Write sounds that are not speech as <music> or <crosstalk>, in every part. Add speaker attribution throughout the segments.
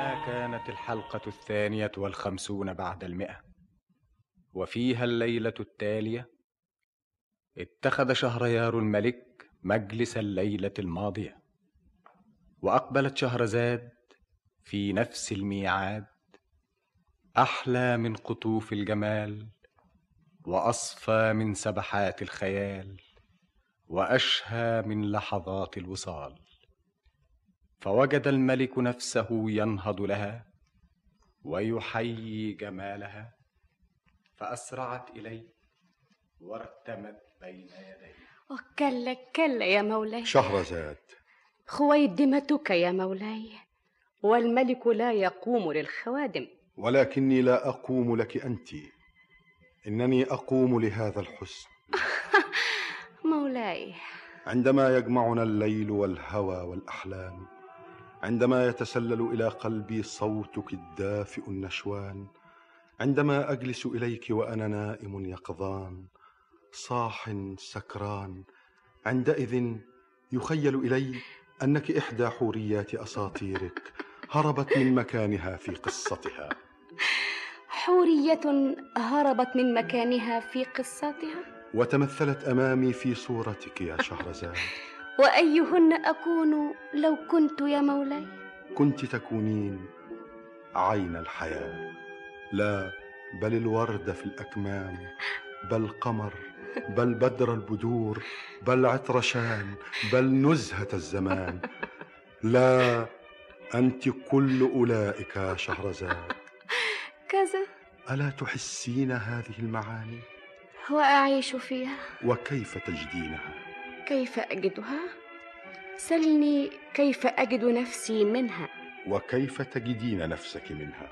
Speaker 1: كانت الحلقة الثانية والخمسون بعد المئة وفيها الليلة التالية اتخذ شهريار الملك مجلس الليلة الماضية وأقبلت شهرزاد في نفس الميعاد أحلى من قطوف الجمال وأصفى من سبحات الخيال وأشهى من لحظات الوصال فوجد الملك نفسه ينهض لها ويحيي جمالها فأسرعت إليه وارتمت بين يديه
Speaker 2: كلا كلا يا مولاي
Speaker 3: شهرزاد
Speaker 2: خويدمتك يا مولاي والملك لا يقوم للخوادم
Speaker 3: ولكني لا أقوم لك أنت إنني أقوم لهذا الحسن
Speaker 2: مولاي
Speaker 3: عندما يجمعنا الليل والهوى والأحلام عندما يتسلل إلى قلبي صوتك الدافئ النشوان عندما أجلس إليك وأنا نائم يقظان صاح سكران عندئذ يخيل إلي أنك إحدى حوريات أساطيرك هربت من مكانها في قصتها
Speaker 2: حورية هربت من مكانها في قصتها
Speaker 3: وتمثلت أمامي في صورتك يا شهرزاد
Speaker 2: وأيهن أكون لو كنت يا مولاي
Speaker 3: كنت تكونين عين الحياة لا بل الورد في الأكمام بل قمر بل بدر البدور بل عطرشان بل نزهة الزمان لا أنت كل أولئك يا شهرزاد
Speaker 2: كذا
Speaker 3: ألا تحسين هذه المعاني
Speaker 2: وأعيش فيها
Speaker 3: وكيف تجدينها
Speaker 2: كيف أجدها؟ سلني كيف أجد نفسي منها
Speaker 3: وكيف تجدين نفسك منها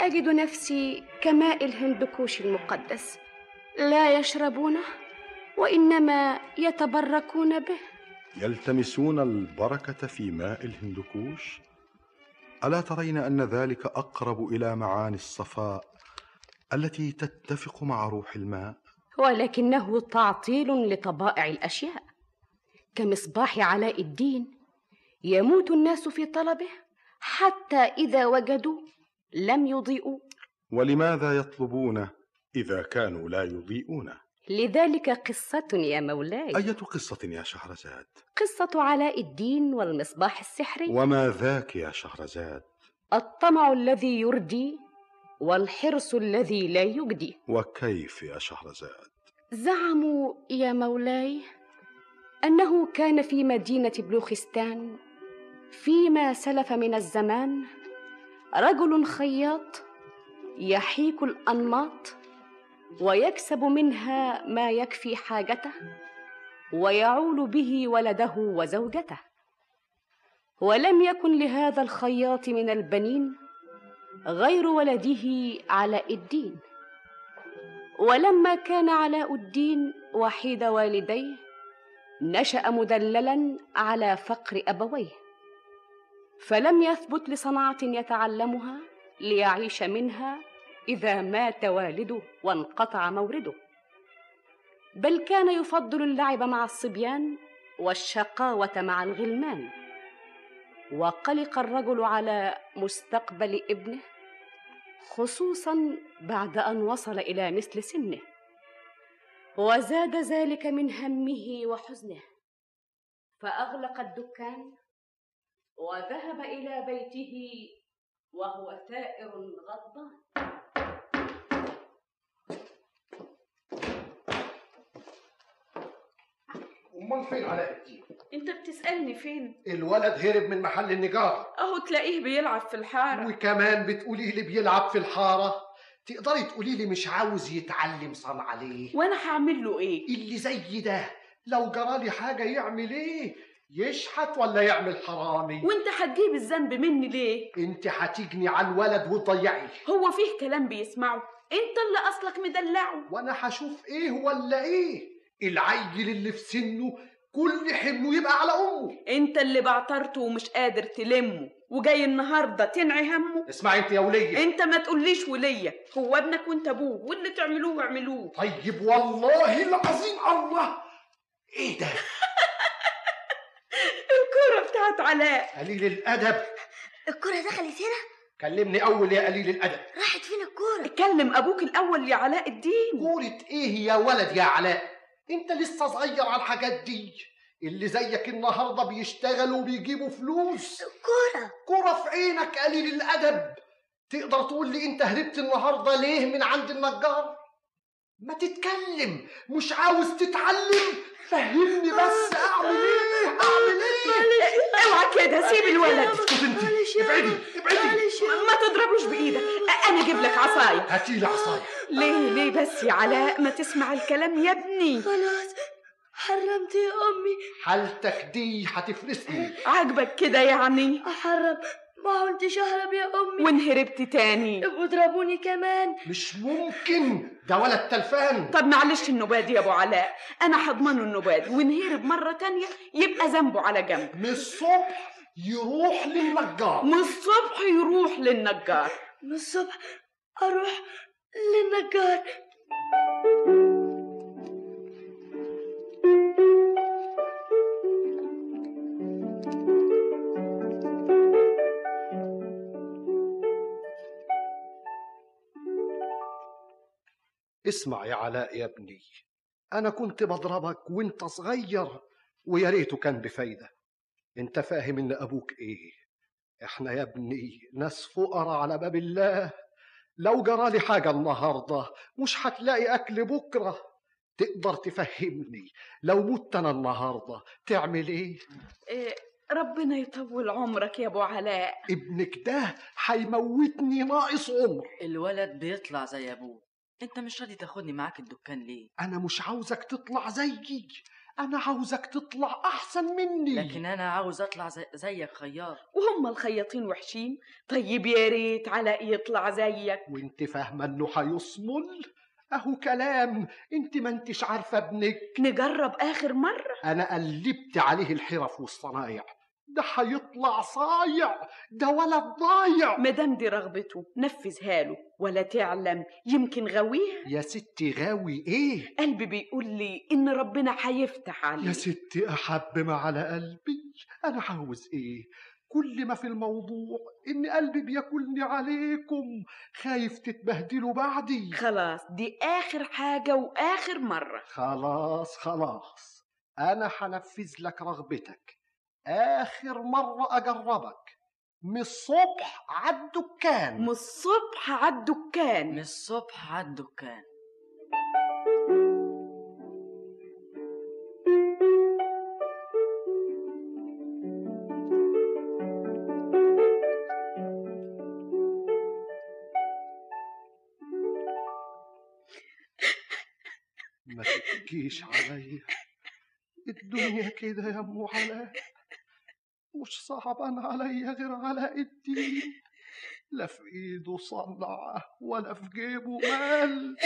Speaker 2: أجد نفسي كماء الهندوكوش المقدس لا يشربونه وإنما يتبركون به
Speaker 3: يلتمسون البركة في ماء الهندوكوش ألا ترين أن ذلك أقرب إلى معاني الصفاء التي تتفق مع روح الماء
Speaker 2: ولكنه تعطيل لطبائع الأشياء كمصباح علاء الدين يموت الناس في طلبه حتى إذا وجدوا لم يضيئوا
Speaker 3: ولماذا يطلبونه إذا كانوا لا يضيئونه
Speaker 2: لذلك قصة يا مولاي
Speaker 3: أية قصة يا شهرزاد
Speaker 2: قصة علاء الدين والمصباح السحري
Speaker 3: وما ذاك يا شهرزاد
Speaker 2: الطمع الذي يردي والحرص الذي لا يجدي
Speaker 3: وكيف يا شهرزاد
Speaker 2: زعموا يا مولاي انه كان في مدينه بلوخستان فيما سلف من الزمان رجل خياط يحيك الانماط ويكسب منها ما يكفي حاجته ويعول به ولده وزوجته ولم يكن لهذا الخياط من البنين غير ولده علاء الدين ولما كان علاء الدين وحيد والديه نشا مدللا على فقر ابويه فلم يثبت لصنعه يتعلمها ليعيش منها اذا مات والده وانقطع مورده بل كان يفضل اللعب مع الصبيان والشقاوه مع الغلمان وقلق الرجل على مستقبل ابنه خصوصا بعد ان وصل الى مثل سنه وزاد ذلك من همه وحزنه فاغلق الدكان وذهب الى بيته وهو ثائر غضبان
Speaker 4: امال فين علاء الدين
Speaker 5: انت بتسألني فين؟
Speaker 4: الولد هرب من محل النجار
Speaker 5: اهو تلاقيه بيلعب في الحارة
Speaker 4: وكمان بتقولي لي بيلعب في الحاره تقدري تقولي لي مش عاوز يتعلم صنعه ليه
Speaker 5: وانا هعمل له ايه؟
Speaker 4: اللي زي ده لو جرالي حاجه يعمل ايه يشحت ولا يعمل حرامي
Speaker 5: وانت هتجيب الذنب مني ليه؟
Speaker 4: انت هتجني على الولد وتضيعيه
Speaker 5: هو فيه كلام بيسمعه انت اللي اصلك مدلعه
Speaker 4: وانا هشوف ايه ولا ايه العيل اللي في سنه كل حمله يبقى على امه
Speaker 5: انت اللي بعترته ومش قادر تلمه وجاي النهارده تنعي همه
Speaker 4: اسمعي انت يا وليه
Speaker 5: انت ما تقوليش وليا هو ابنك وانت ابوه واللي تعملوه اعملوه
Speaker 4: طيب والله العظيم الله ايه ده
Speaker 5: <laughs> الكرة بتاعت علاء
Speaker 4: قليل الادب
Speaker 6: الكرة دخلت هنا
Speaker 4: كلمني اول يا قليل الادب
Speaker 7: راحت فينا الكورة
Speaker 5: كلم ابوك الاول يا علاء الدين
Speaker 4: كورة ايه يا ولد يا علاء انت لسه صغير على الحاجات دي اللي زيك النهارده بيشتغلوا وبيجيبوا فلوس
Speaker 7: كورة
Speaker 4: كورة في عينك قليل الادب تقدر تقول لي انت هربت النهارده ليه من عند النجار ما تتكلم مش عاوز تتعلم فهمني بس اعمل ايه اعمل ايه
Speaker 5: اوعى كده سيب الولد
Speaker 4: اسكت انت
Speaker 7: معلش يا
Speaker 4: ابعدي ابعدي
Speaker 5: ما تضربوش بايدك انا اجيب لك عصايه
Speaker 4: هاتي لي عصايه
Speaker 5: ليه ليه بس يا علاء ما تسمع الكلام يا ابني
Speaker 7: خلاص حرمت يا أمي
Speaker 4: حالتك دي هتفرسني
Speaker 5: عاجبك كده يعني
Speaker 7: أحرم ما كنتش أهرب يا أمي
Speaker 5: وان هربت تاني
Speaker 7: وضربوني كمان
Speaker 4: مش ممكن ده ولد تلفان
Speaker 5: طب معلش النباد يا ابو علاء انا هضمنه النباد وان هرب مره تانية يبقى ذنبه على جنب
Speaker 4: من الصبح يروح للنجار
Speaker 5: من الصبح يروح للنجار
Speaker 7: من الصبح أروح للنجار
Speaker 4: اسمع يا علاء يا ابني انا كنت بضربك وانت صغير ويا ريته كان بفايده انت فاهم ان ابوك ايه احنا يا ابني ناس فقراء على باب الله لو جرالي حاجه النهارده مش هتلاقي اكل بكره تقدر تفهمني لو مت انا النهارده تعمل ايه
Speaker 5: إيه، ربنا يطول عمرك يا ابو علاء
Speaker 4: ابنك ده هيموتني ناقص عمر
Speaker 8: الولد بيطلع زي ابوه انت مش راضي تاخدني معاك الدكان ليه
Speaker 4: انا مش عاوزك تطلع زيي انا عاوزك تطلع احسن مني
Speaker 8: لكن انا عاوز اطلع زي زيك خيار
Speaker 5: وهم الخياطين وحشين طيب يا ريت علاء يطلع زيك
Speaker 4: وانت فاهمه انه هيصمل اهو كلام انت ما انتش عارفه ابنك
Speaker 5: نجرب اخر مره
Speaker 4: انا قلبت عليه الحرف والصنايع ده هيطلع صايع ده ولد ضايع
Speaker 5: مدام دي رغبته نفذها له ولا تعلم يمكن غويها
Speaker 4: يا ستي غاوي ايه
Speaker 5: قلبي بيقول لي ان ربنا هيفتح عليه
Speaker 4: يا ستي احب ما على قلبي انا عاوز ايه كل ما في الموضوع ان قلبي بياكلني عليكم خايف تتبهدلوا بعدي
Speaker 5: خلاص دي آخر حاجة وآخر مرة
Speaker 4: خلاص خلاص انا هنفذ لك رغبتك اخر مره اجربك من الصبح عالدكان
Speaker 5: من الصبح عالدكان
Speaker 8: من الصبح على الدكان
Speaker 4: ما تبكيش عليا الدنيا كده يا ام علاء مش صعب انا عليا غير علاء الدين لا في ايده صنعة ولا في جيبه مال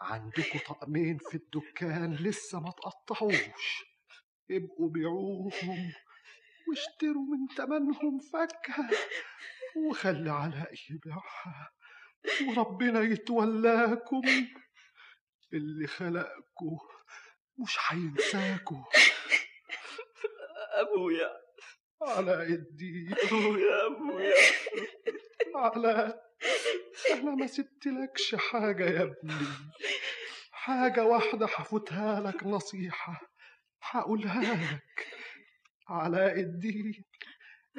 Speaker 4: عندكم طقمين في الدكان لسه ما تقطعوش ابقوا بيعوهم واشتروا من تمنهم فاكهة وخلي علاء يبيعها وربنا يتولاكم اللي خلقكوا مش هينساكوا
Speaker 8: ابويا
Speaker 4: علاء الدين
Speaker 8: ابويا ابويا
Speaker 4: علاء انا ما سبتلكش حاجة يا ابني حاجة واحدة هفوتها لك نصيحة هقولها لك علاء الدين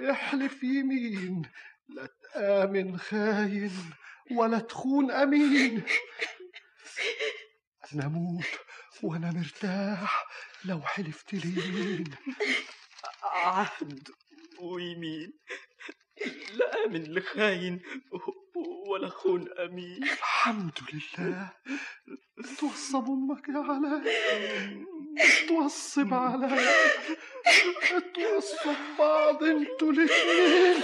Speaker 4: احلف يمين لا تآمن خاين ولا تخون أمين أنا أموت وأنا مرتاح لو حلفت اليمين
Speaker 8: عهد ويمين لا امن لخاين ولا خون امين
Speaker 4: الحمد لله توصب امك يا علاء توصب علاء توصب بعض انتوا الاتنين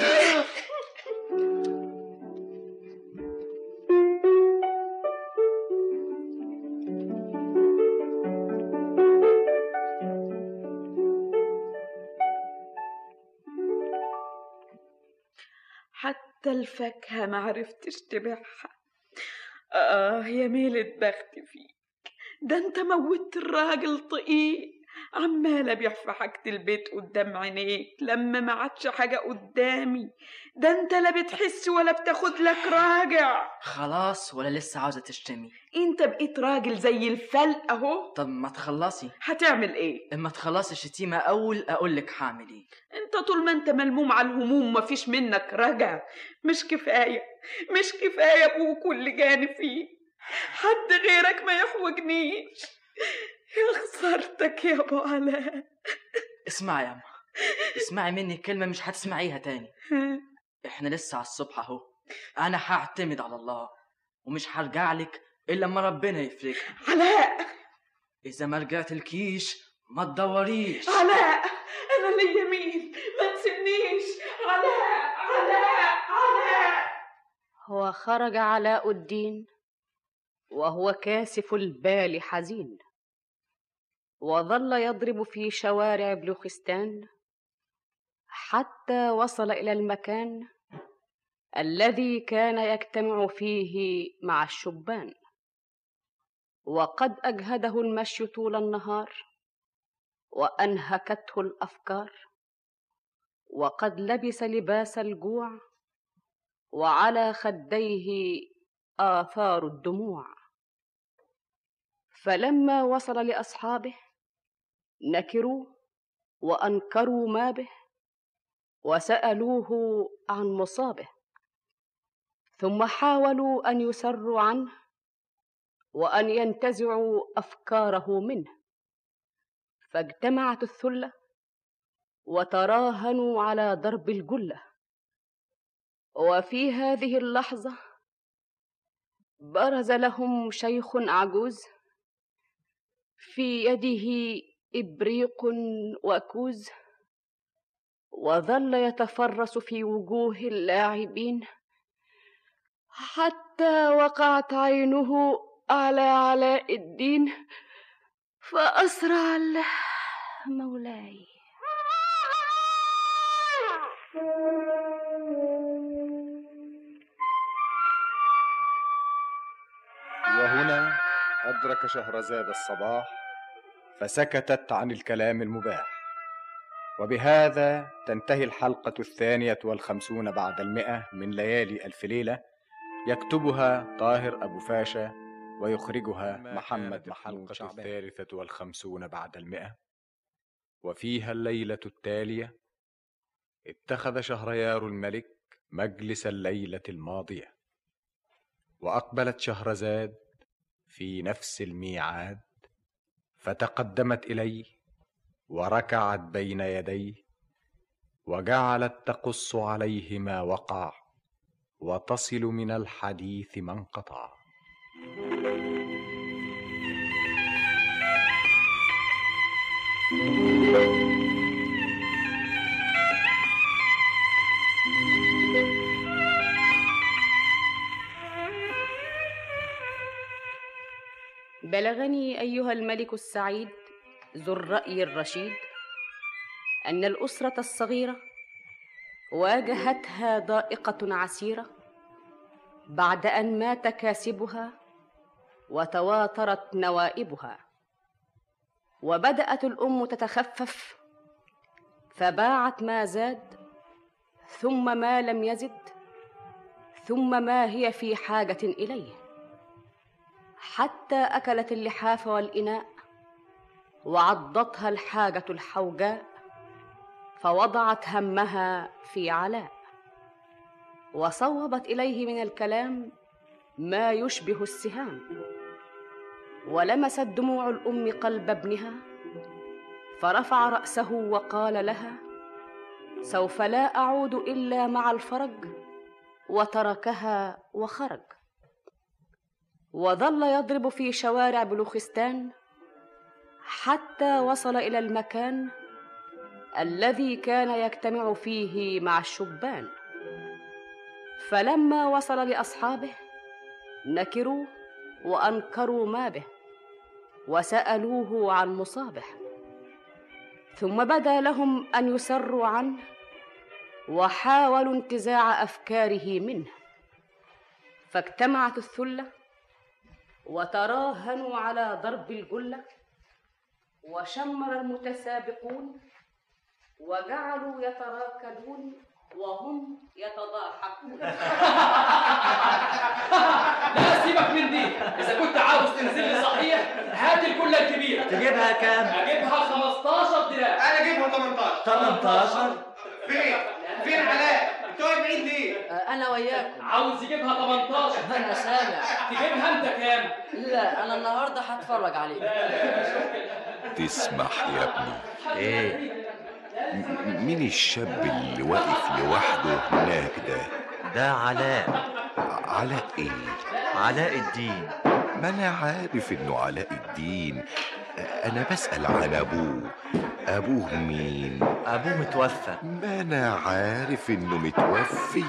Speaker 5: حتى الفاكهة معرفتش تبيعها آه يا ميلة بخت فيك ده انت موت الراجل طقيق عمال ابيع في حاجة البيت قدام عينيك لما ما عادش حاجة قدامي ده انت لا بتحس ولا بتاخد لك راجع
Speaker 8: خلاص ولا لسه عاوزة تشتمي
Speaker 5: انت بقيت راجل زي الفلق اهو
Speaker 8: طب ما تخلصي
Speaker 5: هتعمل ايه
Speaker 8: اما تخلصي الشتيمة اول اقولك هعمل ايه
Speaker 5: انت طول ما انت ملموم على الهموم مفيش منك رجع مش كفاية مش كفاية ابوك واللي جاني فيه حد غيرك ما يحوجنيش يا خسارتك يا ابو علاء
Speaker 8: اسمعي يا اما اسمعي مني كلمة مش هتسمعيها تاني احنا لسه على الصبح اهو انا هعتمد على الله ومش هرجعلك الا لما ربنا يفرجها
Speaker 5: علاء
Speaker 8: اذا ما رجعت الكيش ما تدوريش
Speaker 5: علاء انا ليا مين ما تسيبنيش علاء علاء علاء
Speaker 2: وخرج علاء الدين وهو كاسف البال حزين وظل يضرب في شوارع بلوخستان حتى وصل الى المكان الذي كان يجتمع فيه مع الشبان وقد اجهده المشي طول النهار وانهكته الافكار وقد لبس لباس الجوع وعلى خديه آثار الدموع فلما وصل لأصحابه نكروا وأنكروا ما به وسألوه عن مصابه ثم حاولوا أن يسروا عنه وأن ينتزعوا أفكاره منه فاجتمعت الثلة وتراهنوا على ضرب الجله وفي هذه اللحظة برز لهم شيخ عجوز في يده إبريق وكوز وظل يتفرس في وجوه اللاعبين حتى وقعت عينه على علاء الدين فأسرع له مولاي
Speaker 1: وهنا أدرك شهرزاد الصباح فسكتت عن الكلام المباح وبهذا تنتهي الحلقة الثانية والخمسون بعد المئة من ليالي ألف ليلة يكتبها طاهر أبو فاشا ويخرجها محمد محمود
Speaker 9: الحلقة
Speaker 1: شعبان الثالثة والخمسون بعد المئة وفيها الليلة التالية اتخذ شهريار الملك مجلس الليلة الماضية واقبلت شهرزاد في نفس الميعاد فتقدمت اليه وركعت بين يديه وجعلت تقص عليه ما وقع وتصل من الحديث ما انقطع
Speaker 2: بلغني أيها الملك السعيد ذو الرأي الرشيد أن الأسرة الصغيرة واجهتها ضائقة عسيرة بعد أن مات كاسبها وتواترت نوائبها وبدأت الأم تتخفف فباعت ما زاد ثم ما لم يزد ثم ما هي في حاجة إليه حتى أكلت اللحاف والإناء وعضتها الحاجة الحوجاء فوضعت همها في علاء وصوبت إليه من الكلام ما يشبه السهام ولمست دموع الأم قلب ابنها فرفع رأسه وقال لها سوف لا أعود إلا مع الفرج وتركها وخرج وظل يضرب في شوارع بلوخستان حتى وصل الى المكان الذي كان يجتمع فيه مع الشبان فلما وصل لاصحابه نكروا وانكروا ما به وسالوه عن مصابه ثم بدا لهم ان يسروا عنه وحاولوا انتزاع افكاره منه فاجتمعت الثله وتراهنوا على ضرب الجله وشمر المتسابقون وجعلوا يتراكدون وهم يتضاحكون
Speaker 6: لا سيبك من دي اذا كنت عاوز تنزل لي صحيح هات الكله الكبيره
Speaker 10: تجيبها كام؟
Speaker 6: اجيبها 15 دراهم
Speaker 4: انا اجيبها 18
Speaker 10: 18
Speaker 4: فين فين علاء انت واقف بعيد ليه
Speaker 8: انا وياكم
Speaker 6: عاوز يجيبها 18
Speaker 8: انا سامع
Speaker 6: تجيبها انت كام
Speaker 8: لا انا النهارده هتفرج عليك
Speaker 9: تسمح يا ابني
Speaker 10: ايه
Speaker 9: م- مين الشاب اللي واقف لوحده هناك ده
Speaker 10: ده علاء
Speaker 9: علاء ايه
Speaker 10: علاء الدين
Speaker 9: ما انا عارف انه علاء الدين انا بسأل عن ابوه ابوه مين
Speaker 10: ابوه متوفى
Speaker 9: ما انا عارف انه متوفي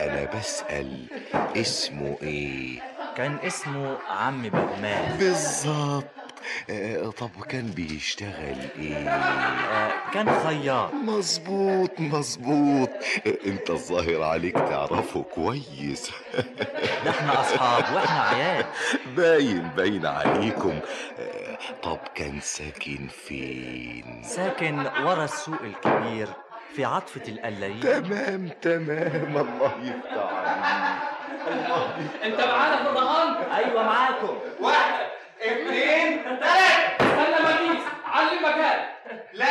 Speaker 9: انا بسأل اسمه ايه
Speaker 10: كان اسمه عم بهمان
Speaker 9: بالظبط آه، طب كان بيشتغل ايه
Speaker 10: آه، كان خياط
Speaker 9: مظبوط مظبوط آه، انت الظاهر عليك تعرفه كويس
Speaker 10: ده احنا اصحاب واحنا عيال
Speaker 9: <laughs> باين باين عليكم آه، طب كان ساكن فين
Speaker 10: ساكن ورا السوق الكبير في عاطفة القلايين
Speaker 9: تمام تمام الله يفتح عليك
Speaker 6: انت معانا في الرهان
Speaker 8: أيوة،
Speaker 10: ايوه معاكم
Speaker 4: واحد اثنين ثلاثة
Speaker 6: استنى ما تيجي علي المكان
Speaker 4: لا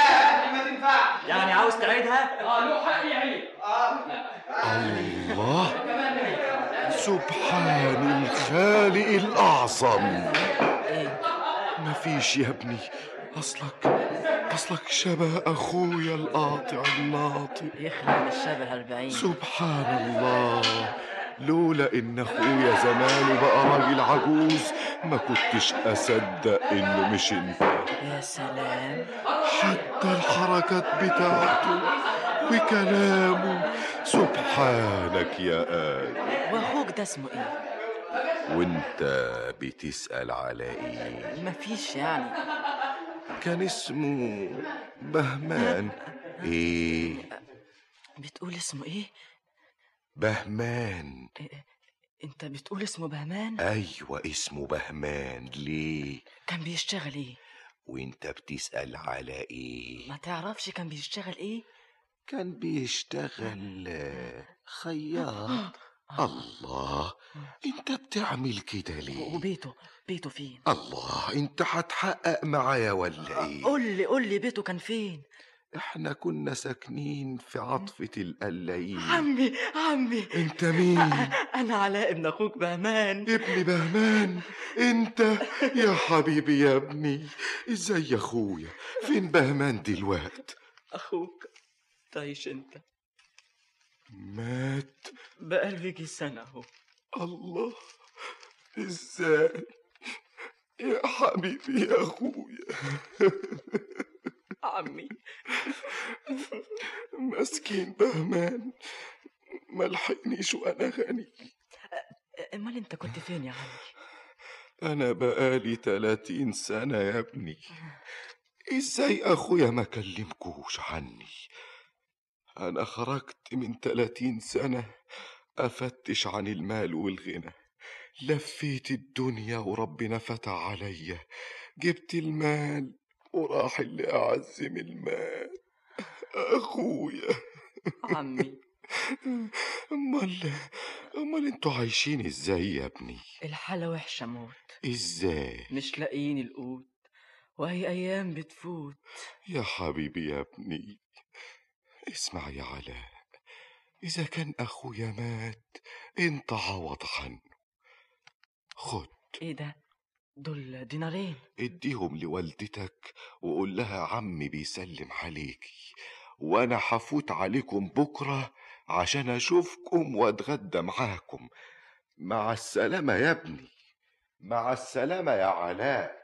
Speaker 4: دي ما تنفعش آه.
Speaker 10: يعني عاوز تعيدها؟
Speaker 6: اه له حق يعيد
Speaker 9: الله سبحان الخالق الأعظم مفيش يا ابني أصلك أصلك شبه أخويا القاطع الناطق
Speaker 8: يخلع من الشبه 40
Speaker 9: سبحان الله لولا ان اخويا زمانه بقى راجل عجوز ما كنتش اصدق انه مش انت
Speaker 8: يا سلام
Speaker 9: حتى الحركات بتاعته وكلامه سبحانك يا آل
Speaker 8: واخوك ده اسمه ايه؟
Speaker 9: وانت بتسأل على ايه
Speaker 8: مفيش يعني
Speaker 9: كان اسمه بهمان ايه
Speaker 8: بتقول اسمه ايه؟
Speaker 9: بهمان
Speaker 8: انت بتقول اسمه بهمان؟
Speaker 9: ايوه اسمه بهمان ليه
Speaker 8: كان بيشتغل ايه؟
Speaker 9: وانت بتسأل على ايه
Speaker 8: ما تعرفش كان بيشتغل ايه؟
Speaker 9: كان بيشتغل آه،
Speaker 8: آه.
Speaker 9: خياط الله انت بتعمل كده
Speaker 8: و-
Speaker 9: ليه
Speaker 8: وبيته بيته فين؟
Speaker 9: الله انت هتحقق معايا ولا ايه
Speaker 8: قول لي قول لي بيته كان فين؟
Speaker 9: احنا كنا ساكنين في عطفة
Speaker 8: <laughs>
Speaker 9: القلايين
Speaker 8: عمي عمي
Speaker 9: انت مين
Speaker 8: انا علاء ابن اخوك بهمان
Speaker 9: ابن بهمان انت يا حبيبي يا ابني ازاي يا اخويا فين بهمان دلوقت
Speaker 8: اخوك تعيش انت
Speaker 9: مات
Speaker 8: بقالي يجي سنه اهو
Speaker 9: الله ازاي يا حبيبي يا اخويا
Speaker 8: عمي
Speaker 9: <laughs> مسكين بهمان ما لحقنيش وانا غني
Speaker 8: امال انت كنت فين يا عمي
Speaker 9: انا بقالي 30 سنه يا ابني ازاي اخويا ما كلمكوش عني انا خرجت من 30 سنه افتش عن المال والغنى لفيت الدنيا وربنا فتح عليا جبت المال وراح اللي اعز من المال اخويا <laughs>
Speaker 8: عمي
Speaker 9: امال امال انتوا عايشين ازاي يا ابني
Speaker 8: الحاله وحشه موت
Speaker 9: ازاي
Speaker 8: مش لاقيين القوت وهي ايام بتفوت
Speaker 9: يا حبيبي يا ابني اسمع يا علاء إذا كان أخويا مات أنت عوض عنه خد
Speaker 8: ايه ده دول دينارين
Speaker 9: اديهم لوالدتك وقول لها عمي بيسلم عليكي وأنا هفوت عليكم بكرة عشان أشوفكم وأتغدى معاكم مع السلامة يا ابني مع السلامة يا علاء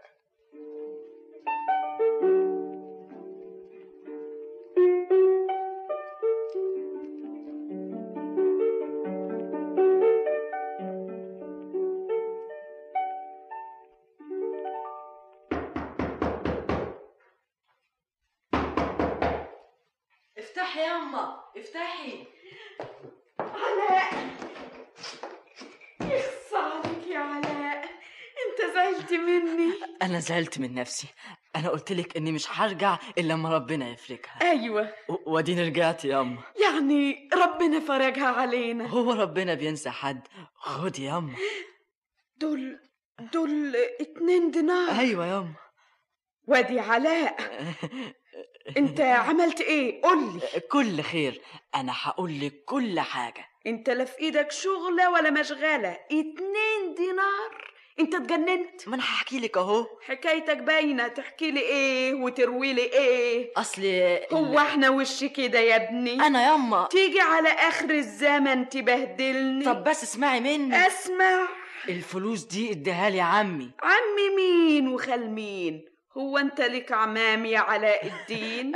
Speaker 8: افتحي يما افتحي
Speaker 5: علاء يخص عليك يا علاء انت زعلت مني
Speaker 8: انا زعلت من نفسي انا قلت لك اني مش هرجع الا لما ربنا يفرجها
Speaker 5: ايوه
Speaker 8: و- واديني رجعت ياما
Speaker 5: يعني ربنا فرجها علينا
Speaker 8: هو ربنا بينسى حد خد ياما
Speaker 5: دول دول اتنين دينار
Speaker 8: ايوه ياما
Speaker 5: وادي علاء انت عملت ايه قولي
Speaker 8: كل خير انا هقول لك كل حاجه
Speaker 5: انت لا في ايدك شغله ولا مشغله اتنين دينار انت اتجننت
Speaker 8: ما انا هحكي لك اهو
Speaker 5: حكايتك باينه تحكي لي ايه وتروي لي ايه
Speaker 8: اصل
Speaker 5: هو احنا وش كده يا ابني
Speaker 8: انا ياما
Speaker 5: تيجي على اخر الزمن تبهدلني
Speaker 8: طب بس اسمعي مني
Speaker 5: اسمع
Speaker 8: الفلوس دي اديها لي عمي
Speaker 5: عمي مين وخال مين هو انت لك عمام يا علاء الدين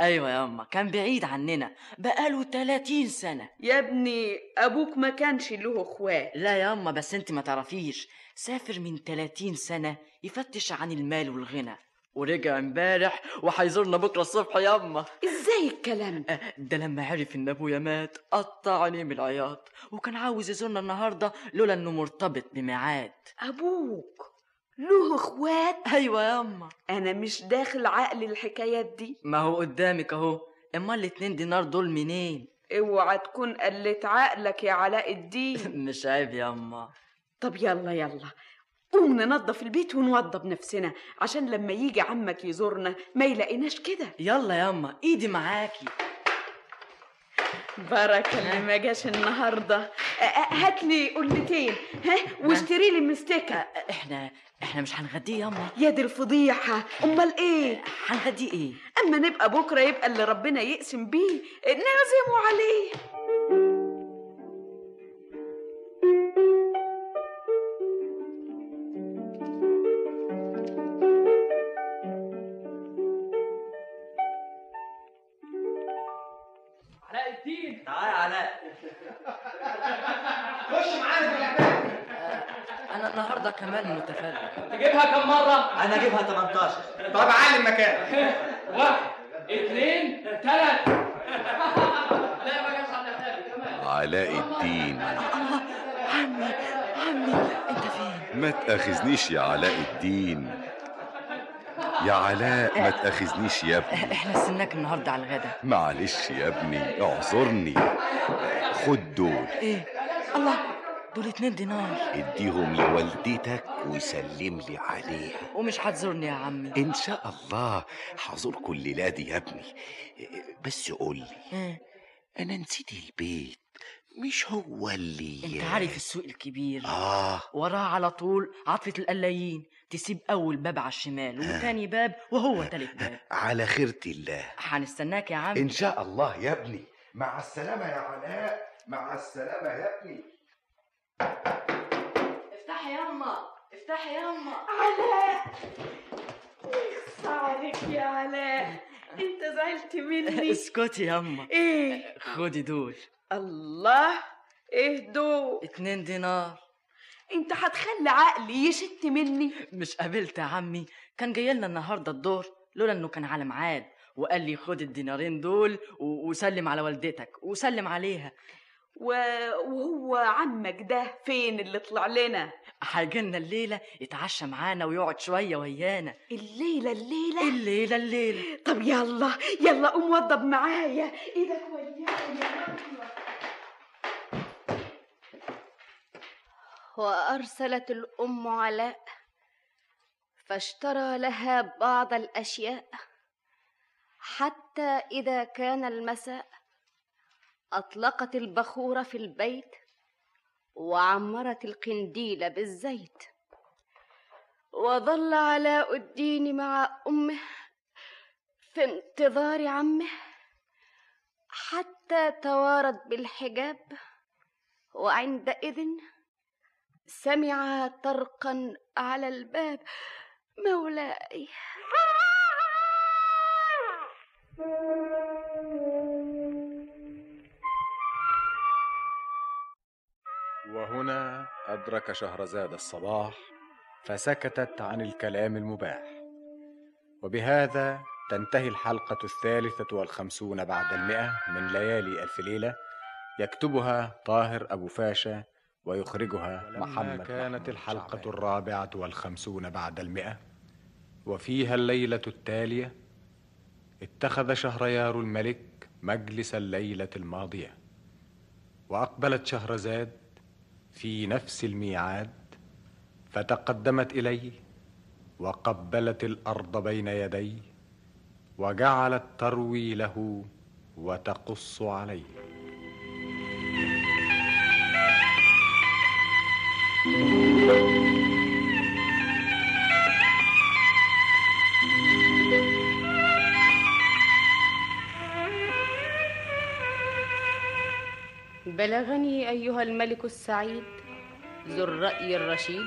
Speaker 8: <laughs> ايوه ياما كان بعيد عننا بقاله 30 سنه
Speaker 5: يا ابني ابوك ما كانش له اخوات
Speaker 8: لا ياما بس انت ما تعرفيش سافر من 30 سنة يفتش عن المال والغنى ورجع امبارح وهيزورنا بكرة الصبح ياما
Speaker 5: ازاي الكلام ده
Speaker 8: أه، ده لما عرف ان ابويا مات قطع عينيه من العياط وكان عاوز يزورنا النهارده لولا انه مرتبط بميعاد
Speaker 5: ابوك له اخوات
Speaker 8: ايوه ياما
Speaker 5: انا مش داخل عقل الحكايات دي
Speaker 8: ما هو قدامك اهو اما الاتنين دينار دول منين
Speaker 5: اوعى تكون قلت عقلك يا علاء الدين
Speaker 8: <laughs> مش عيب ياما
Speaker 5: طب يلا يلا قوم ننظف البيت ونوضب نفسنا عشان لما يجي عمك يزورنا ما يلاقيناش كده
Speaker 8: يلا ياما ايدي معاكي
Speaker 5: بركة اللي ما جاش النهارده أ- أ- هات لي قلتين ها واشتري لي مستكة
Speaker 8: أ- احنا احنا مش هنغديه ياما
Speaker 5: يا دي الفضيحة أمال إيه؟
Speaker 8: هنغديه ايه
Speaker 5: أما نبقى بكرة يبقى اللي ربنا يقسم بيه نعزمه عليه
Speaker 9: علاء الدين
Speaker 8: تعالى يا علاء
Speaker 11: خش معانا في العباد
Speaker 8: انا النهارده كمان متفرج
Speaker 9: تجيبها كم مرة؟
Speaker 12: انا اجيبها 18
Speaker 11: طب علم مكان
Speaker 9: واحد اثنين ثلاث لا ما جاش على ثالث كمان
Speaker 10: علاء الدين
Speaker 8: عمي عمي انت فين
Speaker 10: ما تأخذنيش يا علاء الدين يا علاء ما تأخذنيش يا ابني
Speaker 8: احنا استناك النهارده على الغدا
Speaker 10: معلش يا ابني اعذرني خد دول
Speaker 8: ايه الله دول اتنين دينار
Speaker 10: اديهم لوالدتك وسلم لي عليها
Speaker 8: ومش هتزورني يا عمي
Speaker 10: ان شاء الله حزوركم الليله دي يا ابني بس قول لي
Speaker 8: إيه؟
Speaker 10: انا نسيت البيت مش هو اللي
Speaker 8: انت عارف السوق الكبير
Speaker 10: اه
Speaker 8: وراه على طول عطلة القلايين تسيب أول باب على الشمال
Speaker 10: آه.
Speaker 8: وتاني باب وهو تالت باب
Speaker 10: على خيرة الله
Speaker 8: هنستناك يا عمي
Speaker 10: ان شاء الله يا ابني مع السلامه يا علاء مع السلامه يا ابني
Speaker 8: افتحي ياما افتحي <laughs> ياما
Speaker 5: علاء يخص عليك يا علاء أنت زعلت
Speaker 8: <laughs>
Speaker 5: <laughs> مني
Speaker 8: اسكتي ياما
Speaker 5: إيه؟
Speaker 8: خدي دول
Speaker 5: الله إيه دول؟
Speaker 8: اتنين دينار
Speaker 5: أنت هتخلي عقلي يشت مني
Speaker 8: مش قابلت يا عمي كان جاي لنا النهارده الظهر لولا انه كان على ميعاد وقال لي خد الدينارين دول و- وسلم على والدتك وسلم عليها
Speaker 5: و- وهو عمك ده فين اللي طلع لنا؟
Speaker 8: هيجيلنا الليله يتعشى معانا ويقعد شويه ويانا
Speaker 5: الليلة الليلة
Speaker 8: الليله الليله
Speaker 5: طب يلا يلا قوم وضب معايا ايدك ويايا
Speaker 7: وأرسلت الأم علاء فاشترى لها بعض الأشياء حتى إذا كان المساء أطلقت البخور في البيت وعمرت القنديل بالزيت وظل علاء الدين مع أمه في انتظار عمه حتى توارد بالحجاب وعندئذ سمع طرقا على الباب مولاي
Speaker 1: وهنا أدرك شهرزاد الصباح فسكتت عن الكلام المباح وبهذا تنتهي الحلقة الثالثة والخمسون بعد المئة من ليالي ألف ليلة يكتبها طاهر أبو فاشا ويخرجها محمد كانت الحلقة الرابعة والخمسون بعد المئة وفيها الليله التاليه اتخذ شهريار الملك مجلس الليله الماضيه واقبلت شهرزاد في نفس الميعاد فتقدمت اليه وقبلت الارض بين يديه وجعلت تروي له وتقص عليه
Speaker 2: بلغني ايها الملك السعيد ذو الراي الرشيد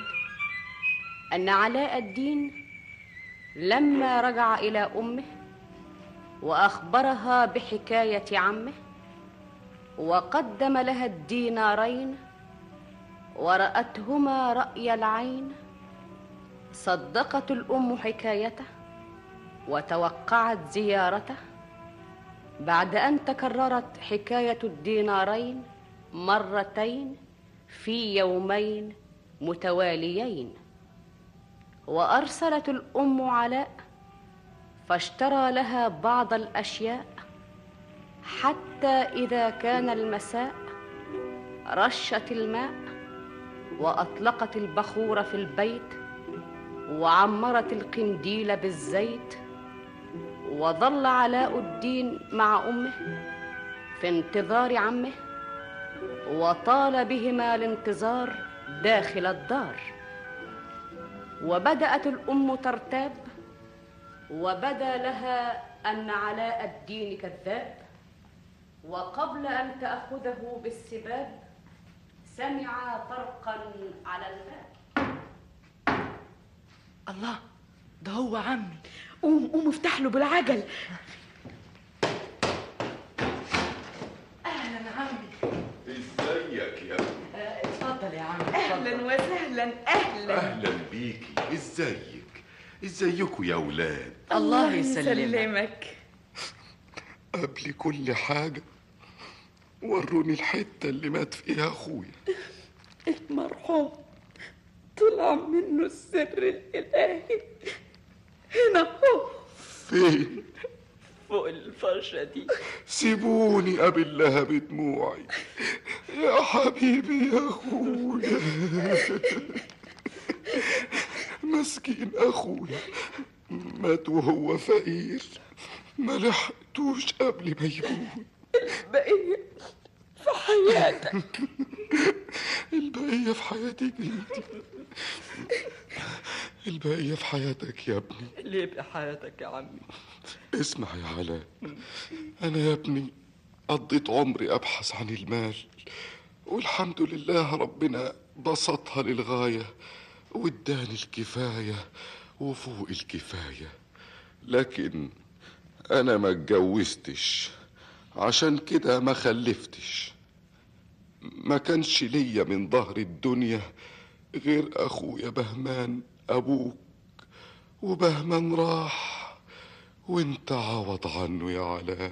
Speaker 2: ان علاء الدين لما رجع الى امه واخبرها بحكايه عمه وقدم لها الدينارين وراتهما راي العين صدقت الام حكايته وتوقعت زيارته بعد ان تكررت حكايه الدينارين مرتين في يومين متواليين وارسلت الام علاء فاشترى لها بعض الاشياء حتى اذا كان المساء رشت الماء واطلقت البخور في البيت وعمرت القنديل بالزيت وظل علاء الدين مع امه في انتظار عمه وطال بهما الانتظار داخل الدار وبدات الام ترتاب وبدا لها ان علاء الدين كذاب وقبل ان تاخذه بالسباب سمع طرقا على الباب
Speaker 8: الله ده هو عمي
Speaker 5: قوم قوم افتح له بالعجل
Speaker 8: اهلا عمي
Speaker 9: ازيك يا ابني
Speaker 8: اتفضل يا عمي
Speaker 5: اهلا وسهلا اهلا
Speaker 9: اهلا بيكي ازيك ازيكوا يا ولاد
Speaker 8: الله يسلمك
Speaker 9: قبل كل حاجة وروني الحتة اللي مات فيها أخويا
Speaker 5: المرحوم طلع منه السر الالهي هنا هو
Speaker 9: فين
Speaker 5: فوق الفرشه دي
Speaker 9: سيبوني أبلها بدموعي يا حبيبي يا أخويا مسكين أخويا مات وهو فقير ما لحقتوش قبل ما يموت
Speaker 5: البقيه في حياتك
Speaker 9: البقية في حياتك انت البقية في حياتك يا ابني
Speaker 8: <laughs> ليه بحياتك يا عمي
Speaker 9: اسمع يا علاء أنا يا ابني قضيت عمري أبحث عن المال والحمد لله ربنا بسطها للغاية واداني الكفاية وفوق الكفاية لكن أنا ما اتجوزتش عشان كده ما خلفتش ما كانش ليا من ظهر الدنيا غير أخويا بهمان أبوك وبهمان راح وانت عوض عنه يا علاء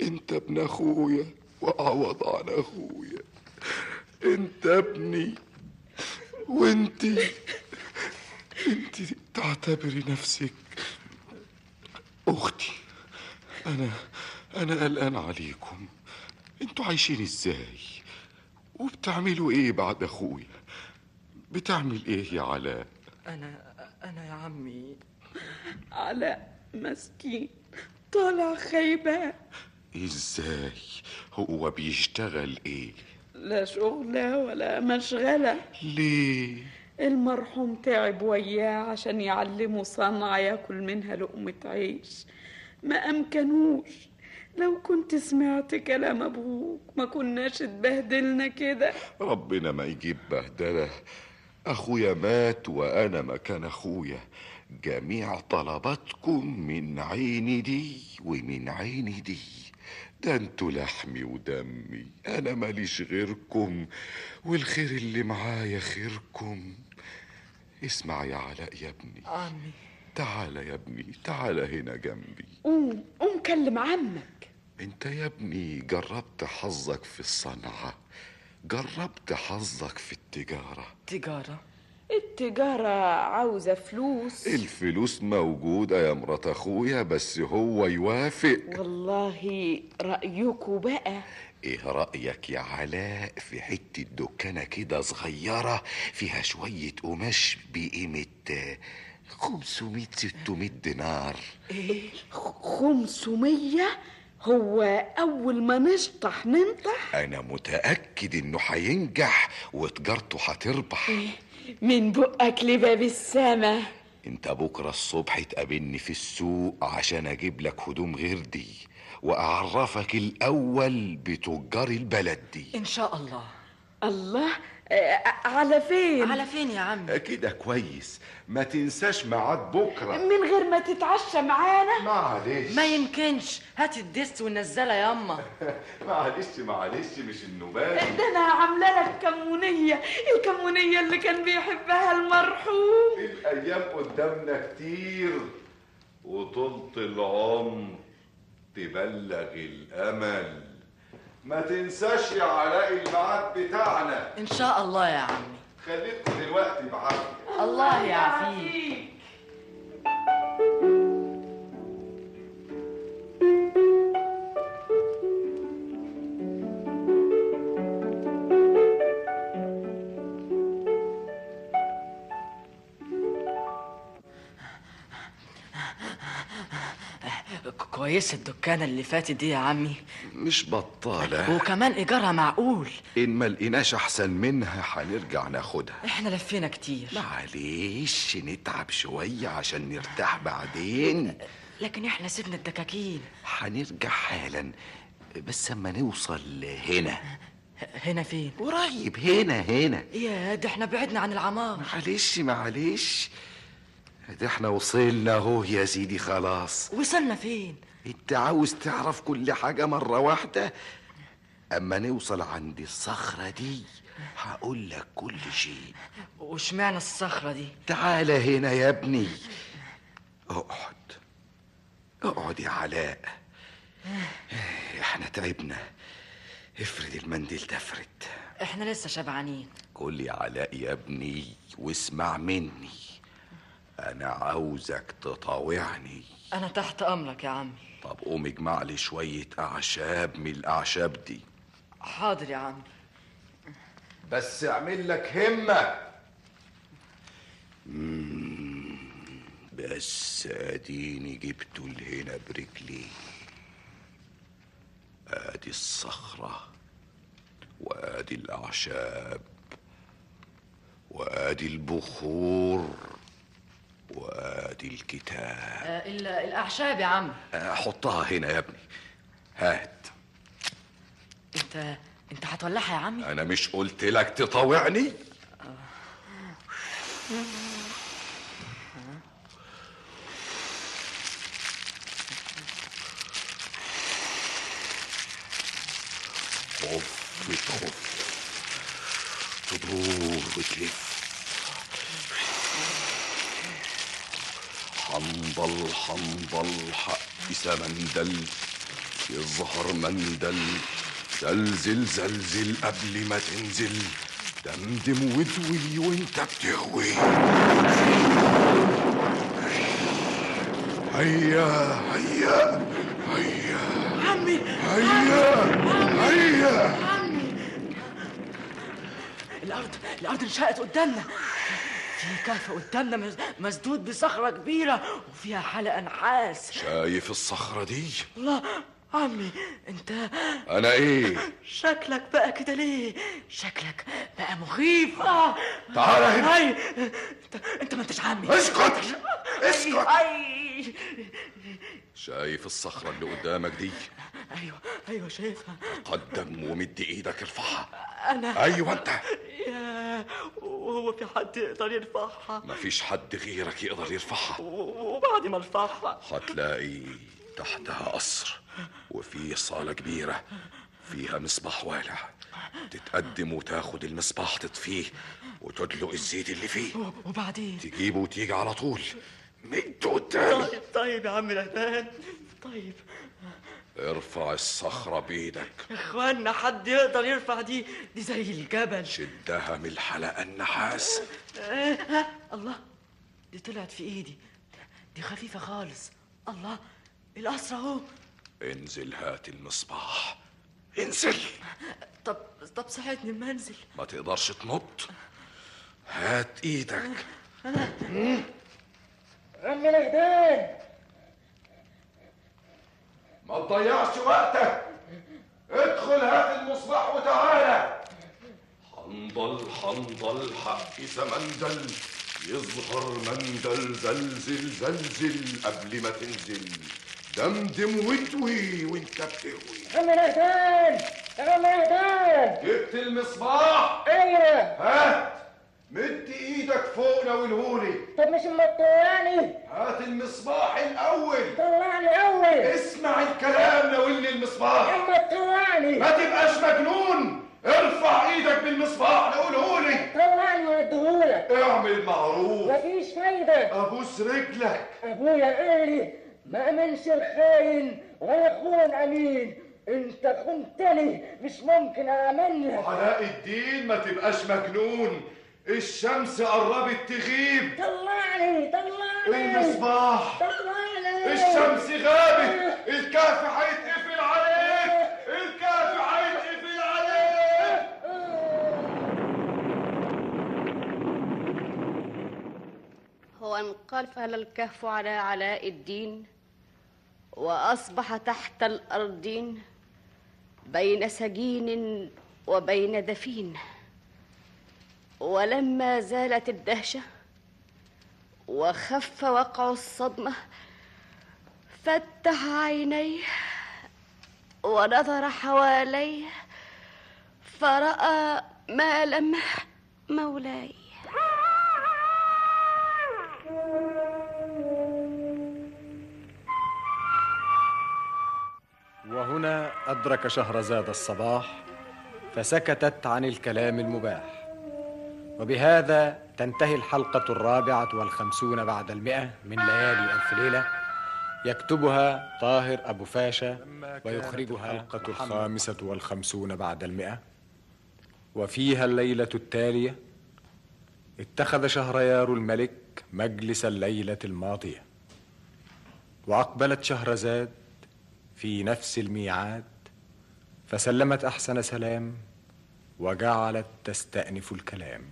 Speaker 9: انت ابن اخويا وعوض عن اخويا انت ابني وانت انت تعتبري نفسك اختي انا انا قلقان عليكم انتوا عايشين ازاي وبتعملوا ايه بعد اخويا بتعمل ايه يا علاء
Speaker 8: انا انا يا عمي
Speaker 5: علاء مسكين طالع خيبان
Speaker 9: ازاي هو بيشتغل ايه
Speaker 5: لا شغلة ولا مشغلة
Speaker 9: ليه
Speaker 5: المرحوم تعب وياه عشان يعلمه صنعة ياكل منها لقمة عيش ما أمكنوش لو كنت سمعت كلام أبوك ما كناش اتبهدلنا كده
Speaker 9: ربنا ما يجيب بهدلة أخويا مات وأنا مكان أخويا جميع طلباتكم من عيني دي ومن عيني دي ده انتوا لحمي ودمي أنا ماليش غيركم والخير اللي معايا خيركم اسمع يا علاء يا ابني
Speaker 8: عمي
Speaker 9: تعال يا ابني تعال هنا جنبي
Speaker 5: قوم قوم كلم عمك
Speaker 9: انت يا ابني جربت حظك في الصنعة جربت حظك في التجارة
Speaker 8: تجارة
Speaker 13: التجارة عاوزة فلوس
Speaker 10: إيه؟ الفلوس موجودة يا مرات أخويا بس هو يوافق
Speaker 13: والله رأيكوا بقى
Speaker 10: ايه رأيك يا علاء في حتة دكانة كده صغيرة فيها شوية قماش بقيمة آه، 500 600 دينار
Speaker 13: ايه خمسمية هو أول ما نشطح ننطح
Speaker 10: انا متأكد انه هينجح وتجارته هتربح
Speaker 13: من بقك لباب السما
Speaker 10: انت بكرة الصبح تقابلني في السوق عشان اجيب لك هدوم غير دي واعرفك الاول بتجار البلد دي
Speaker 8: إن شاء الله
Speaker 13: الله على فين
Speaker 8: على فين يا عم
Speaker 10: كده كويس ما تنساش ميعاد بكرة
Speaker 13: من غير ما تتعشى معانا
Speaker 10: معلش
Speaker 8: ما يمكنش هات الدست والنزلة ياما
Speaker 10: معلش معلش مش النوبات
Speaker 5: ده انا عامله لك كمونيه الكمونيه اللي كان بيحبها المرحوم
Speaker 10: الايام قدامنا كتير وطولة العمر تبلغ الامل ما تنساش يا علاء الميعاد بتاعنا
Speaker 8: إن شاء الله يا عمي
Speaker 10: خليكم دلوقتي بعافية
Speaker 8: الله يعافيك ك- كويسة الدكانة اللي فاتت دي يا عمي
Speaker 10: مش بطالة
Speaker 8: وكمان إيجارها معقول
Speaker 10: إن ما لقيناش أحسن منها هنرجع ناخدها
Speaker 8: إحنا لفينا كتير
Speaker 10: معلش نتعب شوية عشان نرتاح بعدين
Speaker 8: لكن إحنا سيبنا الدكاكين
Speaker 10: هنرجع حالا بس أما نوصل هنا
Speaker 8: هنا فين؟
Speaker 10: قريب هنا هنا
Speaker 8: يا ده إحنا بعدنا عن العمار
Speaker 10: معلش معلش ده احنا وصلنا اهو يا سيدي خلاص
Speaker 8: وصلنا فين؟
Speaker 10: انت عاوز تعرف كل حاجة مرة واحدة اما نوصل عند الصخرة دي هقول لك كل شيء
Speaker 8: وشمعنا الصخرة دي؟
Speaker 10: تعال هنا يا ابني اقعد اقعد يا علاء احنا تعبنا افرد المنديل ده افرد
Speaker 8: إحنا لسه شبعانين
Speaker 10: قول يا علاء يا ابني واسمع مني انا عاوزك تطاوعني
Speaker 8: أنا تحت أمرك يا عمي
Speaker 10: طب قوم اجمع لي شوية أعشاب من الأعشاب دي
Speaker 8: حاضر يا عمي
Speaker 10: بس اعمل لك همة مم، بس اديني جبته لهنا برجلي ادي الصخرة وادي الأعشاب وادي البخور وادي الكتاب
Speaker 8: آه، ال- الأعشاب يا عم
Speaker 10: حطها هنا يا ابني هات
Speaker 8: أنت أنت هتولعها يا عمي
Speaker 10: انا مش قلت لك تطاوعني خف تخف تدور وتلف حنضل حنضل حق سمندل يظهر مندل زلزل زلزل قبل ما تنزل دمدم وتوي وانت بتهوي هيا هيا هيا
Speaker 8: عمي
Speaker 10: هيا هيا
Speaker 8: الأرض الأرض انشقت قدامنا في كهف قدامنا مس- مسدود بصخرة كبيرة وفيها حلقة نحاس
Speaker 10: شايف الصخرة دي؟
Speaker 8: الله عمي أنت
Speaker 10: أنا إيه؟
Speaker 8: شكلك بقى كده ليه؟ شكلك بقى مخيف آه.
Speaker 10: تعال هنا.
Speaker 8: أي. أنت أنت ما أنتش عمي
Speaker 10: اسكت. اسكت.
Speaker 8: أي.
Speaker 10: شايف الصخرة اللي قدامك دي؟
Speaker 8: أيوه أيوه شايفها
Speaker 10: قدم ومد إيدك ارفعها
Speaker 8: أنا
Speaker 10: أيوة أنت
Speaker 8: يا وهو في حد يقدر يرفعها
Speaker 10: مفيش حد غيرك يقدر يرفعها
Speaker 8: و- وبعد ما ارفعها
Speaker 10: هتلاقي تحتها قصر وفيه صالة كبيرة فيها مصباح والع تتقدم وتاخد المصباح تطفيه وتدلق الزيت اللي فيه
Speaker 8: و- وبعدين
Speaker 10: تجيبه وتيجي على طول مد قدامي
Speaker 8: طيب طيب يا عم رهبان طيب
Speaker 11: ارفع الصخرة بإيدك
Speaker 8: اخوانا حد يقدر يرفع دي دي زي الجبل
Speaker 11: شدها من الحلقة النحاس
Speaker 8: آه، ها، الله دي طلعت في ايدي دي خفيفة خالص الله القصر اهو
Speaker 11: انزل هات المصباح انزل
Speaker 8: طب طب صحتني لما انزل
Speaker 11: ما تقدرش تنط هات ايدك
Speaker 6: عم الهدان
Speaker 11: ما تضيعش وقتك ادخل هات المصباح وتعالى حنظل حنظل حق سمندل يظهر مندل زلزل زلزل قبل ما تنزل دمدم وانتوي وانت بتهوي
Speaker 6: عم الهدان عم الهدان
Speaker 11: جبت المصباح
Speaker 6: ايوه
Speaker 11: هات مد ايدك فوق ناولهولي
Speaker 6: طب مش مطلعني
Speaker 11: هات المصباح الاول
Speaker 6: طلعني اول
Speaker 11: اسمع الكلام ناولني المصباح
Speaker 6: اما طلعني
Speaker 11: ما تبقاش مجنون ارفع ايدك بالمصباح ناولهولي
Speaker 6: طلعني واديهولك
Speaker 11: اعمل معروف
Speaker 6: مفيش فايدة
Speaker 11: ابوس رجلك
Speaker 6: ابويا قال لي ما امنش الخاين ولا اخوان امين انت خنتني مش ممكن اعمل لك
Speaker 11: علاء الدين ما تبقاش مجنون الشمس قربت تغيب
Speaker 6: طلعني طلعني
Speaker 11: المصباح.
Speaker 6: طلعني
Speaker 11: الشمس غابت الكهف هيتقفل عليك الكهف هيتقفل عليك
Speaker 2: وانقفل الكهف على علاء الدين واصبح تحت الارضين بين سجين وبين دفين ولما زالت الدهشه وخف وقع الصدمه فتح عينيه ونظر حواليه فراى ما لمح مولاي
Speaker 1: وهنا أدرك شهرزاد الصباح فسكتت عن الكلام المباح وبهذا تنتهي الحلقة الرابعة والخمسون بعد المئة من ليالي ألف ليلة يكتبها طاهر أبو فاشا ويخرجها الحلقة الخامسة والخمسون بعد المئة وفيها الليلة التالية اتخذ شهريار الملك مجلس الليلة الماضية وأقبلت شهرزاد في نفس الميعاد فسلمت احسن سلام وجعلت تستانف الكلام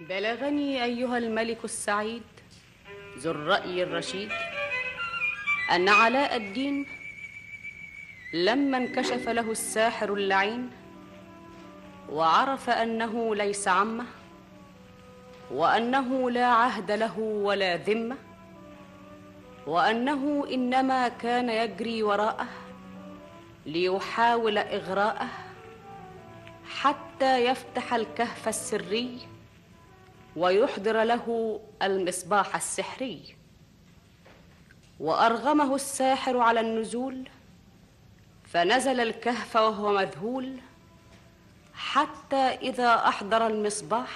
Speaker 2: بلغني ايها الملك السعيد ذو الراي الرشيد ان علاء الدين لما انكشف له الساحر اللعين وعرف انه ليس عمه وانه لا عهد له ولا ذمه وانه انما كان يجري وراءه ليحاول اغراءه حتى يفتح الكهف السري ويحضر له المصباح السحري وارغمه الساحر على النزول فنزل الكهف وهو مذهول حتى اذا احضر المصباح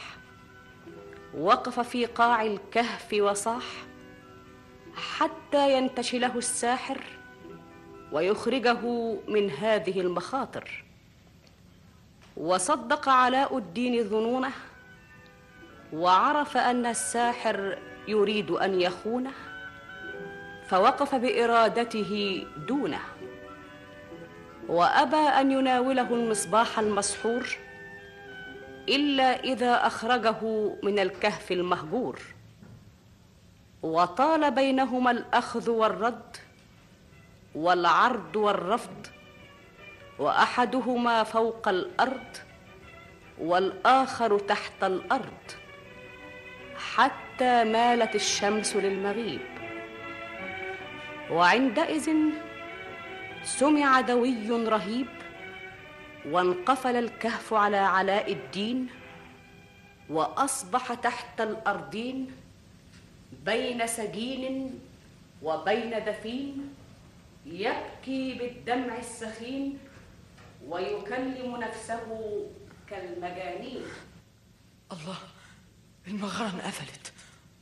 Speaker 2: وقف في قاع الكهف وصاح حتى ينتشله الساحر ويخرجه من هذه المخاطر وصدق علاء الدين ظنونه وعرف ان الساحر يريد ان يخونه فوقف بارادته دونه وابى ان يناوله المصباح المسحور الا اذا اخرجه من الكهف المهجور وطال بينهما الاخذ والرد والعرض والرفض واحدهما فوق الارض والاخر تحت الارض حتى مالت الشمس للمغيب وعندئذ سمع دوي رهيب وانقفل الكهف على علاء الدين واصبح تحت الارضين بين سجين وبين دفين يبكي بالدمع السخين ويكلم نفسه كالمجانين
Speaker 6: الله المغارة انقفلت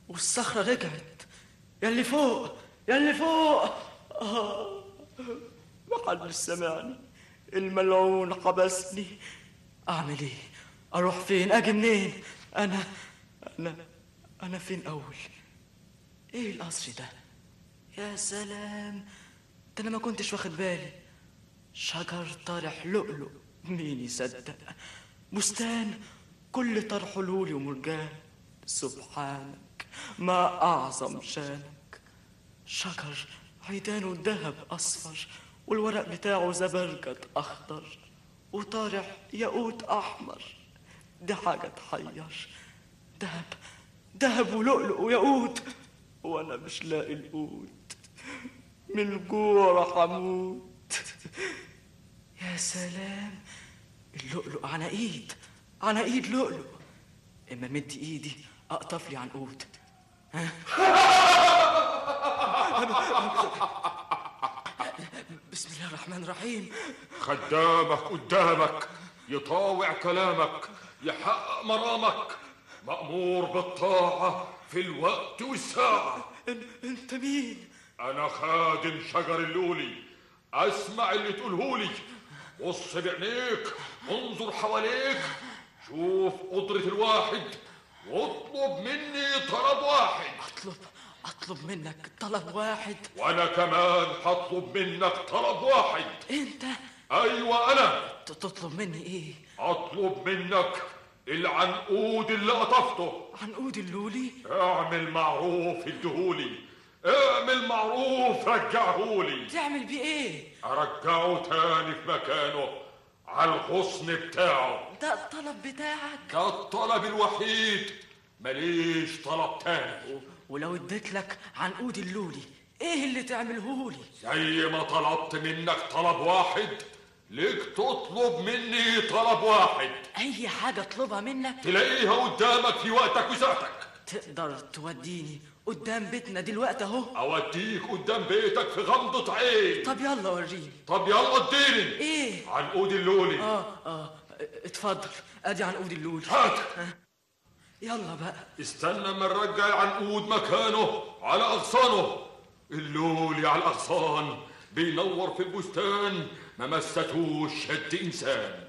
Speaker 6: والصخرة رجعت يا اللي فوق يا اللي فوق آه. محدش سمعني الملعون حبسني أعمل إيه؟ أروح فين؟ أجي منين؟ أنا أنا أنا فين أول؟ إيه القصر ده؟ يا سلام ده أنا ما كنتش واخد بالي شجر طارح لؤلؤ مين يصدق بستان كل طرحه لولي ومرجان سبحانك ما أعظم شانك شجر عيدانه ذهب أصفر والورق بتاعه زبرجد أخضر وطارح ياقوت أحمر دي حاجة تحير دهب دهب ولؤلؤ وياقوت وأنا مش لاقي القوت من الجوع راح أموت يا سلام اللؤلؤ على إيد على إيد لؤلؤ إما مد إيدي أقطف لي عنقود ها؟ بسم الله الرحمن الرحيم
Speaker 14: خدامك قدامك يطاوع كلامك يحقق مرامك مأمور بالطاعة في الوقت والساعة
Speaker 6: أنت مين؟
Speaker 14: أنا خادم شجر اللولي أسمع اللي تقولهولي بص بعينيك انظر حواليك شوف قدرة الواحد واطلب مني طلب واحد
Speaker 6: أطلب أطلب منك طلب واحد
Speaker 14: وأنا كمان هطلب منك طلب واحد
Speaker 6: أنت
Speaker 14: أيوة أنا
Speaker 6: تطلب مني إيه؟
Speaker 14: أطلب منك العنقود اللي قطفته
Speaker 6: عنقود اللولي
Speaker 14: اعمل معروف اديهولي اعمل معروف رجعهولي
Speaker 6: تعمل بيه إيه؟
Speaker 14: ارجعه تاني في مكانه على الغصن بتاعه
Speaker 6: ده الطلب بتاعك
Speaker 14: ده الطلب الوحيد ماليش طلب تاني
Speaker 6: ولو اديت لك عنقود اللولي إيه اللي تعملهولي؟
Speaker 14: زي ما طلبت منك طلب واحد ليك تطلب مني طلب واحد
Speaker 6: أي حاجة أطلبها منك
Speaker 14: تلاقيها قدامك في وقتك وساعتك
Speaker 6: تقدر توديني قدام بيتنا دلوقتي أهو
Speaker 14: اوديك قدام بيتك في غمضة عين
Speaker 6: طب يلا وريني
Speaker 14: طب يلا اديني
Speaker 6: إيه؟
Speaker 14: عنقود اللولي
Speaker 6: آه آه اتفضل أدي عنقود اللولي
Speaker 14: هات.
Speaker 6: آه. يلا بقى
Speaker 14: استنى ما نرجع العنقود مكانه على اغصانه اللولي على الاغصان بينور في البستان ما مستوش شد انسان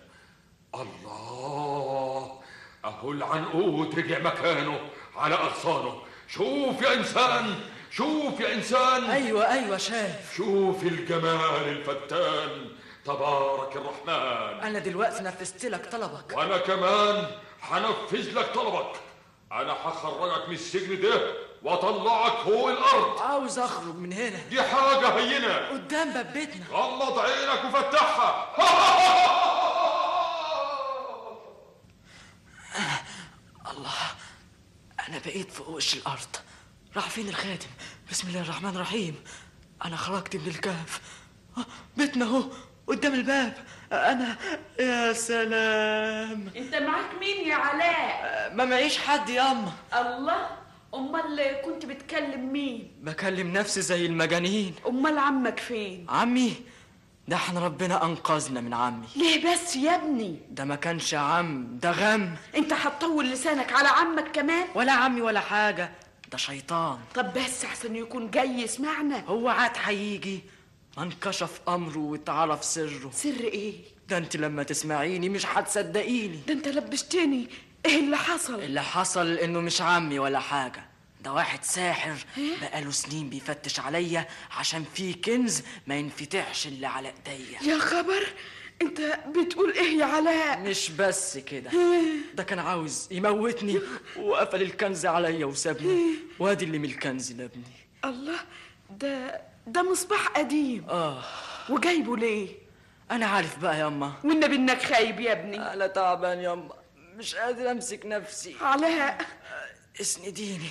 Speaker 14: الله اهو العنقود رجع مكانه على اغصانه شوف يا انسان شوف يا انسان
Speaker 6: أيوة أيوة شايف
Speaker 14: شوف الجمال الفتان تبارك الرحمن
Speaker 6: أنا دلوقتي نفذت لك طلبك
Speaker 14: وانا كمان هنفذ لك طلبك انا هخرجك من السجن ده واطلعك فوق الارض
Speaker 6: عاوز أخرج من هنا
Speaker 14: دي حاجه هينه
Speaker 6: قدام باب بيتنا
Speaker 14: غمض عينك وفتحها <laughs>
Speaker 6: الله أنا بقيت فوق وش الأرض راح فين الخادم بسم الله الرحمن الرحيم أنا خرجت من الكهف آه، بيتنا أهو قدام الباب آه، أنا يا سلام
Speaker 5: انت معاك مين يا علاء
Speaker 6: آه، ما معيش حد ياما
Speaker 5: الله امال كنت بتكلم مين
Speaker 8: بكلم نفسي زي المجانين
Speaker 5: امال عمك فين
Speaker 8: عمي ده احنا ربنا انقذنا من عمي
Speaker 5: ليه بس يا ابني
Speaker 8: ده ما كانش عم ده غم
Speaker 5: انت هتطول لسانك على عمك كمان
Speaker 8: ولا عمي ولا حاجه ده شيطان
Speaker 5: طب بس احسن يكون جاي يسمعنا
Speaker 8: هو عاد هيجي ما انكشف امره واتعرف سره
Speaker 5: سر ايه
Speaker 8: ده انت لما تسمعيني مش هتصدقيني
Speaker 5: ده انت لبشتني ايه اللي حصل
Speaker 8: اللي حصل انه مش عمي ولا حاجه ده واحد ساحر
Speaker 5: إيه؟
Speaker 8: بقاله سنين بيفتش عليا عشان فيه كنز ما ينفتحش اللي على ايديا
Speaker 5: يا خبر انت بتقول ايه يا علاء إيه؟
Speaker 8: مش بس كده ده كان عاوز يموتني وقفل الكنز عليا
Speaker 5: إيه؟
Speaker 8: وسابني وادي اللي من الكنز لابني
Speaker 5: الله ده ده مصباح قديم
Speaker 8: اه
Speaker 5: وجايبه ليه
Speaker 8: انا عارف بقى ياما
Speaker 5: والنبي انك خايب يا ابني
Speaker 8: انا تعبان ياما مش قادر امسك نفسي
Speaker 5: علاء
Speaker 8: اسنديني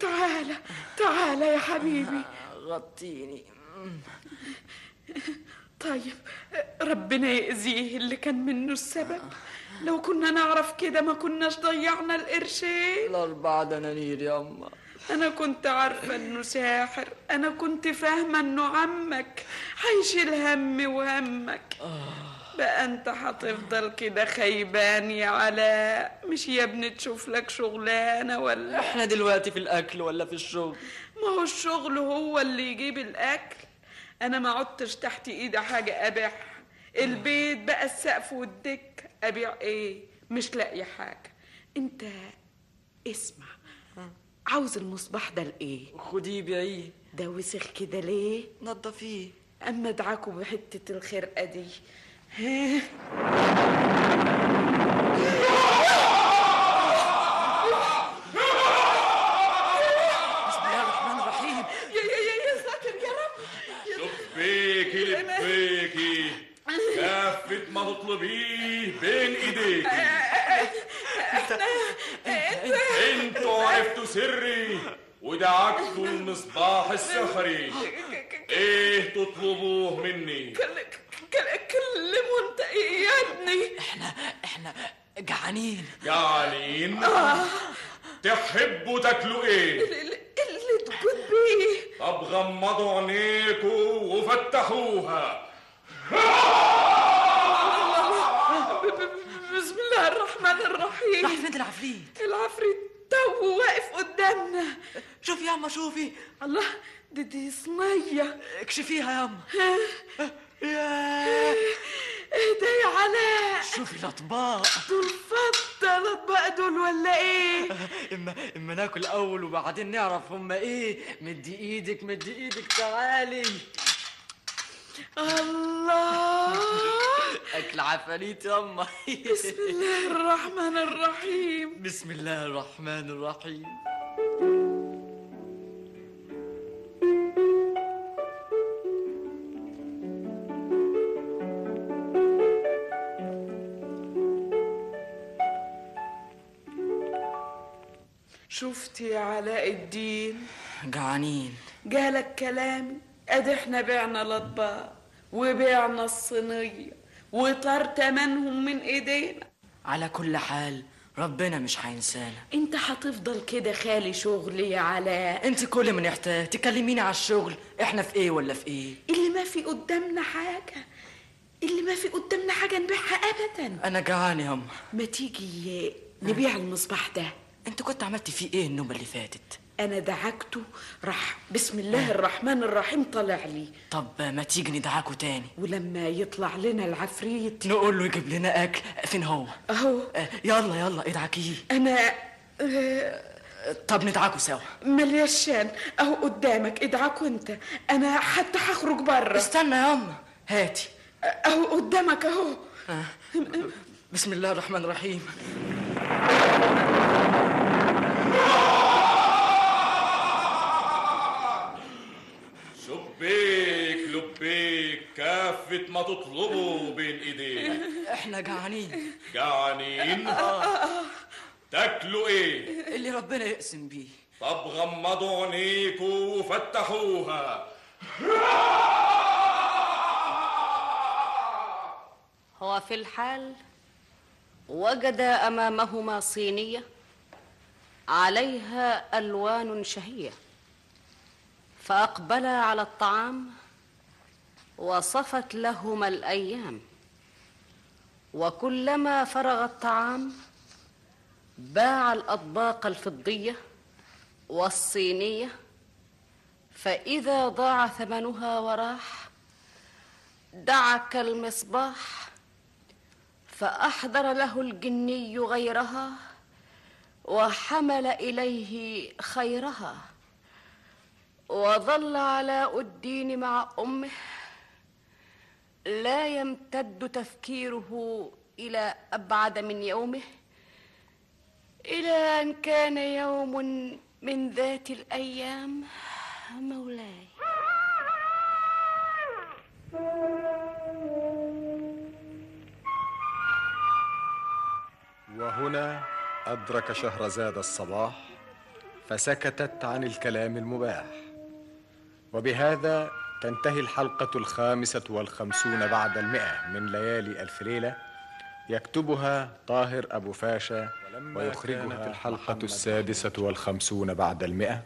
Speaker 5: تعالى تعالى يا حبيبي
Speaker 8: غطيني مم.
Speaker 5: طيب ربنا يأذيه اللي كان منه السبب لو كنا نعرف كده ما كناش ضيعنا القرشين
Speaker 8: الاربع دنانير ياما
Speaker 5: أنا كنت عارفة إنه ساحر أنا كنت فاهمة إنه عمك هيشيل همي وهمك بقى أنت هتفضل كده خيبان يا علاء مش يا ابني تشوف لك شغلانة ولا
Speaker 8: احنا دلوقتي في الاكل ولا في الشغل
Speaker 5: ما هو الشغل هو اللي يجيب الأكل أنا ما عدتش تحت إيدي حاجة أبيع البيت بقى السقف والدك أبيع إيه مش لاقية حاجة أنت اسمع عاوز المصباح ده لإيه
Speaker 8: خديه بيعيه
Speaker 5: ده وسخ كده ليه
Speaker 8: نضفيه
Speaker 5: أما أدعكوا بحتة الخرقة دي
Speaker 6: بسم الله الرحمن الرحيم
Speaker 5: يا يا يا يا ساتر يا رب
Speaker 15: لبيكي لبيكي كافة ما تطلبيه بين ايديك انتوا عرفتوا سري ودعكتوا المصباح السحري ايه تطلبوه مني
Speaker 5: كلمه انت يا ابني
Speaker 6: احنا احنا جعانين
Speaker 15: جعانين
Speaker 5: آه.
Speaker 15: تحبوا تاكلوا ايه
Speaker 5: ال- ال- اللي تقول بيه
Speaker 15: طب غمضوا عينيكوا وفتحوها
Speaker 5: الله. ب- ب- بسم الله الرحمن الرحيم
Speaker 6: راح فين العفريت
Speaker 5: العفريت تو واقف قدامنا
Speaker 6: شوفي يا عم شوفي
Speaker 5: الله دي دي صينية
Speaker 6: اكشفيها يا عم
Speaker 5: ايه ده يا علاء
Speaker 6: شوفي الاطباق
Speaker 5: دول فضلت بقى دول ولا ايه
Speaker 8: اما اما ناكل اول وبعدين نعرف هما ايه مدي ايدك مدي ايدك تعالي
Speaker 5: الله
Speaker 8: اكل عفاريت ياما
Speaker 5: بسم الله الرحمن الرحيم
Speaker 8: بسم الله الرحمن الرحيم
Speaker 5: شفت يا علاء الدين
Speaker 8: جعانين
Speaker 5: جالك كلامي ادي احنا بعنا الاطباق وبعنا الصينيه وطار تمنهم من ايدينا
Speaker 8: على كل حال ربنا مش هينسانا
Speaker 5: انت هتفضل كده خالي شغل يا علاء
Speaker 8: انت كل ما نحتاج تكلميني على الشغل احنا في ايه ولا في ايه
Speaker 5: اللي ما في قدامنا حاجه اللي ما في قدامنا حاجه نبيعها ابدا
Speaker 8: انا جعان يا أم.
Speaker 5: ما تيجي نبيع المصباح ده
Speaker 8: انت كنت عملتي فيه ايه النوبه اللي فاتت
Speaker 5: انا دعكته راح بسم الله الرحمن الرحيم طلع لي
Speaker 8: طب ما تيجي ندعكوا تاني
Speaker 5: ولما يطلع لنا العفريت
Speaker 8: نقول له يجيب لنا اكل فين هو
Speaker 5: اهو
Speaker 8: آه، يلا يلا ادعكيه
Speaker 5: انا آه،
Speaker 8: طب ندعكوا سوا
Speaker 5: مليشان اهو قدامك ادعكوا انت انا حتى هخرج بره
Speaker 8: استنى يا أم هاتي
Speaker 5: اهو قدامك اهو
Speaker 8: آه. بسم الله الرحمن الرحيم
Speaker 15: شبيك لبيك كافة ما تطلبوا بين ايديك
Speaker 8: احنا جعانين
Speaker 15: جعانين
Speaker 5: آه،
Speaker 15: تاكلوا ايه
Speaker 8: اللي ربنا يقسم بيه
Speaker 15: طب غمضوا عينيكوا وفتحوها
Speaker 7: هو في الحال وجد امامهما صينيه عليها الوان شهيه فاقبلا على الطعام وصفت لهما الايام وكلما فرغ الطعام باع الاطباق الفضيه والصينيه فاذا ضاع ثمنها وراح دعك المصباح فأحضر له الجني غيرها وحمل إليه خيرها وظل علاء الدين مع أمه لا يمتد تفكيره إلى أبعد من يومه إلى أن كان يوم من ذات الأيام مولاي
Speaker 1: وهنا أدرك شهرزاد الصباح فسكتت عن الكلام المباح وبهذا تنتهي الحلقة الخامسة والخمسون بعد المئة من ليالي ألف ليلة يكتبها طاهر أبو فاشا ويخرجها الحلقة السادسة والخمسون بعد المئة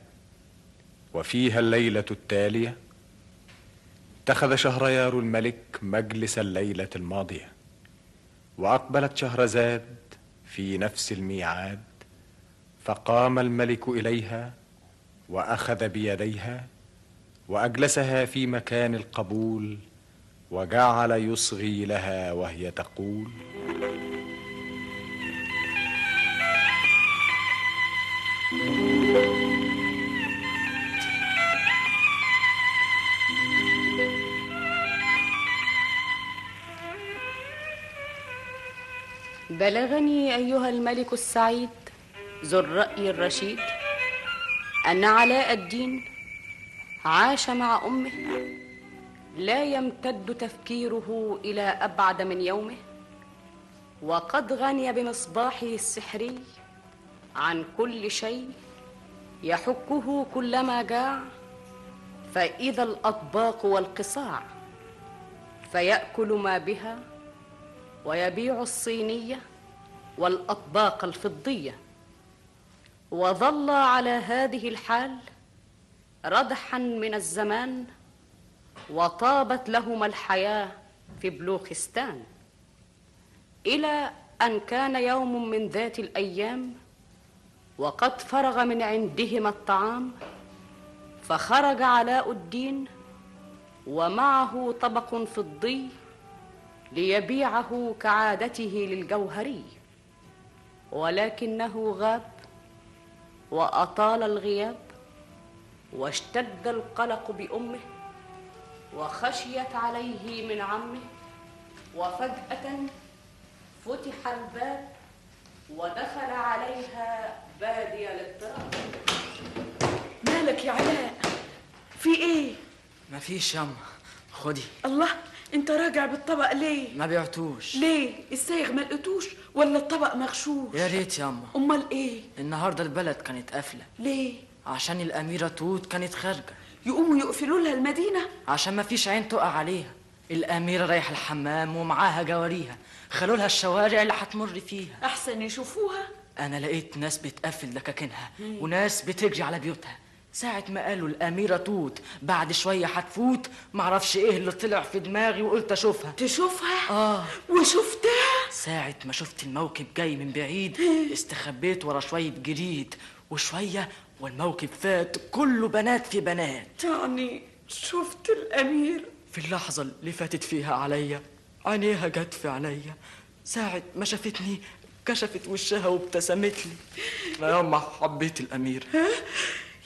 Speaker 1: وفيها الليلة التالية اتخذ شهريار الملك مجلس الليلة الماضية وأقبلت شهرزاد في نفس الميعاد فقام الملك إليها وأخذ بيديها وأجلسها في مكان القبول وجعل يصغي لها وهي تقول
Speaker 2: بلغني أيها الملك السعيد ذو الرأي الرشيد أن علاء الدين عاش مع أمه لا يمتد تفكيره إلى أبعد من يومه وقد غني بمصباحه السحري عن كل شيء يحكه كلما جاع فإذا الأطباق والقصاع فيأكل ما بها ويبيع الصينية والأطباق الفضية وظل على هذه الحال ردحا من الزمان وطابت لهما الحياة في بلوخستان إلى أن كان يوم من ذات الأيام وقد فرغ من عندهما الطعام فخرج علاء الدين ومعه طبق فضي ليبيعه كعادته للجوهري ولكنه غاب واطال الغياب واشتد القلق بامه وخشيت عليه من عمه وفجاه فتح الباب ودخل عليها بادي الاضطراب
Speaker 5: مالك يا علاء في ايه
Speaker 8: مفيش ياما خدي
Speaker 5: الله انت راجع بالطبق ليه
Speaker 8: ما بعتوش
Speaker 5: ليه السايغ ما لقيتوش ولا الطبق مغشوش
Speaker 8: يا ريت ياما
Speaker 5: امال ايه
Speaker 8: النهارده البلد كانت قافله
Speaker 5: ليه
Speaker 8: عشان الاميره توت كانت خارجه
Speaker 5: يقوموا يقفلوا لها المدينه
Speaker 8: عشان ما فيش عين تقع عليها الاميره رايحه الحمام ومعاها جواريها خلوا لها الشوارع اللي هتمر فيها
Speaker 5: احسن يشوفوها
Speaker 8: انا لقيت ناس بتقفل دكاكينها
Speaker 5: مم.
Speaker 8: وناس بتجري على بيوتها ساعة ما قالوا الأميرة توت بعد شوية هتفوت معرفش إيه اللي طلع في دماغي وقلت أشوفها
Speaker 5: تشوفها
Speaker 8: آه
Speaker 5: وشفتها
Speaker 8: ساعة ما شفت الموكب جاي من بعيد
Speaker 5: <laughs>
Speaker 8: استخبيت ورا شوية جريد وشوية والموكب فات كله بنات في بنات
Speaker 5: يعني شفت الأمير
Speaker 8: في اللحظة اللي فاتت فيها عليا عينيها جت في عليا ساعة ما شافتني كشفت وشها وابتسمت لي أنا ياما حبيت الأميرة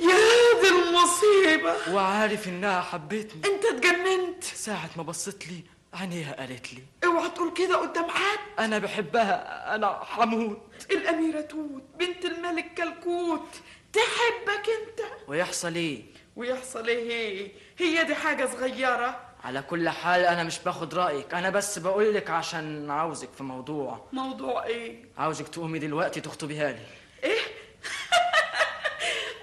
Speaker 5: يا دي المصيبة
Speaker 8: وعارف إنها حبتني
Speaker 5: أنت اتجننت
Speaker 8: ساعة ما بصت لي عينيها قالت لي
Speaker 5: اوعى تقول كده قدام حد
Speaker 8: أنا بحبها أنا حمود
Speaker 5: الأميرة توت بنت الملك كلكوت تحبك أنت
Speaker 8: ويحصل إيه؟
Speaker 5: ويحصل إيه إيه؟ هي دي حاجة صغيرة
Speaker 8: على كل حال أنا مش باخد رأيك أنا بس بقولك عشان عاوزك في موضوع
Speaker 5: موضوع إيه
Speaker 8: عاوزك تقومي دلوقتي تخطبيها لي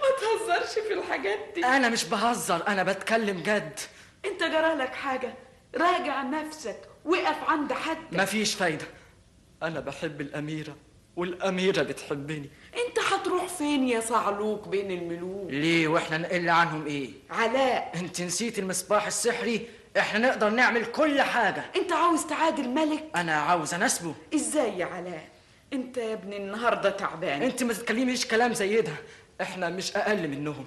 Speaker 5: ما تهزرش في الحاجات دي
Speaker 8: أنا مش بهزر أنا بتكلم جد
Speaker 5: أنت جرالك حاجة راجع نفسك وقف عند حد
Speaker 8: مفيش فايدة أنا بحب الأميرة والأميرة بتحبني
Speaker 5: أنت هتروح فين يا صعلوك بين الملوك
Speaker 8: ليه وإحنا نقل عنهم إيه؟
Speaker 5: علاء
Speaker 8: أنت نسيت المصباح السحري إحنا نقدر نعمل كل حاجة
Speaker 5: أنت عاوز تعادل ملك
Speaker 8: أنا عاوز أناسبه
Speaker 5: إزاي يا علاء أنت يا ابني النهاردة تعبان
Speaker 8: انت ما تتكلميش كلام زي ده احنا مش اقل منهم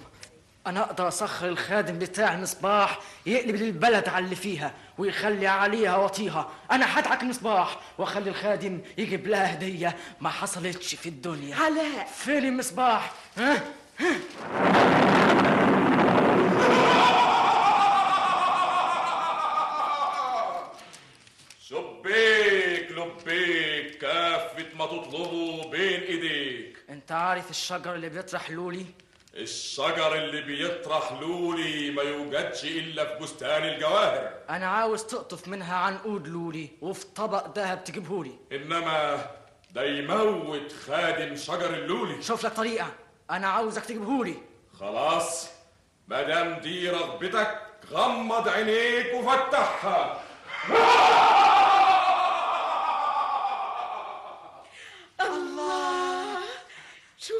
Speaker 8: انا اقدر اسخر الخادم بتاع المصباح يقلب للبلد على اللي فيها ويخلي عليها وطيها انا هدعك المصباح واخلي الخادم يجيب لها هديه ما حصلتش في الدنيا
Speaker 5: علاء
Speaker 8: فين المصباح ها
Speaker 15: شبيك لبيك كافة ما تطلبه بين ايديك
Speaker 8: انت عارف الشجر اللي بيطرح لولي
Speaker 15: الشجر اللي بيطرح لولي ما يوجدش الا في بستان الجواهر
Speaker 8: انا عاوز تقطف منها عنقود لولي وفي طبق دهب تجيبهولي
Speaker 15: انما ده يموت خادم شجر اللولي
Speaker 8: شوف لك طريقه انا عاوزك تجيبهولي
Speaker 15: خلاص مادام دي رغبتك غمض عينيك وفتحها
Speaker 5: الله شوف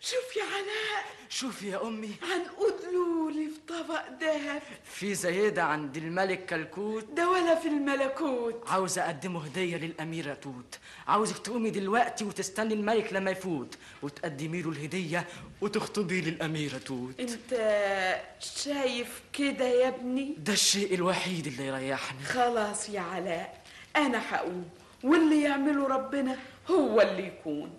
Speaker 5: شوف يا علاء
Speaker 8: شوفي يا امي
Speaker 5: عنقود لولي لي في طبق دهب
Speaker 8: في زيادة عند الملك كلكوت
Speaker 5: ده ولا في الملكوت
Speaker 8: عاوز أقدمه هدية للأميرة توت عاوزك تقومي دلوقتي وتستني الملك لما يفوت وتقدمي له الهدية وتخطبي للأميرة توت
Speaker 5: انت شايف كده يا ابني
Speaker 8: ده الشيء الوحيد اللي يريحني
Speaker 5: خلاص يا علاء انا هقوم واللي يعمله ربنا هو اللي يكون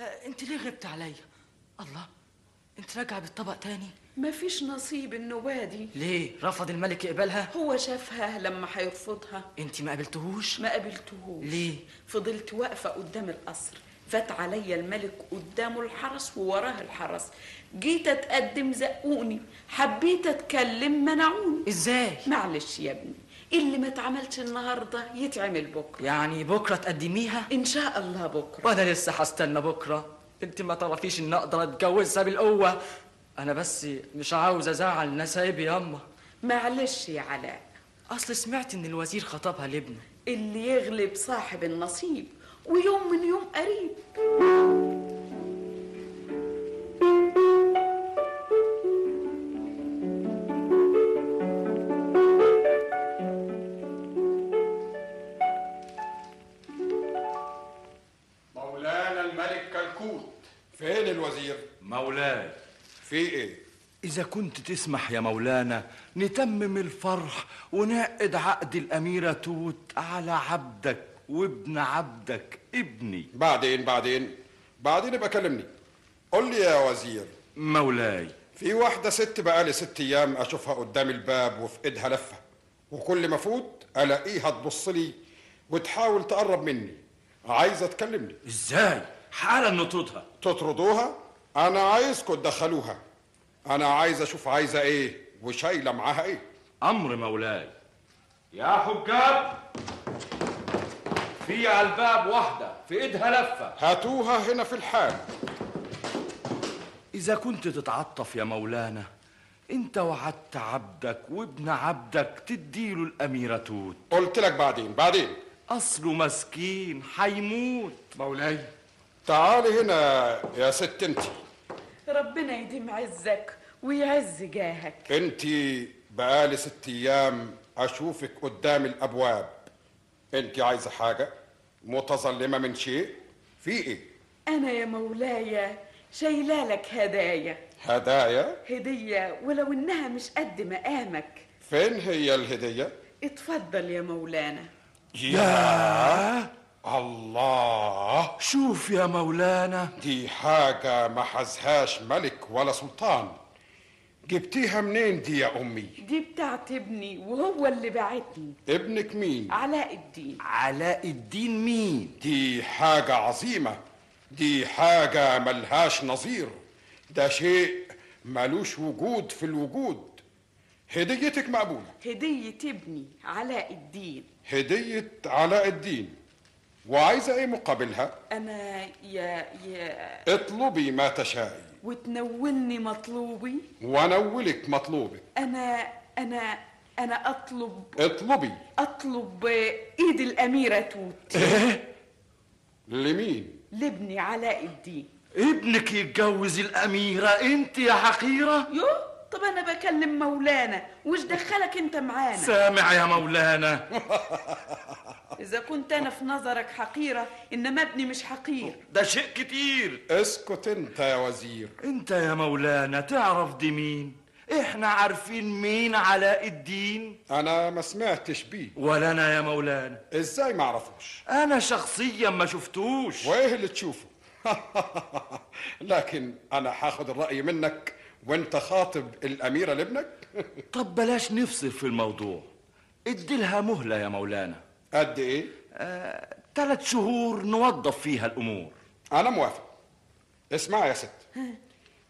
Speaker 8: آه، أنت ليه غبت عليا؟ الله أنت راجعة بالطبق تاني
Speaker 5: مفيش نصيب النوادي
Speaker 8: ليه؟ رفض الملك يقبلها؟
Speaker 5: هو شافها لما هيرفضها
Speaker 8: أنت ما قابلتهوش؟
Speaker 5: ما قابلتهوش
Speaker 8: ليه؟
Speaker 5: فضلت واقفة قدام القصر فات عليا الملك قدامه الحرس ووراه الحرس جيت اتقدم زقوني حبيت اتكلم منعوني
Speaker 8: ازاي
Speaker 5: معلش يا ابني اللي ما اتعملش النهارده يتعمل بكره
Speaker 8: يعني بكرة تقدميها؟
Speaker 5: إن شاء الله بكرة
Speaker 8: وأنا لسه هستنى بكرة أنت ما تعرفيش إن أقدر أتجوزها بالقوة أنا بس مش عاوز أزعل نسايبي ياما
Speaker 5: معلش يا علاء
Speaker 8: أصل سمعت إن الوزير خطبها لابنه
Speaker 5: اللي يغلب صاحب النصيب ويوم من يوم قريب
Speaker 16: مولانا الملك كلكوت فين الوزير؟
Speaker 17: مولاي
Speaker 16: في ايه؟
Speaker 17: إذا كنت تسمح يا مولانا نتمم الفرح ونعقد عقد الأميرة توت على عبدك وابن عبدك ابني
Speaker 16: بعدين بعدين بعدين ابقى كلمني قول لي يا وزير
Speaker 17: مولاي
Speaker 16: في واحدة ست بقالي ست أيام أشوفها قدام الباب وفي إيدها لفة وكل ما أفوت ألاقيها تبص لي وتحاول تقرب مني عايزة تكلمني
Speaker 17: إزاي؟ حالا نطردها
Speaker 16: تطردوها؟ أنا عايزكم تدخلوها أنا عايز أشوف عايزة إيه وشايلة معاها إيه
Speaker 17: أمر مولاي يا حجاب في على الباب واحدة في إيدها لفة
Speaker 16: هاتوها هنا في الحال
Speaker 17: إذا كنت تتعطف يا مولانا أنت وعدت عبدك وابن عبدك تديله الأميرة توت
Speaker 16: قلت لك بعدين بعدين
Speaker 17: أصله مسكين حيموت
Speaker 16: مولاي تعالي هنا يا ست انت
Speaker 5: ربنا يديم عزك ويعز جاهك
Speaker 16: انت بقالي ست ايام اشوفك قدام الابواب انت عايزه حاجه متظلمه من شيء في ايه
Speaker 5: أنا يا مولاي شايلالك هدايا
Speaker 16: هدايا
Speaker 5: هدية ولو إنها مش قد مقامك
Speaker 16: فين هي الهديه
Speaker 5: اتفضل يا مولانا
Speaker 16: يا الله
Speaker 17: شوف يا مولانا
Speaker 16: دي حاجة ما حزهاش ملك ولا سلطان جبتيها منين دي يا أمي؟
Speaker 5: دي بتاعت ابني وهو اللي بعتني
Speaker 16: ابنك مين؟
Speaker 5: علاء الدين
Speaker 17: علاء الدين مين؟
Speaker 16: دي حاجة عظيمة دي حاجة ملهاش نظير ده شيء ملوش وجود في الوجود هديتك مقبولة
Speaker 5: هدية ابني علاء الدين
Speaker 16: هدية علاء الدين وعايزة ايه مقابلها؟
Speaker 5: أنا يا يا
Speaker 16: اطلبي ما تشائي
Speaker 5: وتنولني مطلوبي
Speaker 16: ونولك مطلوبك
Speaker 5: أنا أنا أنا أطلب
Speaker 16: اطلبي
Speaker 5: أطلب إيد الأميرة توت
Speaker 17: إيه؟
Speaker 16: لمين؟
Speaker 5: لابني علاء الدين
Speaker 17: ابنك يتجوز الأميرة أنت يا حقيرة
Speaker 5: يو طب أنا بكلم مولانا وش دخلك أنت معانا
Speaker 17: سامع يا مولانا
Speaker 5: إذا كنت أنا في نظرك حقيرة إنما ابني مش حقير
Speaker 17: ده شيء كتير
Speaker 16: اسكت انت يا وزير
Speaker 17: انت يا مولانا تعرف دي مين احنا عارفين مين علاء الدين
Speaker 16: انا ما سمعتش بيه
Speaker 17: ولا انا يا مولانا
Speaker 16: ازاي ما اعرفوش
Speaker 17: انا شخصيا ما شفتوش
Speaker 16: وايه اللي تشوفه <laughs> لكن انا هاخد الراي منك وانت خاطب الاميره لابنك
Speaker 17: <laughs> طب بلاش نفصل في الموضوع اديلها مهلة يا مولانا
Speaker 16: قد ايه
Speaker 17: آه، تلات شهور نوضف فيها الأمور
Speaker 16: انا موافق اسمع يا ست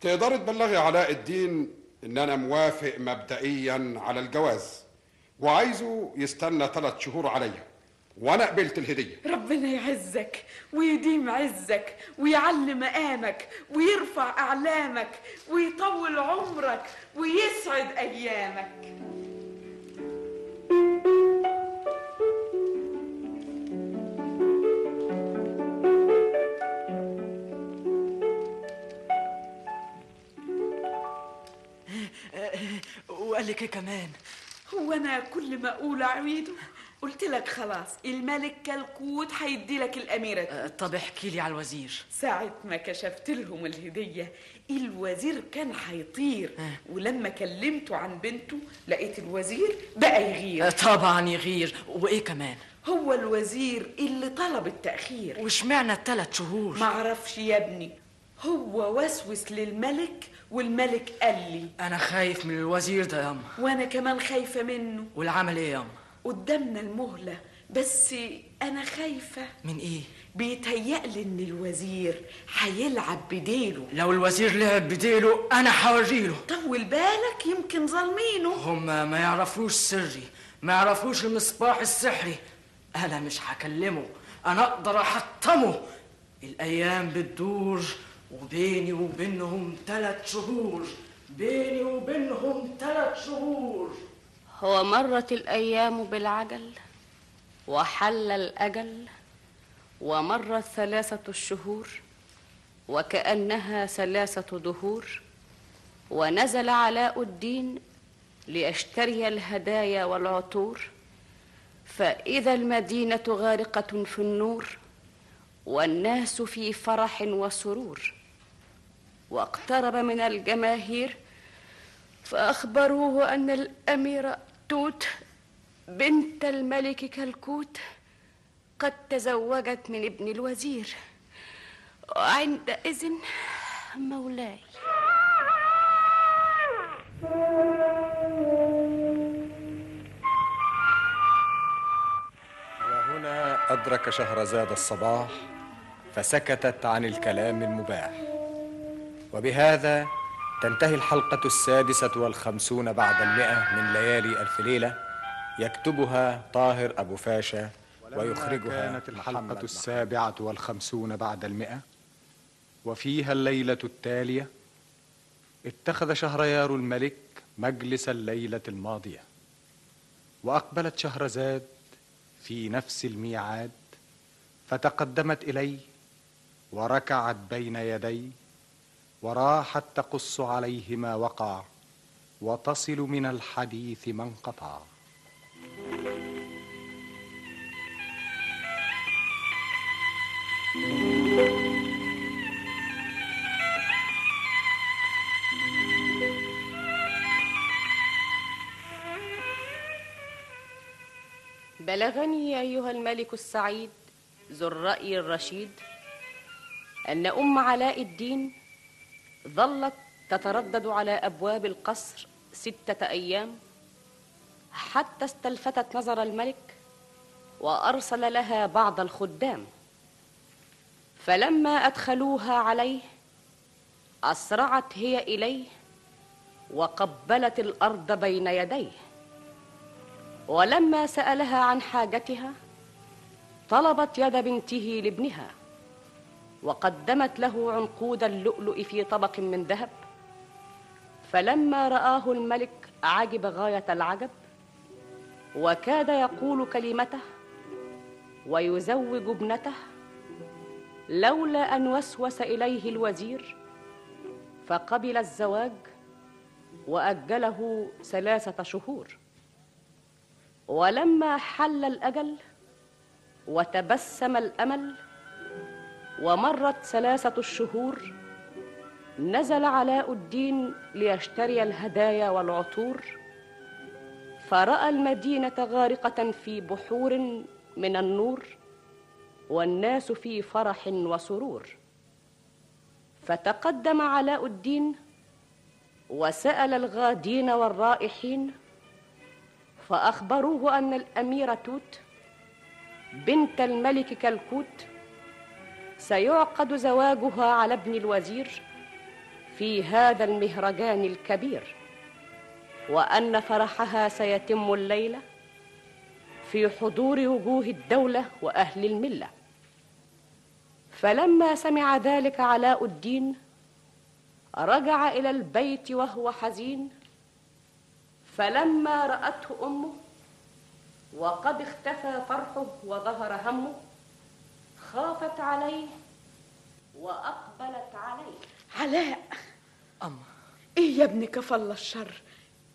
Speaker 16: تقدر تبلغي علاء الدين ان انا موافق مبدئيا على الجواز وعايزه يستنى ثلاث شهور عليا وانا قبلت الهديه
Speaker 5: ربنا يعزك ويديم عزك ويعلي مقامك ويرفع أعلامك ويطول عمرك ويسعد أيامك
Speaker 8: وقال لك ايه كمان
Speaker 5: هو أنا كل ما أقول أعيده قلت لك خلاص الملك كالكوت هيدي لك الأميرة دي.
Speaker 8: آه، طب احكي لي على الوزير
Speaker 5: ساعة ما كشفت لهم الهدية الوزير كان هيطير
Speaker 8: آه.
Speaker 5: ولما كلمته عن بنته لقيت الوزير بقى
Speaker 8: آه،
Speaker 5: يغير
Speaker 8: طبعا يغير وايه كمان
Speaker 5: هو الوزير اللي طلب التأخير
Speaker 8: واشمعنى الثلاث شهور
Speaker 5: معرفش يا ابني هو وسوس للملك والملك قال لي
Speaker 8: انا خايف من الوزير ده ياما
Speaker 5: وانا كمان خايفة منه
Speaker 8: والعمل ايه ياما
Speaker 5: قدامنا المهلة بس أنا خايفة
Speaker 8: من ايه
Speaker 5: بيتهيألي إن الوزير هيلعب بديله
Speaker 8: لو الوزير لعب بديله انا هوريله
Speaker 5: طول بالك يمكن ظالمينه
Speaker 8: هما ما يعرفوش سري ما يعرفوش المصباح السحري انا مش هكلمه انا اقدر احطمه الايام بتدور وبيني وبينهم ثلاث شهور بيني وبينهم ثلاث شهور
Speaker 2: ومرت الأيام بالعجل وحل الأجل ومرت ثلاثة الشهور وكأنها ثلاثة دهور ونزل علاء الدين ليشتري الهدايا والعطور فإذا المدينة غارقة في النور والناس في فرح وسرور واقترب من الجماهير فأخبروه أن الأميرة توت بنت الملك كلكوت قد تزوجت من ابن الوزير وعندئذ مولاي
Speaker 1: وهنا أدرك شهرزاد الصباح فسكتت عن الكلام المباح وبهذا تنتهي الحلقة السادسة والخمسون بعد المئة من ليالي ألف ليلة يكتبها طاهر أبو فاشا ويخرجها
Speaker 18: كانت
Speaker 1: الحلقة السابعة والخمسون بعد المئة وفيها الليلة التالية اتخذ شهريار الملك مجلس الليلة الماضية وأقبلت شهرزاد في نفس الميعاد فتقدمت إليه وركعت بين يديه وراحت تقص عليه ما وقع وتصل من الحديث ما انقطع
Speaker 2: بلغني أيها الملك السعيد ذو الرأي الرشيد أن أم علاء الدين ظلت تتردد على أبواب القصر ستة أيام حتى استلفتت نظر الملك وأرسل لها بعض الخدام فلما أدخلوها عليه أسرعت هي إليه وقبلت الأرض بين يديه ولما سألها عن حاجتها طلبت يد بنته لابنها وقدمت له عنقود اللؤلؤ في طبق من ذهب فلما رآه الملك عجب غاية العجب وكاد يقول كلمته ويزوج ابنته لولا أن وسوس إليه الوزير فقبل الزواج وأجله ثلاثة شهور ولما حل الأجل وتبسم الأمل ومرت ثلاثة الشهور نزل علاء الدين ليشتري الهدايا والعطور فرأى المدينة غارقة في بحور من النور والناس في فرح وسرور فتقدم علاء الدين وسأل الغادين والرائحين فأخبروه أن الأميرة توت بنت الملك كلكوت سيعقد زواجها على ابن الوزير في هذا المهرجان الكبير وان فرحها سيتم الليله في في حضور وجوه الدولة وأهل الملة فلما سمع ذلك علاء الدين رجع إلى البيت وهو حزين فلما رأته أمه وقد اختفى فرحه وظهر همه خافت عليه وأقبلت عليه
Speaker 5: علاء أما إيه يا ابني كفى الله الشر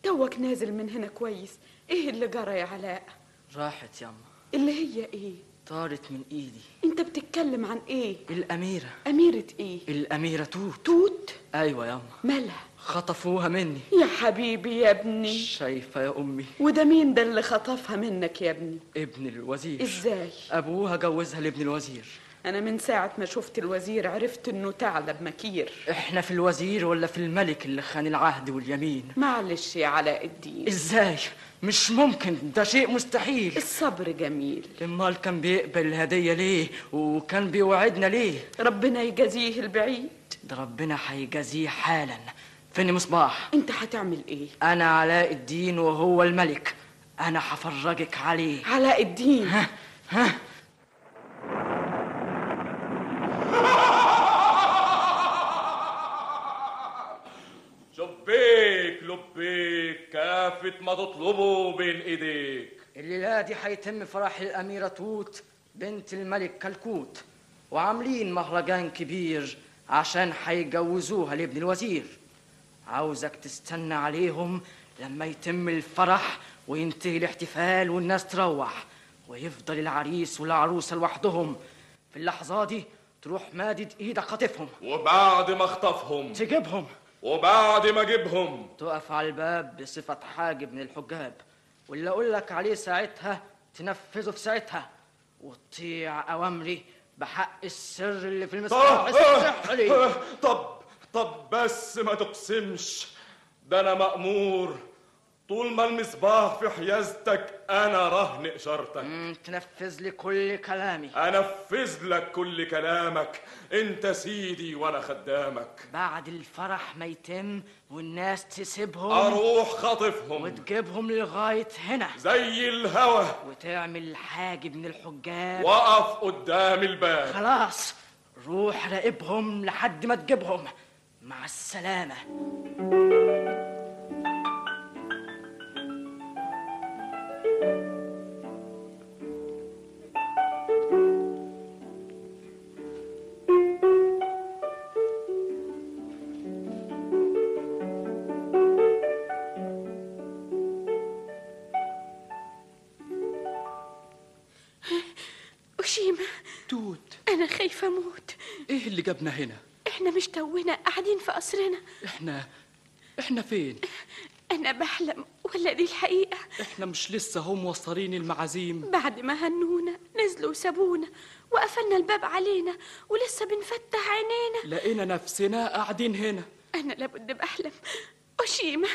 Speaker 5: توك نازل من هنا كويس إيه اللي جرى يا علاء
Speaker 8: راحت ياما
Speaker 5: اللي هي إيه
Speaker 8: طارت من ايدي
Speaker 5: أنت بتتكلم عن إيه
Speaker 8: الاميره
Speaker 5: أميرة إيه
Speaker 8: الاميره توت
Speaker 5: توت
Speaker 8: ايوه ياما
Speaker 5: مالها
Speaker 8: خطفوها مني
Speaker 5: يا حبيبي يا ابني
Speaker 8: شايفه يا امي
Speaker 5: وده مين ده اللي خطفها منك يا ابني
Speaker 8: ابن الوزير
Speaker 5: ازاي
Speaker 8: ابوها جوزها لابن الوزير
Speaker 5: انا من ساعه ما شفت الوزير عرفت انه ثعلب مكير
Speaker 8: احنا في الوزير ولا في الملك اللي خان العهد واليمين
Speaker 5: معلش يا علاء الدين
Speaker 8: ازاي مش ممكن ده شيء مستحيل
Speaker 5: الصبر جميل
Speaker 8: امال كان بيقبل الهديه ليه وكان بيوعدنا ليه
Speaker 5: ربنا يجازيه البعيد
Speaker 8: ده ربنا هيجازيه حالا فين مصباح
Speaker 5: انت هتعمل ايه
Speaker 8: انا علاء الدين وهو الملك انا هفرجك عليه
Speaker 5: علاء الدين
Speaker 8: ها ها
Speaker 15: لبيك لبيك كافة ما تطلبه بين ايديك
Speaker 8: الليلة دي هيتم فرح الأميرة توت بنت الملك كلكوت وعاملين مهرجان كبير عشان هيجوزوها لابن الوزير عاوزك تستنى عليهم لما يتم الفرح وينتهي الاحتفال والناس تروح ويفضل العريس والعروسة لوحدهم في اللحظة دي تروح مادد ايدك خاطفهم
Speaker 15: وبعد ما اخطفهم
Speaker 8: تجيبهم
Speaker 15: وبعد ما اجيبهم
Speaker 8: تقف على الباب بصفة حاجب من الحجاب واللي أقول لك عليه ساعتها تنفذه في ساعتها وتطيع أوامري بحق السر اللي في
Speaker 15: آه،
Speaker 8: المصباح السحري
Speaker 15: أه، طب طب بس ما تقسمش ده انا مأمور طول ما المصباح في حيازتك انا رهن اشارتك
Speaker 8: تنفذ لي كل كلامي
Speaker 15: انفذ لك كل كلامك انت سيدي وانا خدامك
Speaker 8: بعد الفرح ما يتم والناس تسيبهم
Speaker 15: اروح خاطفهم
Speaker 8: وتجيبهم لغاية هنا
Speaker 15: زي الهوا
Speaker 8: وتعمل حاجب من الحجاب
Speaker 15: وقف قدام الباب
Speaker 8: خلاص روح راقبهم لحد ما تجيبهم مع السلامة
Speaker 19: أشيمة
Speaker 8: توت
Speaker 19: أنا خايفة أموت
Speaker 8: ايه اللي جابنا هنا
Speaker 19: إحنا مش تونا قاعدين في قصرنا
Speaker 8: احنا احنا فين
Speaker 19: أنا بحلم ولا دي الحقيقة
Speaker 8: احنا مش لسه هم موصلين المعازيم
Speaker 19: بعد ما هنونا نزلوا وسابونا وقفلنا الباب علينا ولسه بنفتح عينينا
Speaker 8: لقينا نفسنا قاعدين هنا
Speaker 19: أنا لابد بحلم أشيمة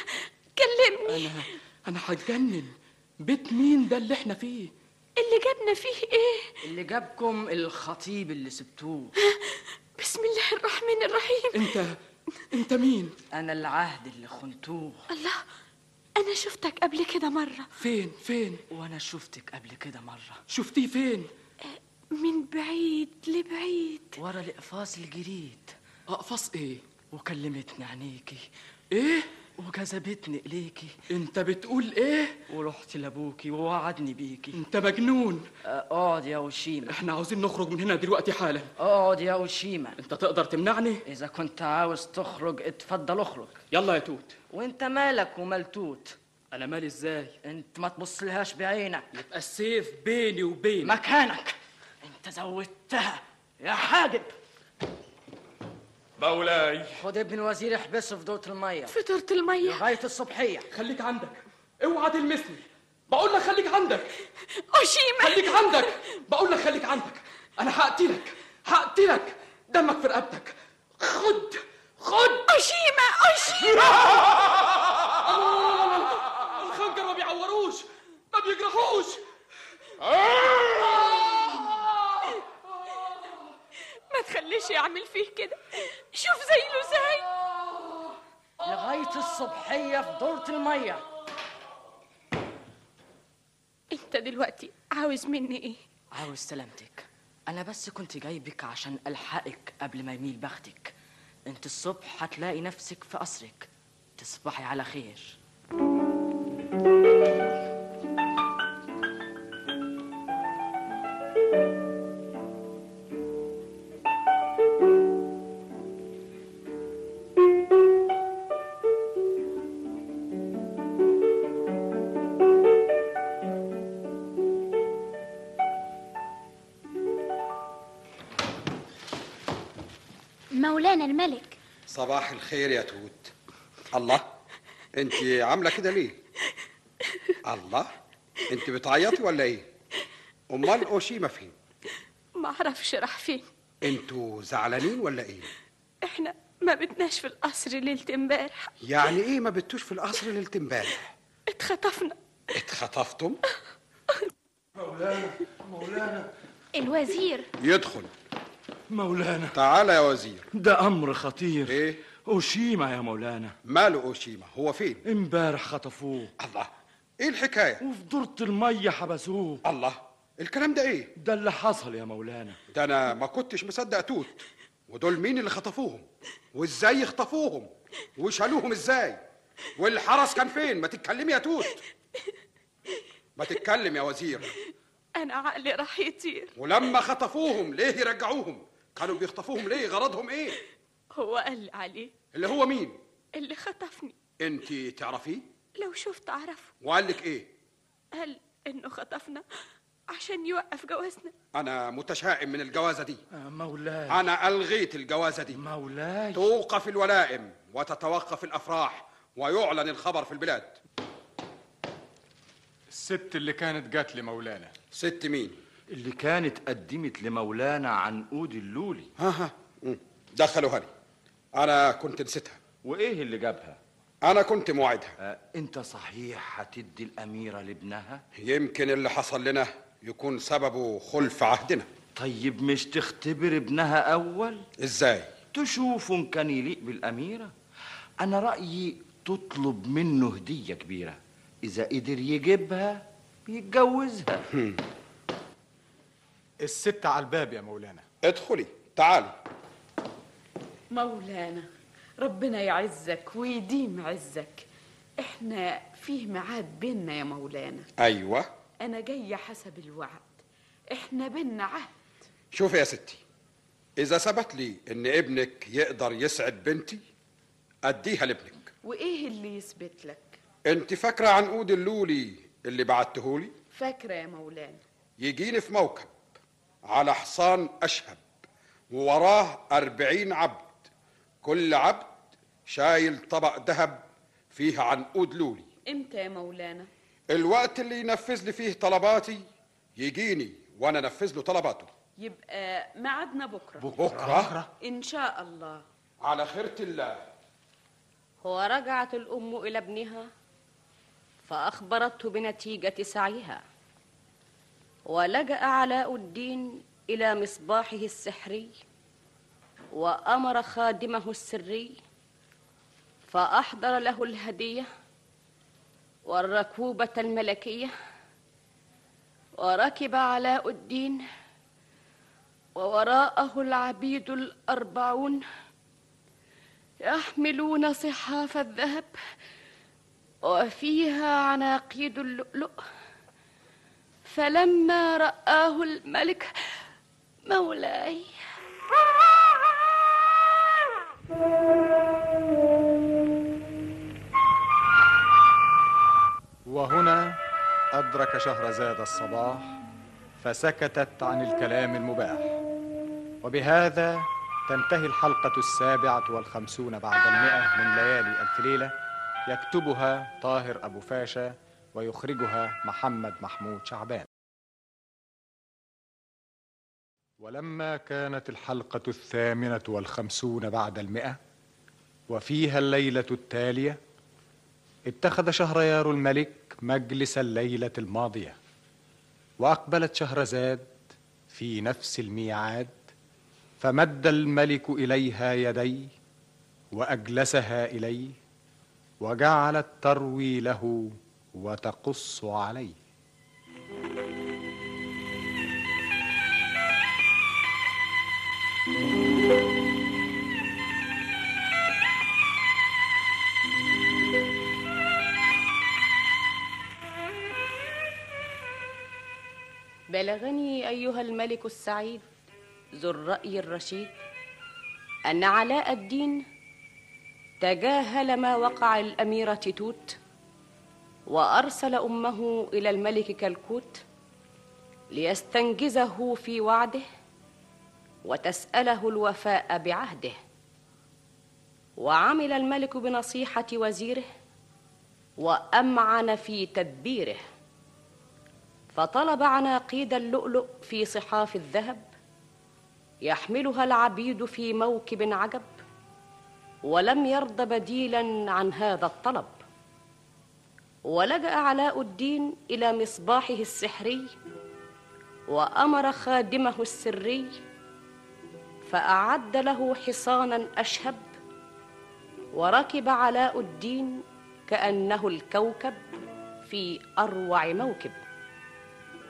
Speaker 19: كلمني
Speaker 8: انا انا هتجنن بيت مين ده اللي احنا فيه
Speaker 19: اللي جابنا فيه إيه
Speaker 8: اللي جابكم الخطيب اللي سبتوه
Speaker 19: <laughs> بسم الله الرحمن الرحيم
Speaker 8: انت انت مين انا العهد اللي خنتوه
Speaker 19: الله أنا شفتك قبل كده مرة
Speaker 8: فين فين وانا شفتك قبل كده مره شفتيه فين
Speaker 19: من بعيد لبعيد
Speaker 8: ورا القفاص الجديد اقفاص
Speaker 9: إيه؟
Speaker 8: ايه وكلمتني عينيكي ايه وجذبتني اليكي انت بتقول
Speaker 9: إيه؟
Speaker 8: ايه ورحت لابوكي ووعدني بيكي انت مجنون اقعد يا وشيمة
Speaker 9: احنا عاوزين نخرج من هنا دلوقتي حالا
Speaker 8: اقعد يا وشيمة
Speaker 9: انت تقدر تمنعني
Speaker 8: اذا كنت عاوز تخرج اتفضل اخرج
Speaker 9: يلا يا توت
Speaker 8: وانت مالك ومال توت
Speaker 9: انا مالي ازاي
Speaker 8: انت ما تبصلهاش بعينك
Speaker 9: يبقى السيف بيني وبينك
Speaker 8: مكانك انت زودتها يا حاجب
Speaker 15: مولاي
Speaker 8: خد ابن الوزير احبسه في دورة المية
Speaker 19: في دورة المية
Speaker 8: لغاية الصبحية
Speaker 9: خليك عندك اوعى تلمسني بقول لك خليك عندك
Speaker 19: أشيمة
Speaker 9: خليك عندك بقول لك خليك عندك انا هقتلك هقتلك دمك في رقبتك خد خد
Speaker 19: أشيمة أشيمة
Speaker 9: الخنجر ما بيعوروش ما بيجرحوش
Speaker 19: ما تخليش يعمل فيه كده شوف زيه زي
Speaker 8: لغاية الصبحية في دورة المية
Speaker 19: أنت دلوقتي عاوز مني ايه
Speaker 8: عاوز سلامتك انا بس كنت جايبك عشان الحقك قبل ما يميل بختك انت الصبح هتلاقي نفسك في قصرك تصبحي على خير
Speaker 19: مولانا الملك
Speaker 16: صباح الخير يا توت الله انت عامله كده ليه الله انت بتعيطي ولا ايه امال اوشيما فين
Speaker 19: ما اعرفش راح فين
Speaker 16: انتوا زعلانين ولا ايه
Speaker 19: احنا ما بتناش في القصر ليله امبارح
Speaker 16: يعني ايه ما بتوش في القصر ليله امبارح
Speaker 19: اتخطفنا
Speaker 16: اتخطفتم
Speaker 17: مولانا مولانا
Speaker 19: الوزير
Speaker 16: يدخل
Speaker 17: مولانا
Speaker 16: تعالى يا وزير
Speaker 17: ده امر خطير
Speaker 16: ايه
Speaker 17: اوشيما يا مولانا
Speaker 16: ماله اوشيما هو فين
Speaker 17: امبارح خطفوه
Speaker 16: الله ايه الحكايه
Speaker 17: وفي دورة المية حبسوه
Speaker 16: الله الكلام ده ايه
Speaker 17: ده اللي حصل يا مولانا
Speaker 16: ده انا ما كنتش مصدق توت ودول مين اللي خطفوهم وازاي خطفوهم وشالوهم ازاي والحرس كان فين ما تتكلمي يا توت ما تتكلم يا وزير
Speaker 19: انا عقلي راح يطير
Speaker 16: ولما خطفوهم ليه يرجعوهم كانوا بيخطفوهم ليه غرضهم ايه
Speaker 19: هو قال لي عليه
Speaker 16: اللي هو مين
Speaker 19: اللي خطفني
Speaker 16: انت تعرفيه
Speaker 19: لو شفت اعرفه
Speaker 16: وقال لك ايه
Speaker 19: قال انه خطفنا عشان يوقف جوازنا
Speaker 16: انا متشائم من الجوازه دي
Speaker 17: آه، مولاي
Speaker 16: انا الغيت الجوازه دي
Speaker 17: مولاي
Speaker 16: توقف الولائم وتتوقف الافراح ويعلن الخبر في البلاد
Speaker 1: الست اللي كانت جات لي مولانا
Speaker 16: ست مين
Speaker 17: اللي كانت قدمت لمولانا عنقود اللولي
Speaker 16: ها ها دخلوا هني انا كنت نسيتها
Speaker 17: وايه اللي جابها
Speaker 16: انا كنت موعدها
Speaker 17: آه، انت صحيح هتدي الاميره لابنها
Speaker 16: يمكن اللي حصل لنا يكون سببه خلف عهدنا
Speaker 17: طيب مش تختبر ابنها اول
Speaker 16: ازاي
Speaker 17: تشوف ان كان يليق بالاميره انا رايي تطلب منه هديه كبيره اذا قدر يجيبها يتجوزها
Speaker 1: <laughs> الست على الباب يا مولانا
Speaker 16: ادخلي تعالي
Speaker 13: مولانا ربنا يعزك ويديم عزك احنا فيه ميعاد بينا يا مولانا
Speaker 16: ايوه
Speaker 13: انا جايه حسب الوعد احنا بينا عهد
Speaker 16: شوفي يا ستي اذا ثبت لي ان ابنك يقدر يسعد بنتي اديها لابنك
Speaker 13: وايه اللي يثبت لك
Speaker 16: انت فاكره عنقود اللولي اللي بعتهولي
Speaker 13: فاكره يا مولانا
Speaker 16: يجيني في موكب على حصان أشهب ووراه أربعين عبد كل عبد شايل طبق ذهب فيه عنقود لولي
Speaker 13: امتى يا مولانا
Speaker 16: الوقت اللي ينفذ لي فيه طلباتي يجيني وأنا أنفذ له طلباته
Speaker 13: يبقى ميعادنا بكره
Speaker 16: بكرة
Speaker 13: ان شاء الله
Speaker 16: على خيرة الله
Speaker 2: ورجعت الام الى ابنها فاخبرته بنتيجه سعيها ولجا علاء الدين الى مصباحه السحري وامر خادمه السري فاحضر له الهديه والركوبه الملكيه وركب علاء الدين ووراءه العبيد الاربعون يحملون صحاف الذهب وفيها عناقيد اللؤلؤ فلما رآه الملك مولاي
Speaker 1: وهنا أدرك شهرزاد الصباح فسكتت عن الكلام المباح وبهذا تنتهي الحلقة السابعة والخمسون بعد المئة من ليالي ألف ليلة يكتبها طاهر أبو فاشا ويخرجها محمد محمود شعبان ولما كانت الحلقة الثامنة والخمسون بعد المئة وفيها الليلة التالية اتخذ شهريار الملك مجلس الليلة الماضية وأقبلت شهرزاد في نفس الميعاد فمد الملك إليها يديه وأجلسها إليه وجعلت تروي له وتقص عليه
Speaker 2: بلغني أيها الملك السعيد ذو الرأي الرشيد أن علاء الدين تجاهل ما وقع الأميرة توت وأرسل أمه إلى الملك كلكوت ليستنجزه في وعده وتسأله الوفاء بعهده وعمل الملك بنصيحة وزيره وأمعن في تدبيره فطلب عناقيد اللؤلؤ في صحاف الذهب يحملها العبيد في موكب عجب ولم يرض بديلا عن هذا الطلب ولجأ علاء الدين إلى مصباحه السحري وأمر خادمه السري فأعد له حصانا أشهب وركب علاء الدين كأنه الكوكب في أروع موكب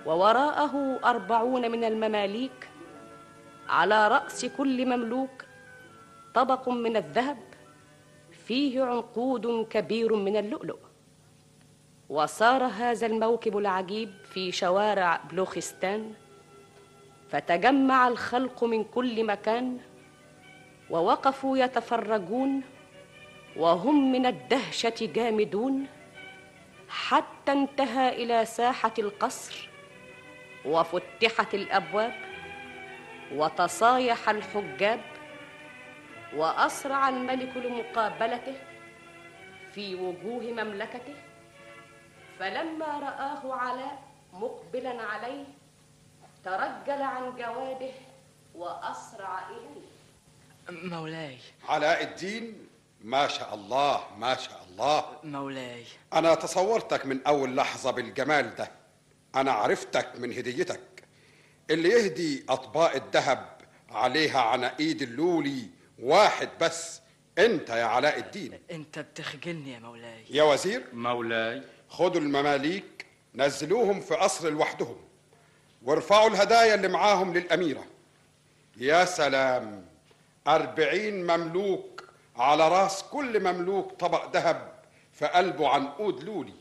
Speaker 2: ووراءه أربعون من المماليك على رأس كل مملوك طبق من الذهب فيه عنقود كبير من اللؤلؤ وسار هذا الموكب العجيب في شوارع بلوخستان فتجمع الخلق من كل مكان ووقفوا يتفرجون وهم من الدهشه جامدون حتى انتهى الى ساحه القصر وفتحت الابواب وتصايح الحجاب واسرع الملك لمقابلته في وجوه مملكته فلما رآه علاء مقبلا عليه ترجل عن جواده وأسرع إليه
Speaker 8: مولاي
Speaker 16: علاء الدين ما شاء الله ما شاء الله
Speaker 8: مولاي
Speaker 16: أنا تصورتك من أول لحظة بالجمال ده أنا عرفتك من هديتك اللي يهدي أطباق الذهب عليها عناقيد اللولي واحد بس أنت يا علاء الدين
Speaker 8: انت بتخجلني يا مولاي
Speaker 16: يا وزير
Speaker 17: مولاي
Speaker 16: خدوا المماليك نزلوهم في قصر لوحدهم وارفعوا الهدايا اللي معاهم للأميرة يا سلام أربعين مملوك على راس كل مملوك طبق ذهب في قلبه عنقود لولي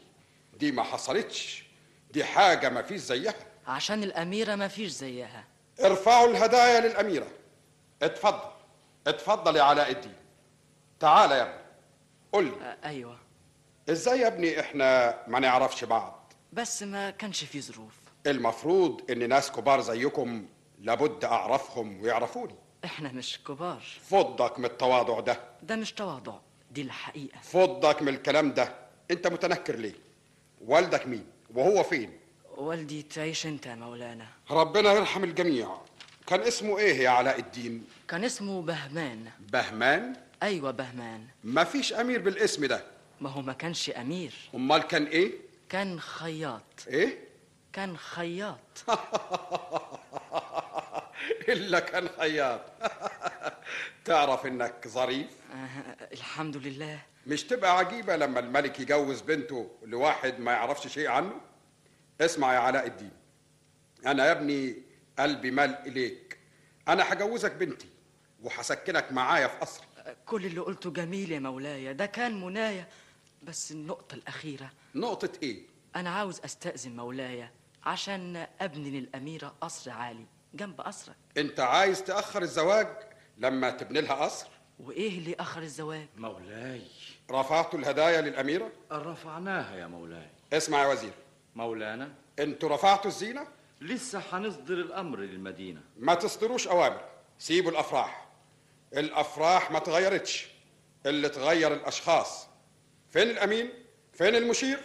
Speaker 16: دي ما حصلتش دي حاجة ما فيش زيها
Speaker 8: عشان الأميرة ما فيش زيها
Speaker 16: ارفعوا الهدايا للأميرة اتفضل اتفضل يا علاء الدين تعال يا ابني قول لي
Speaker 8: أ- أيوة
Speaker 16: ازاي يا ابني احنا ما نعرفش بعض
Speaker 8: بس ما كانش في ظروف
Speaker 16: المفروض ان ناس كبار زيكم لابد اعرفهم ويعرفوني
Speaker 8: احنا مش كبار
Speaker 16: فضك من التواضع ده
Speaker 8: ده مش تواضع دي الحقيقة
Speaker 16: فضك من الكلام ده انت متنكر ليه والدك مين وهو فين
Speaker 8: والدي تعيش انت يا مولانا
Speaker 16: ربنا يرحم الجميع كان اسمه ايه يا علاء الدين
Speaker 8: كان اسمه بهمان
Speaker 16: بهمان
Speaker 8: ايوه
Speaker 16: <laughs>
Speaker 8: بهمان
Speaker 16: مفيش امير بالاسم ده
Speaker 8: ما هو ما كانش امير
Speaker 16: امال كان ايه
Speaker 8: كان خياط
Speaker 16: ايه
Speaker 8: كان خياط
Speaker 16: الا كان خياط <laughs> تعرف انك ظريف
Speaker 8: آه، الحمد لله
Speaker 16: مش تبقى عجيبة لما الملك يجوز بنته لواحد ما يعرفش شيء عنه؟ اسمع يا علاء الدين أنا يا ابني قلبي مال إليك أنا هجوزك بنتي وهسكنك معايا في قصري
Speaker 8: كل اللي قلته جميل يا مولاي ده كان منايا بس النقطة الأخيرة
Speaker 16: نقطة إيه؟
Speaker 8: أنا عاوز أستأذن مولاي عشان أبني للأميرة قصر عالي جنب قصرك
Speaker 16: أنت عايز تأخر الزواج لما تبني لها قصر؟
Speaker 8: وإيه اللي أخر الزواج؟
Speaker 17: مولاي
Speaker 16: رفعتوا الهدايا للأميرة؟
Speaker 17: رفعناها يا مولاي
Speaker 16: اسمع يا وزير
Speaker 17: مولانا
Speaker 16: أنتوا رفعتوا الزينة؟
Speaker 17: لسه هنصدر الأمر للمدينة
Speaker 16: ما تصدروش أوامر سيبوا الأفراح الأفراح ما تغيرتش اللي تغير الأشخاص فين الأمين؟ فين المشير؟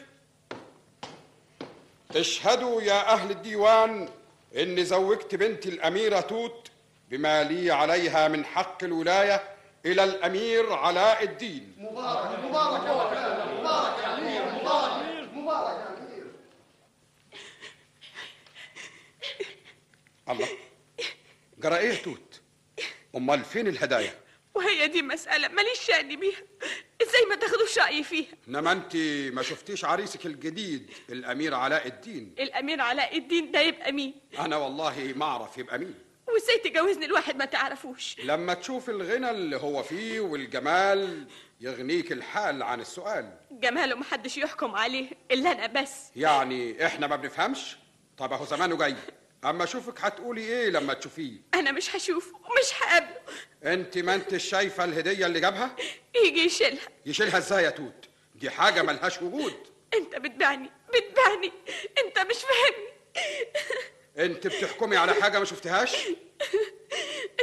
Speaker 16: اشهدوا يا أهل الديوان إني زوجت بنتي الأميرة توت بما لي عليها من حق الولاية إلى الأمير علاء الدين
Speaker 4: مبارك مبارك يا وكالة مبارك يا أمير مبارك مبارك يا أمير
Speaker 16: الله جرى إيه يا توت؟ أمال فين الهدايا؟
Speaker 20: وهي دي مسألة ماليش شأن بيها ازاي ما تاخدوش رأيي فيها
Speaker 16: انما انت ما شفتيش عريسك الجديد الامير علاء الدين
Speaker 20: الأمير علاء الدين ده يبقى مين
Speaker 16: انا والله ما اعرف يبقى مين
Speaker 20: وازاي تجوزني الواحد ما تعرفوش
Speaker 16: لما تشوف الغنى اللي هو فيه والجمال يغنيك الحال عن السؤال
Speaker 20: جماله محدش يحكم عليه إلا أنا بس
Speaker 16: يعني احنا ما بنفهمش طب اهو زمانه جاي اما اشوفك هتقولي ايه لما تشوفيه
Speaker 19: انا مش هشوفه ومش هقابله
Speaker 16: انت ما انتش شايفه الهديه اللي جابها
Speaker 19: يجي يشيلها
Speaker 16: يشيلها ازاي يا توت دي حاجه ملهاش وجود
Speaker 19: انت بتبعني بتبعني انت مش فاهمني
Speaker 16: انت بتحكمي على حاجه ما شفتهاش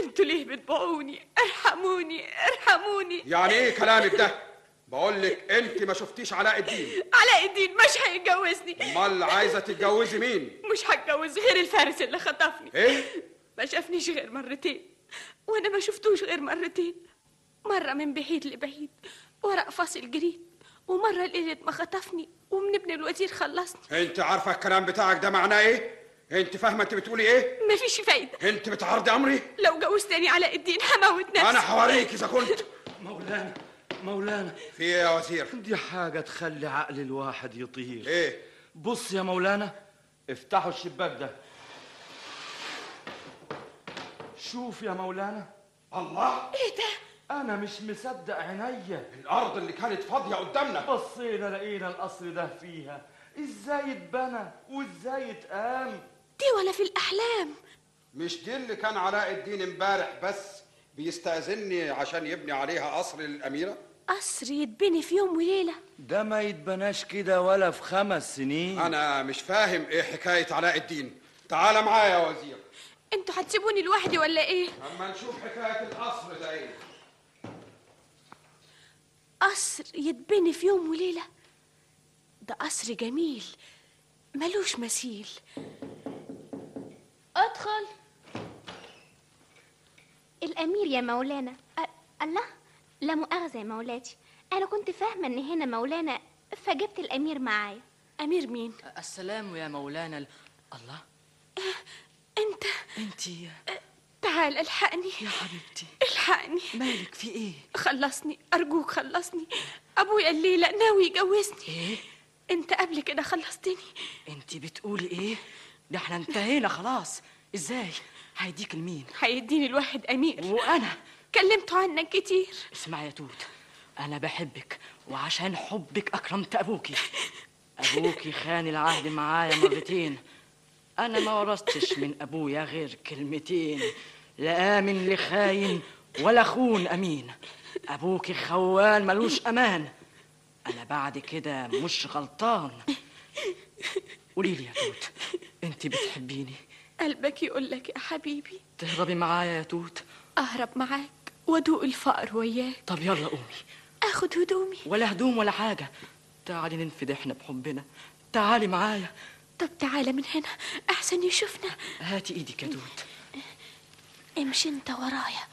Speaker 19: انتوا ليه بتبيعوني ارحموني ارحموني
Speaker 16: يعني ايه كلامك ده بقول لك انت ما شفتيش علاء الدين
Speaker 19: علاء الدين مش هيتجوزني
Speaker 16: امال عايزه تتجوزي مين
Speaker 19: مش هتجوز غير الفارس اللي خطفني
Speaker 16: ايه
Speaker 19: ما شافنيش غير مرتين وانا ما شفتوش غير مرتين مره من بعيد لبعيد ورق فاصل جريد ومره ليله ما خطفني ومن ابن الوزير خلصني
Speaker 16: انت عارفه الكلام بتاعك ده معناه ايه انت فاهمه انت بتقولي ايه
Speaker 19: مفيش فايده
Speaker 16: انت بتعرضي امري
Speaker 19: لو جوزتني علاء الدين هموت نفسي
Speaker 16: انا حواريك اذا كنت
Speaker 17: مولانا مولانا
Speaker 16: في ايه يا وزير
Speaker 17: دي حاجة تخلي عقل الواحد يطير
Speaker 16: ايه
Speaker 17: بص يا مولانا افتحوا الشباك ده شوف يا مولانا
Speaker 16: الله
Speaker 19: ايه ده
Speaker 17: انا مش مصدق عينيا
Speaker 16: الارض اللي كانت فاضيه قدامنا
Speaker 17: بصينا لقينا القصر ده فيها ازاي اتبنى وازاي اتقام
Speaker 19: دي ولا في الاحلام
Speaker 16: مش دي اللي كان علاء الدين امبارح بس بيستأذني عشان يبني عليها قصر للأميرة
Speaker 19: قصر يتبني في يوم وليله
Speaker 17: ده ما يتبناش كده ولا في خمس سنين
Speaker 16: أنا مش فاهم إيه حكاية علاء الدين تعال معايا يا وزير
Speaker 19: انتوا هتسيبوني لوحدي ولا ايه
Speaker 16: أما نشوف حكاية القصر ده إيه
Speaker 19: قصر يتبني في يوم وليله ده قصر جميل ملوش مثيل
Speaker 21: ادخل
Speaker 13: الأمير يا مولانا أ... الله لا مؤاخذة يا مولاتي أنا كنت فاهمة إن هنا مولانا فجبت الأمير معايا
Speaker 19: أمير مين؟
Speaker 8: السلام يا مولانا ال- الله
Speaker 19: انت
Speaker 8: انت
Speaker 19: أه، تعال الحقني
Speaker 8: يا حبيبتي
Speaker 19: الحقني
Speaker 8: مالك في ايه
Speaker 19: خلصني ارجوك خلصني ابويا الليله ناوي يجوزني
Speaker 8: ايه
Speaker 19: انت قبل كده خلصتني
Speaker 8: انت بتقولي ايه ده احنا انتهينا خلاص ازاي هيديك لمين
Speaker 19: هيديني الواحد امير
Speaker 8: وانا
Speaker 19: كلمته عنك كتير
Speaker 8: اسمعي يا توت انا بحبك وعشان حبك اكرمت
Speaker 19: <laughs>
Speaker 8: ابوكي ابوكي خان العهد معايا مرتين انا ما ورثتش من ابويا غير كلمتين لا امن لخاين ولا خون امين ابوكي خوان ملوش امان انا بعد كده مش غلطان قولي لي يا توت انت بتحبيني
Speaker 19: قلبك يقول لك يا حبيبي
Speaker 8: تهربي معايا يا توت
Speaker 19: اهرب معاك وادوق الفقر وياك
Speaker 8: طب يلا قومي
Speaker 19: اخد هدومي
Speaker 8: ولا هدوم ولا حاجة تعالي ننفد احنا بحبنا تعالي معايا
Speaker 19: طب تعالى من هنا احسن يشوفنا
Speaker 8: هاتي ايدك يا دود
Speaker 19: امشي انت
Speaker 17: <laughs>
Speaker 19: ورايا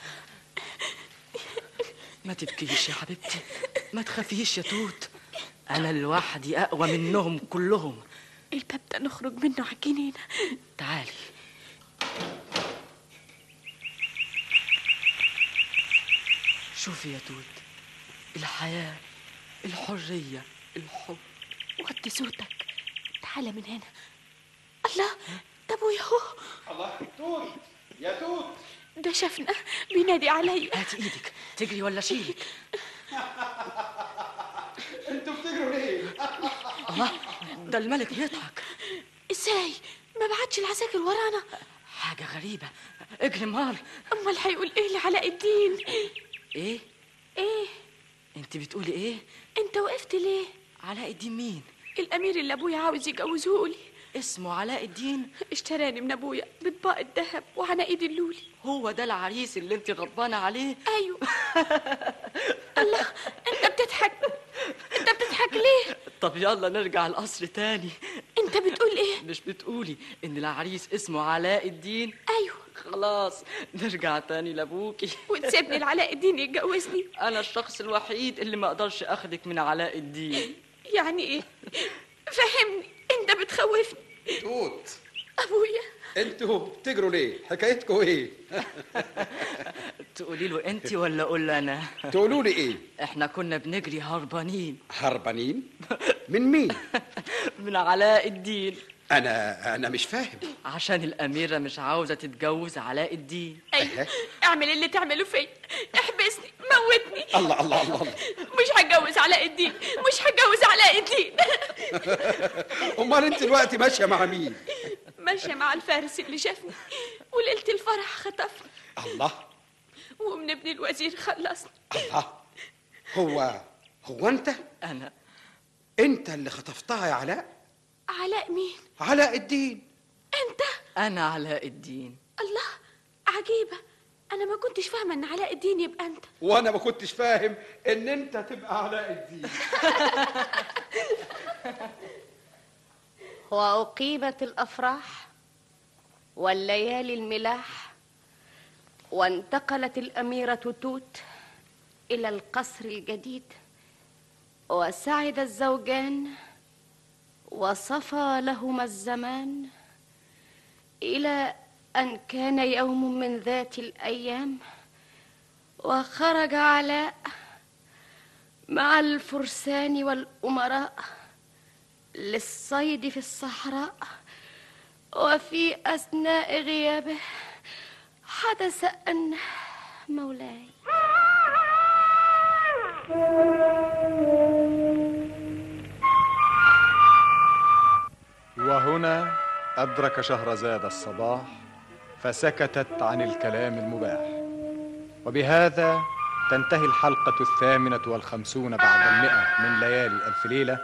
Speaker 8: ما تبكيش يا حبيبتي ما تخافيش يا توت انا لوحدي اقوى منهم كلهم
Speaker 19: الباب ده نخرج منه على الجنينه
Speaker 8: تعالي شوفي يا توت الحياة الحرية الحب
Speaker 19: وطي صوتك تعالى من هنا الله ده ابويا هو
Speaker 16: الله توت يا توت
Speaker 19: ده شافنا بينادي عليا
Speaker 8: هاتي ايدك تجري ولا شيك
Speaker 16: انتوا بتجروا ليه
Speaker 8: الله ده الملك بيضحك
Speaker 19: ازاي ما بعتش العساكر ورانا
Speaker 8: حاجة غريبة اجري مار
Speaker 19: امال هيقول ايه لعلاء الدين
Speaker 8: ايه
Speaker 19: ايه
Speaker 8: انت بتقولي ايه
Speaker 19: انت وقفت ليه
Speaker 8: علاء الدين مين
Speaker 19: الامير اللي ابويا عاوز يجوزه لي
Speaker 8: اسمه علاء الدين
Speaker 19: اشتراني من ابويا بطباق الذهب وعناقيد اللولي
Speaker 8: هو ده العريس اللي انت غضبانه عليه
Speaker 19: ايوه الله انت بتضحك انت بتضحك ليه
Speaker 8: طب يلا نرجع القصر تاني
Speaker 19: انت بتقول ايه
Speaker 8: مش بتقولي ان العريس اسمه علاء الدين
Speaker 19: ايوه
Speaker 8: خلاص نرجع تاني لابوكي
Speaker 19: وتسيبني لعلاء الدين يتجوزني
Speaker 8: انا الشخص الوحيد اللي ما اقدرش اخدك من علاء الدين
Speaker 19: يعني ايه فهمني انت بتخوفني
Speaker 16: توت
Speaker 19: ابويا
Speaker 16: انتوا بتجروا ليه حكايتكم ايه
Speaker 8: <laughs> تقولي له انت ولا اقول له انا
Speaker 16: تقولوا لي ايه
Speaker 8: احنا كنا بنجري هربانين
Speaker 16: هربانين من مين
Speaker 8: <laughs> من علاء الدين
Speaker 16: انا انا مش فاهم
Speaker 8: عشان الاميره مش عاوزه تتجوز علاء الدين
Speaker 16: أيوة.
Speaker 19: اعمل اللي تعمله فيا احبسني موتني
Speaker 16: الله الله الله الله
Speaker 19: مش هتجوز علاء الدين مش هتجوز علاء الدين
Speaker 16: امال انت دلوقتي ماشيه مع مين
Speaker 19: ما
Speaker 20: ماشية مع الفارس اللي شافني وليلة الفرح خطفني
Speaker 16: الله
Speaker 20: ومن ابن الوزير خلصني
Speaker 16: هو هو انت
Speaker 8: انا
Speaker 16: انت اللي خطفتها يا علاء
Speaker 20: علاء مين؟
Speaker 16: علاء الدين
Speaker 8: أنا علاء الدين
Speaker 20: الله عجيبة أنا ما كنتش فاهمة إن علاء الدين يبقى أنت
Speaker 16: وانا ما كنتش فاهم ان انت تبقى علاء الدين
Speaker 2: وأقيمت الأفراح والليالي الملاح وانتقلت الأميرة توت إلى القصر الجديد وسعد الزوجان وصفى لهما الزمان إلى أن كان يوم من ذات الأيام وخرج علاء مع الفرسان والأمراء للصيد في الصحراء وفي أثناء غيابه حدث أن مولاي
Speaker 1: وهنا أدرك شهرزاد الصباح فسكتت عن الكلام المباح وبهذا تنتهي الحلقة الثامنة والخمسون بعد المئة من ليالي ألف ليلة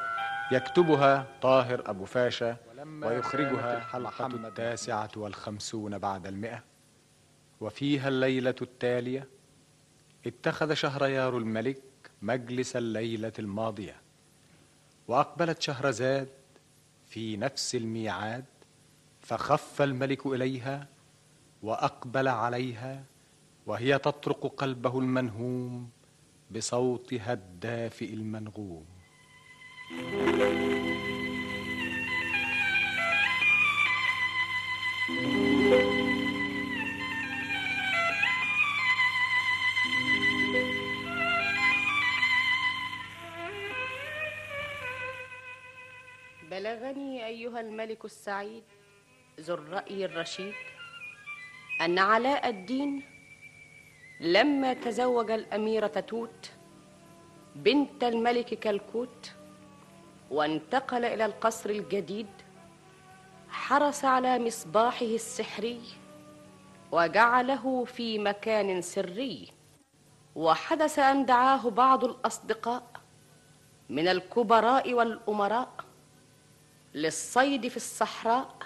Speaker 1: يكتبها طاهر أبو فاشا ويخرجها الحلقة التاسعة والخمسون بعد المئة وفيها الليلة التالية اتخذ شهريار الملك مجلس الليلة الماضية وأقبلت شهرزاد في نفس الميعاد فخف الملك اليها واقبل عليها وهي تطرق قلبه المنهوم بصوتها الدافئ المنغوم
Speaker 2: بلغني أيها الملك السعيد ذو الرأي الرشيد أن علاء الدين لما تزوج الأميرة توت بنت الملك كلكوت وانتقل إلى القصر الجديد حرص على مصباحه السحري وجعله في مكان سري وحدث أن دعاه بعض الأصدقاء من الكبراء والأمراء للصيد في الصحراء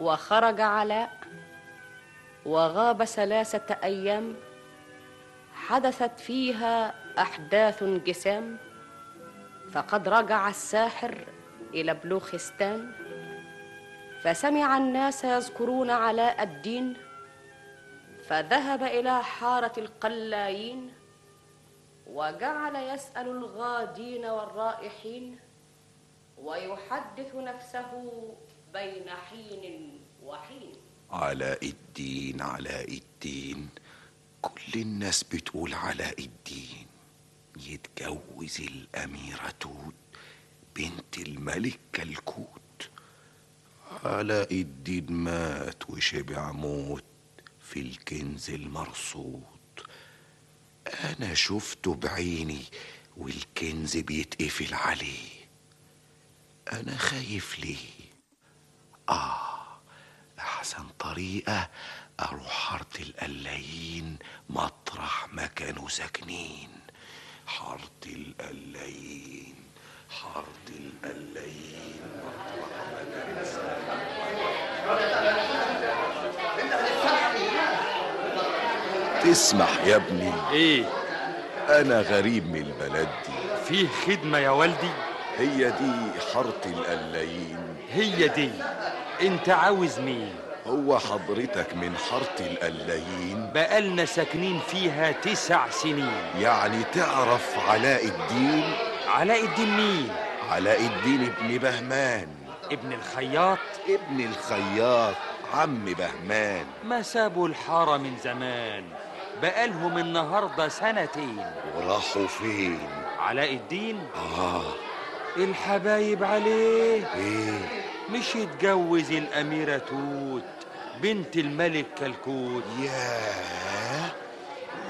Speaker 2: وخرج علاء وغاب ثلاثة أيام حدثت فيها أحداث جسام فقد رجع الساحر إلى بلوخستان فسمع الناس يذكرون علاء الدين فذهب إلى حارة القلايين وجعل يسأل الغادين والرائحين ويحدث نفسه بين حين وحين
Speaker 10: علاء الدين علاء الدين كل الناس بتقول علاء الدين يتجوز الأميرة توت بنت الملك كلكوت علاء الدين مات وشبع موت في الكنز المرصود أنا شفته بعيني والكنز بيتقفل عليه أنا خايف ليه آه أحسن طريقة أروح حارة القلايين مطرح ما كانوا ساكنين حارة القلايين حارة القلايين مطرح ما كانوا ساكنين تسمح يا ابني
Speaker 22: ايه
Speaker 10: أنا غريب من البلد دي
Speaker 22: فيه خدمة يا والدي
Speaker 10: هي دي حارة القلايين
Speaker 22: هي دي انت عاوز مين
Speaker 10: هو حضرتك من حارة القلايين
Speaker 22: بقالنا ساكنين فيها تسع سنين
Speaker 10: يعني تعرف علاء الدين
Speaker 22: علاء الدين مين
Speaker 10: علاء الدين ابن بهمان
Speaker 22: ابن الخياط
Speaker 10: ابن الخياط عم بهمان
Speaker 22: ما سابوا الحارة من زمان بقالهم النهاردة سنتين
Speaker 10: وراحوا فين
Speaker 22: علاء الدين
Speaker 10: آه
Speaker 22: الحبايب عليه
Speaker 10: إيه
Speaker 22: مش يتجوز الأميرة توت بنت الملك كلكوت
Speaker 10: ياه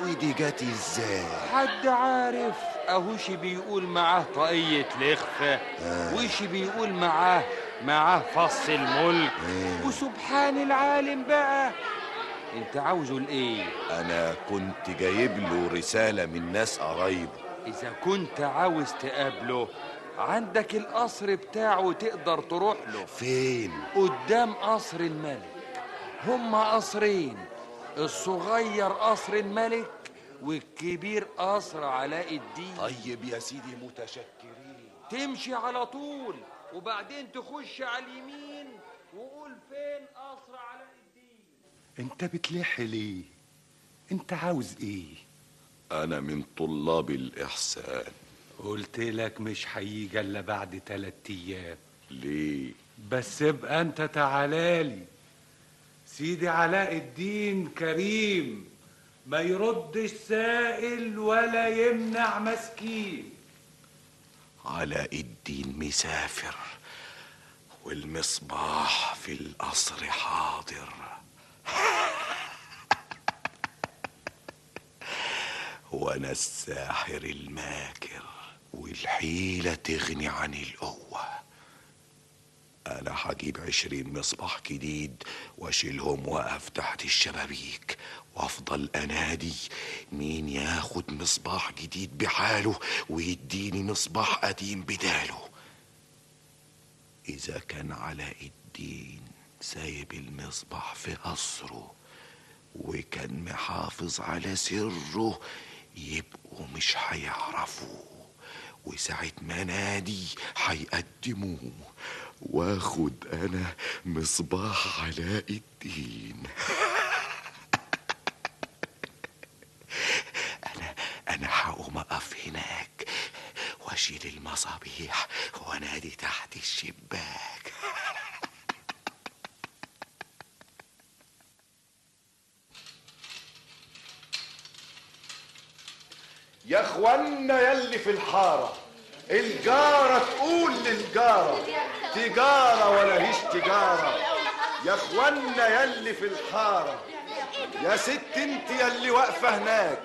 Speaker 10: ودي جت ازاي
Speaker 22: حد عارف
Speaker 10: آه.
Speaker 22: أهوش بيقول معاه طاقية لخفة وش بيقول معاه
Speaker 17: معاه فص الملك
Speaker 10: إيه.
Speaker 17: وسبحان العالم بقى انت عاوزه لايه
Speaker 10: أنا كنت جايب له رسالة من ناس قرايبه
Speaker 17: اذا كنت عاوز تقابله عندك القصر بتاعه تقدر تروح له
Speaker 10: فين؟
Speaker 17: قدام قصر الملك هما قصرين الصغير قصر الملك والكبير قصر علاء الدين
Speaker 10: طيب يا سيدي متشكرين
Speaker 17: تمشي على طول وبعدين تخش على اليمين وقول فين قصر علاء
Speaker 3: انت بتلح ليه انت عاوز ايه
Speaker 10: إيه، أنا من طلاب الإحسان
Speaker 3: قلت لك مش هيجي الا بعد تلات ايام
Speaker 10: ليه
Speaker 3: بس ابقى انت تعالالي سيدي علاء الدين كريم ما يردش سائل ولا يمنع مسكين
Speaker 10: علاء الدين مسافر والمصباح في القصر حاضر <laughs> وانا الساحر الماكر والحيلة تغني عن القوة انا هجيب عشرين مصباح جديد واشيلهم واقف تحت الشبابيك وافضل انادي مين ياخد مصباح جديد بحاله ويديني مصباح قديم بداله اذا كان علاء الدين سايب المصباح في قصره وكان محافظ على سره يبقوا مش هيعرفوه وساعة ما نادي هيقدموه واخد انا مصباح علاء الدين <laughs> انا انا هقوم اقف هناك واشيل المصابيح وانادي تحت الشباك
Speaker 11: يا اخوانا يلي في الحاره الجاره تقول للجاره تجاره ولا هيش تجاره يا اخوانا يلي في الحاره يا ست انت يلي واقفه هناك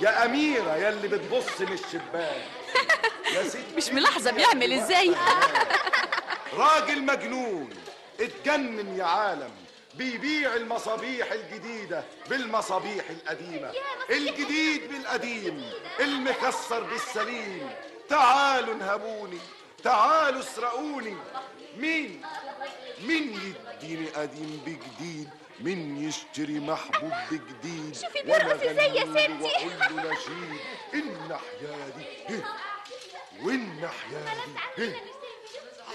Speaker 11: يا اميره يلي بتبص من الشباك يا ست
Speaker 23: مش ملاحظه بيعمل ازاي
Speaker 11: <laughs> راجل مجنون اتجنن يا عالم بيبيع المصابيح الجديدة بالمصابيح القديمة الجديد بالقديم المكسر بالسليم تعالوا انهبوني تعالوا اسرقوني مين
Speaker 10: مين يديني قديم بجديد مين يشتري محبوب بجديد
Speaker 13: شوفي بيرقص ازاي يا ستي.
Speaker 10: وأقول له نشيد إن حيادي إيه؟ وإن حيادي إيه؟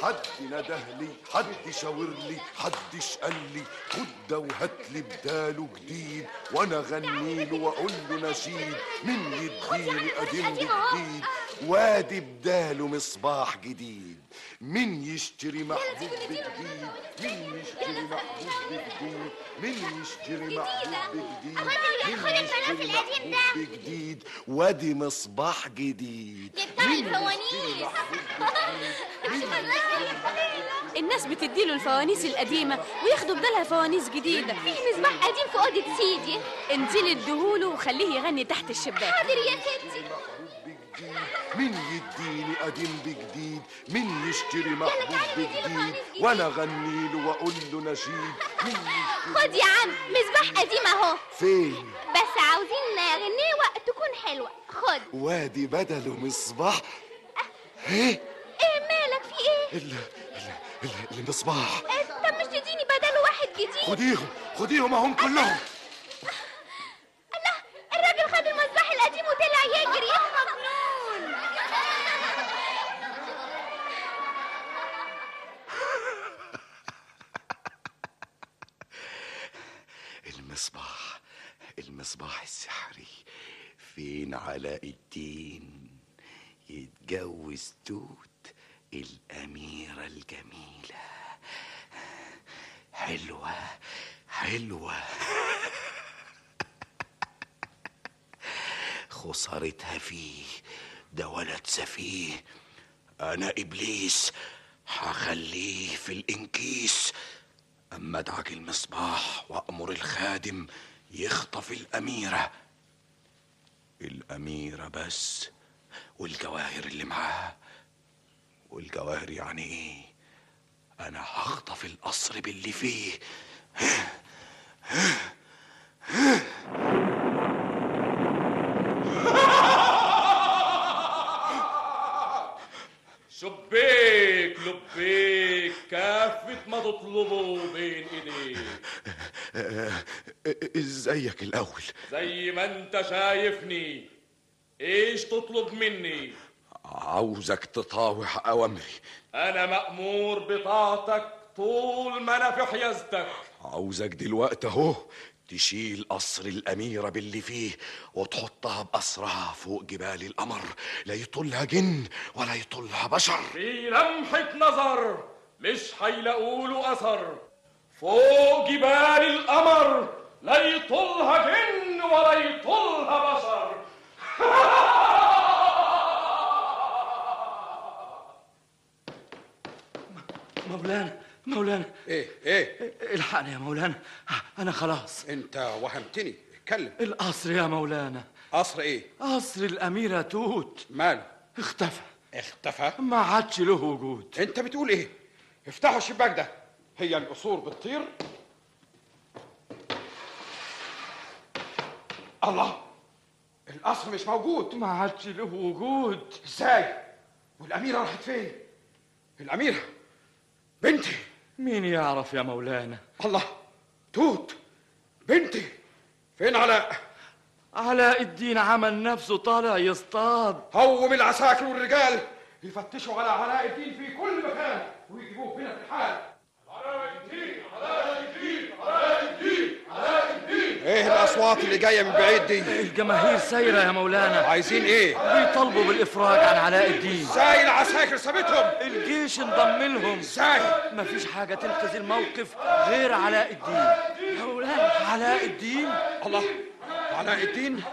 Speaker 10: حد نده لي حد شاور لي حد اشقل لي خد ده وهات لي بداله جديد وانا اغني له واقول له نشيد مين يديني قديم جديد وادي بداله مصباح جديد مين يشتري محبوب بجديد مين يشتري محبوب بجديد مين يشتري محبوب بجديد مين يشتري محبوب بجديد وادي مصباح جديد مين يشتري محبوب
Speaker 13: <laughs> الناس بتديله الفوانيس القديمة وياخدوا بدالها فوانيس جديدة في مصباح قديم في أوضة سيدي انزلي اديهوله وخليه يغني تحت الشباك حاضر يا ستي
Speaker 10: مين يديني قديم بجديد مين يشتري محبوب بجديد وانا اغني له واقول له نشيد مين
Speaker 6: خد يا عم مصباح قديم اهو
Speaker 10: فين
Speaker 6: بس عاوزين نغنيه وقت تكون حلوة خد
Speaker 10: وادي بدله مصباح ايه
Speaker 6: ايه مالك في ايه
Speaker 10: ال- ال- ال- المصباح
Speaker 6: إيه، طب مش تديني بداله واحد جديد
Speaker 10: خديهم خديهم اهم كلهم
Speaker 6: الراجل خد المصباح القديم وطلع يجري مجنون
Speaker 10: المصباح المصباح السحري فين علاء الدين يتجوز توت الأميرة الجميلة حلوة حلوة خسارتها فيه ده ولد سفيه أنا إبليس هخليه في الإنكيس أما أدعك المصباح وأمر الخادم يخطف الأميرة الأميرة بس والجواهر اللي معاها والجواهر يعني إيه؟
Speaker 17: انا هخطف القصر باللي فيه
Speaker 15: شبيك لبيك كافة ما تطلبه بين ايديك
Speaker 10: آه، ازيك الاول
Speaker 15: زي ما انت شايفني ايش تطلب مني
Speaker 10: عاوزك تطاوع اوامري
Speaker 15: انا مأمور بطاعتك طول ما انا في حيازتك
Speaker 10: عاوزك دلوقتي اهو تشيل قصر الأميرة باللي فيه وتحطها بأسرها فوق جبال القمر لا يطولها جن ولا يطولها بشر
Speaker 15: في لمحة نظر مش هيلاقوا له أثر فوق جبال القمر لا يطولها جن ولا يطولها بشر
Speaker 8: مولانا مولانا
Speaker 16: ايه ايه
Speaker 8: الحقني يا مولانا انا خلاص
Speaker 16: انت وهمتني اتكلم
Speaker 8: القصر يا مولانا
Speaker 16: قصر ايه
Speaker 8: قصر الأميرة توت
Speaker 16: ماله
Speaker 8: اختفى
Speaker 16: اختفى
Speaker 8: ما عادش له وجود
Speaker 16: انت بتقول ايه افتحوا الشباك ده هي القصور بتطير الله القصر مش موجود
Speaker 8: ما عادش له وجود
Speaker 16: ازاي والاميره راحت فين الاميره بنتي
Speaker 8: مين يعرف يا مولانا
Speaker 16: الله توت بنتي فين علاء
Speaker 8: علاء الدين عمل نفسه طالع يصطاد
Speaker 16: هوم العساكر والرجال يفتشوا على علاء الدين في كل مكان ويجيبوه هنا في الحال
Speaker 10: ايه الاصوات اللي جايه من بعيد دي
Speaker 8: الجماهير سايرة يا مولانا
Speaker 10: عايزين ايه
Speaker 8: بيطالبوا بالإفراج عن علاء الدين
Speaker 16: ازاي العساكر سابتهم
Speaker 8: الجيش انضم لهم
Speaker 16: ازاي
Speaker 8: مفيش حاجة تنقذ الموقف غير علاء الدين يا مولانا علاء الدين
Speaker 16: الله علاء الدين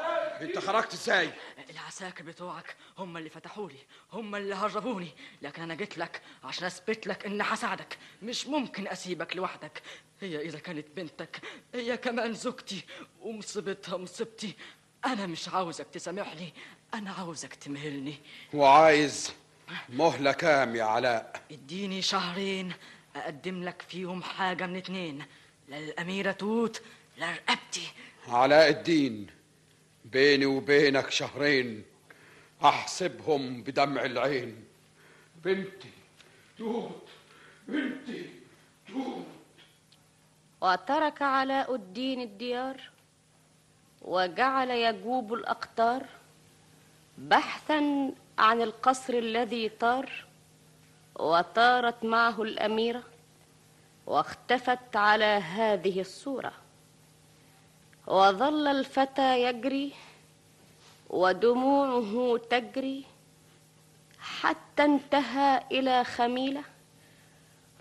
Speaker 16: انت خرجت ازاي
Speaker 8: العساكر بتوعك هم اللي فتحوا لي هم اللي هربوني لكن انا جيت لك عشان اثبت لك اني هساعدك مش ممكن اسيبك لوحدك هي اذا كانت بنتك هي كمان زوجتي ومصيبتها مصيبتي انا مش عاوزك تسامحني انا عاوزك تمهلني
Speaker 16: وعايز مهله كام يا علاء
Speaker 8: اديني شهرين اقدم لك فيهم حاجه من اتنين لا الاميره توت لا رقبتي
Speaker 16: علاء الدين بيني وبينك شهرين احسبهم بدمع العين بنتي توت بنتي توت
Speaker 2: وترك علاء الدين الديار وجعل يجوب الأقطار بحثا عن القصر الذي طار وطارت معه الأميرة واختفت على هذه الصورة وظل الفتى يجري ودموعه تجري حتى انتهى إلى خميلة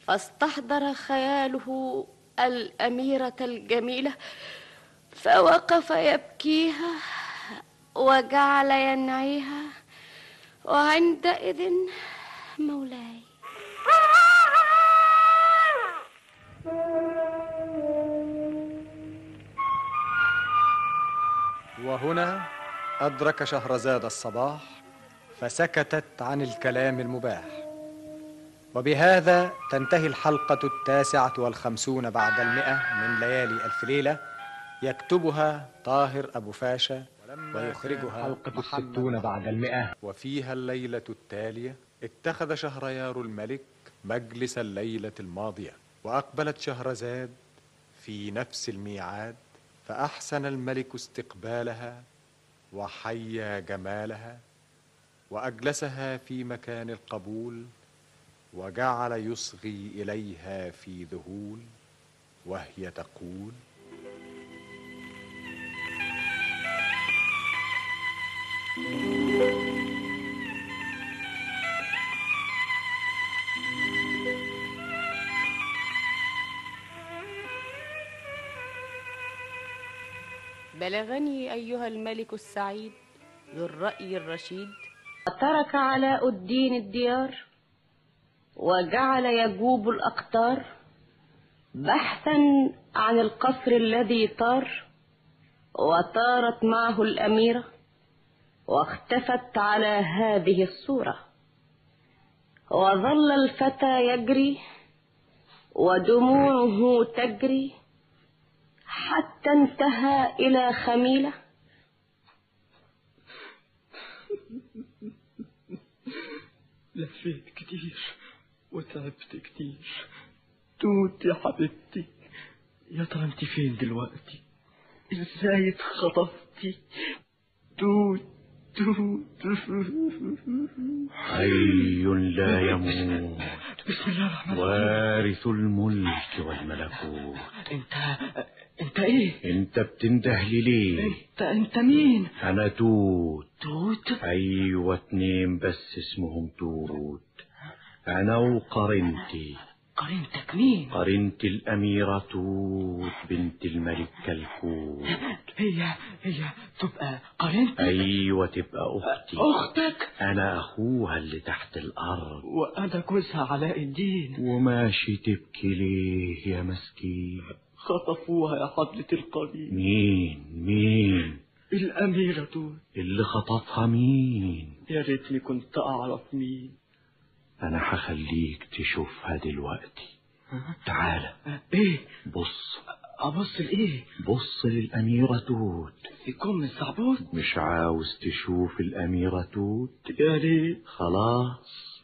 Speaker 2: فاستحضر خياله الأميرة الجميلة فوقف يبكيها وجعل ينعيها وعندئذ مولاي
Speaker 1: وهنا أدرك شهرزاد الصباح فسكتت عن الكلام المباح وبهذا تنتهي الحلقة التاسعة والخمسون بعد المئة من ليالي ألف ليلة يكتبها طاهر أبو فاشا ويخرجها
Speaker 12: حلقة
Speaker 1: محمد
Speaker 12: الستون بعد المئة
Speaker 1: وفيها الليلة التالية اتخذ شهريار الملك مجلس الليلة الماضية وأقبلت شهرزاد في نفس الميعاد فأحسن الملك استقبالها وحيا جمالها وأجلسها في مكان القبول وجعل يصغي إليها في ذهول وهي تقول
Speaker 2: بلغني أيها الملك السعيد ذو الرأي الرشيد ترك علاء الدين الديار وجعل يجوب الأقطار بحثا عن القصر الذي طار وطارت معه الأميرة واختفت على هذه الصورة وظل الفتى يجري
Speaker 7: ودموعه تجري حتى انتهى إلى خميلة
Speaker 24: لفيت كتير وتعبت كتير توت يا حبيبتي يا ترى انت فين دلوقتي ازاي اتخطفتي توت توت
Speaker 25: حي لا يموت
Speaker 24: بسم الله الرحمن
Speaker 25: وارث الملك والملكوت
Speaker 24: انت انت ايه
Speaker 25: انت بتنده لي ليه
Speaker 24: انت انت مين
Speaker 25: انا توت
Speaker 24: توت
Speaker 25: ايوه اتنين بس اسمهم توت انا وقرنتي
Speaker 24: قرينتك مين
Speaker 25: قرنتي الاميره توت بنت الملك كلكوت
Speaker 24: هي هي تبقى قرينتك
Speaker 25: ايوه تبقى اختي
Speaker 24: اختك
Speaker 25: انا اخوها اللي تحت الارض
Speaker 24: وانا جوزها علاء الدين
Speaker 25: وماشي تبكي ليه يا مسكين
Speaker 24: خطفوها يا حضرة القرين
Speaker 25: مين مين
Speaker 24: الأميرة توت
Speaker 25: اللي خطفها مين
Speaker 24: يا ريتني كنت أعرف مين
Speaker 25: انا هخليك تشوفها دلوقتي تعالى
Speaker 24: إيه
Speaker 25: بص
Speaker 24: أبص لإيه
Speaker 25: بص للأميرة توت
Speaker 24: في كم الزعبوط
Speaker 25: مش عاوز تشوف الأميرة توت
Speaker 24: يا ريت
Speaker 25: خلاص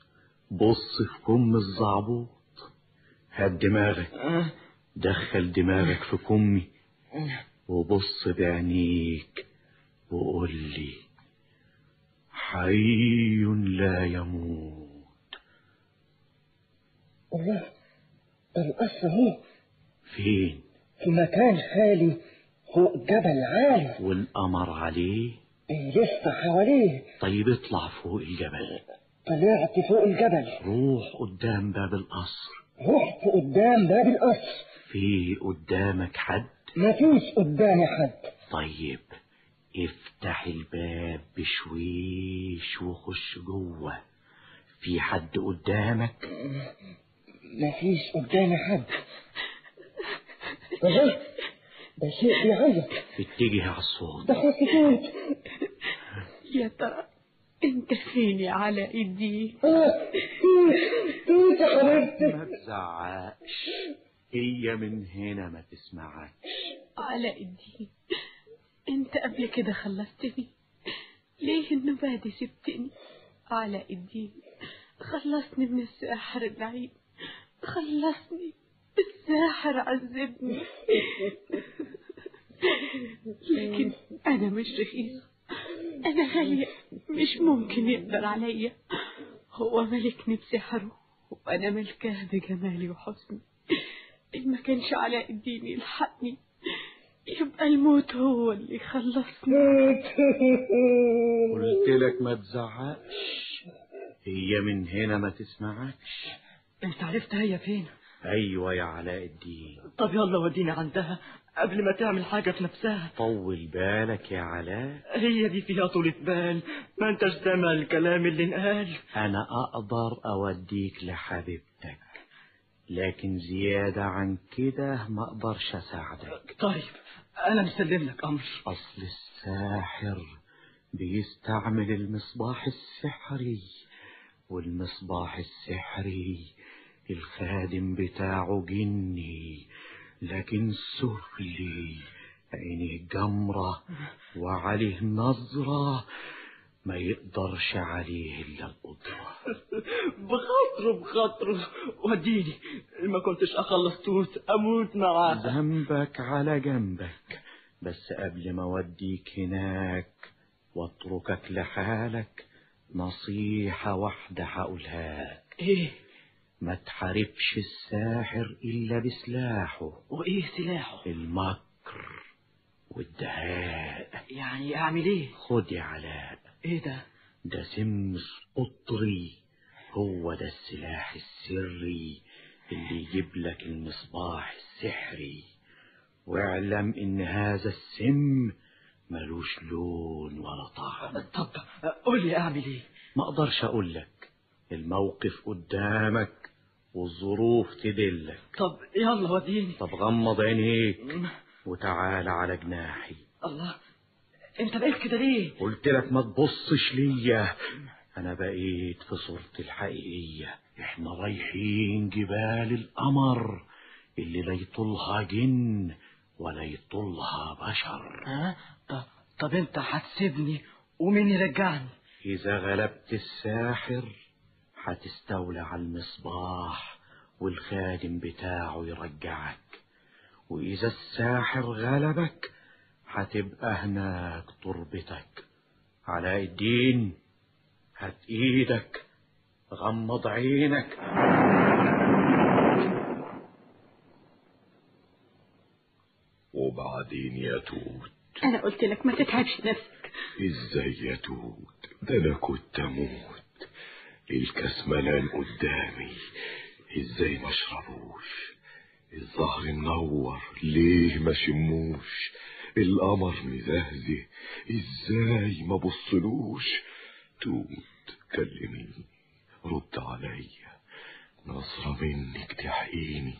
Speaker 25: بص في كم الزعبوط هات دماغك
Speaker 24: آه.
Speaker 25: دخل دماغك في كمي وبص بعينيك وقول لي حي لا يموت
Speaker 11: الله القصر هو
Speaker 25: فين
Speaker 11: في مكان خالي فوق جبل عالي إيه،
Speaker 25: والقمر عليه
Speaker 11: لسه حواليه
Speaker 25: طيب اطلع فوق الجبل
Speaker 11: طلعت فوق الجبل
Speaker 25: روح قدام باب القصر
Speaker 11: رحت قدام باب القصر
Speaker 25: في قدامك حد
Speaker 11: مفيش قدامي حد
Speaker 25: طيب افتح الباب بشويش وخش جوه في حد قدامك
Speaker 11: مفيش قدامي حد اهي ده شيء بيعيط
Speaker 25: اتجه على الصوت
Speaker 11: ده خاصة
Speaker 20: يا ترى انت فين يا علاء الدين
Speaker 11: توت يا حبيبتي
Speaker 25: ما تزعقش هي من هنا ما تسمعك
Speaker 20: علاء الدين انت قبل كده خلصتني ليه النبادة سبتني علاء الدين خلصني من الساحر اللعين خلصني الساحر عذبني لكن انا مش رخيصة انا غالية مش ممكن يقدر عليا هو ملكني بسحره وانا ملكاه بجمالي وحسني ان ما كانش علاء الدين يلحقني يبقى الموت هو اللي خلصني
Speaker 25: قلت لك ما تزعقش هي من هنا ما تسمعكش
Speaker 8: انت عرفت هي فين
Speaker 25: ايوه يا علاء الدين
Speaker 8: طب يلا ودينا عندها قبل ما تعمل حاجة في نفسها
Speaker 25: طول بالك يا علاء
Speaker 8: هي دي فيها طولة بال ما انتش سامع الكلام اللي انقال
Speaker 25: انا اقدر اوديك لحبيبتك لكن زيادة عن كده ما اقدرش اساعدك
Speaker 8: طيب انا مسلم لك امر
Speaker 25: اصل الساحر بيستعمل المصباح السحري والمصباح السحري الخادم بتاعه جني لكن سفلي عينيه جمرة وعليه نظرة ما يقدرش عليه إلا القدرة
Speaker 8: بخاطره بخاطره وديني ما كنتش اخلص توت اموت معاه
Speaker 25: ذنبك على جنبك بس قبل ما أوديك هناك وأتركك لحالك نصيحة واحدة هقولها لك
Speaker 8: ايه
Speaker 25: ما تحاربش الساحر إلا بسلاحه
Speaker 8: وايه سلاحه
Speaker 25: المكر والدهاء
Speaker 8: يعني اعمل ايه
Speaker 25: خد يا علاء
Speaker 20: إيه
Speaker 8: ايه ده
Speaker 25: ده سمس قطري هو ده السلاح السري اللي يجيب لك المصباح السحري واعلم ان هذا السم ملوش لون ولا طعم
Speaker 8: طب قول لي اعمل
Speaker 20: إيه؟
Speaker 8: ايه
Speaker 25: ما اقدرش اقول لك الموقف قدامك والظروف تدلك
Speaker 8: طب يلا وديني
Speaker 25: طب غمض عينيك وتعال على جناحي
Speaker 8: الله انت بقيت كده ليه
Speaker 25: قلت لك ما تبصش ليا أنا بقيت في صورتي الحقيقية إحنا رايحين جبال القمر اللي لا يطولها جن ولا يطولها بشر
Speaker 24: ها ط- طب انت هتسيبني ومين يرجعني
Speaker 25: إذا غلبت الساحر هتستولى على المصباح والخادم بتاعه يرجعك وإذا الساحر غلبك هتبقى هناك تربتك علاء الدين هات إيدك غمض عينك
Speaker 26: وبعدين يا توت
Speaker 20: انا قلت لك ما تتعبش نفسك
Speaker 26: ازاي يا توت ده انا كنت اموت الكسملان قدامي ازاي ما اشربوش الظهر منور ليه ما شموش القمر مزهزه ازاي ما بصلوش توت كلميني رد عليا نظرة منك تحقيني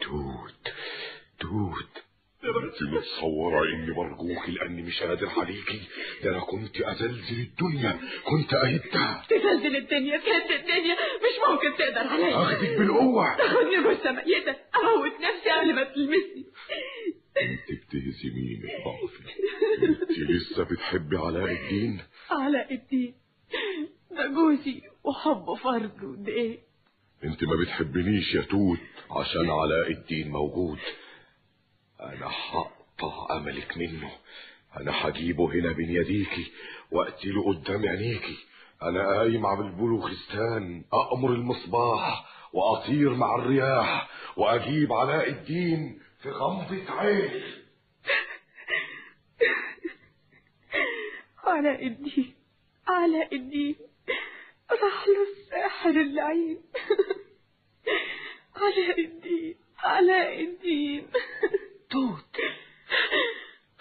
Speaker 26: توت توت انت متصورة اني مرجوكي لاني مش قادر عليكي ده انا كنت ازلزل الدنيا كنت اهدها
Speaker 20: تزلزل الدنيا تهد الدنيا مش ممكن تقدر عليا
Speaker 26: اخدك بالقوة
Speaker 20: تاخدني وسط ميتة اموت نفسي قبل ما تلمسني
Speaker 26: انت بتهزميني من ضعفي انت لسه بتحبي علاء الدين
Speaker 20: علاء الدين ده جوزي وحبه فرض ودقيق
Speaker 26: انت ما بتحبنيش يا توت عشان علاء الدين موجود انا هقطع املك منه انا هجيبه هنا بين يديكي واقتله قدام عينيكي انا قايم على البلوخستان اامر المصباح واطير مع الرياح واجيب علاء الدين في غمضة عيني
Speaker 20: علاء الدين علاء الدين راح له الساحر اللعين علاء الدين علاء الدين توت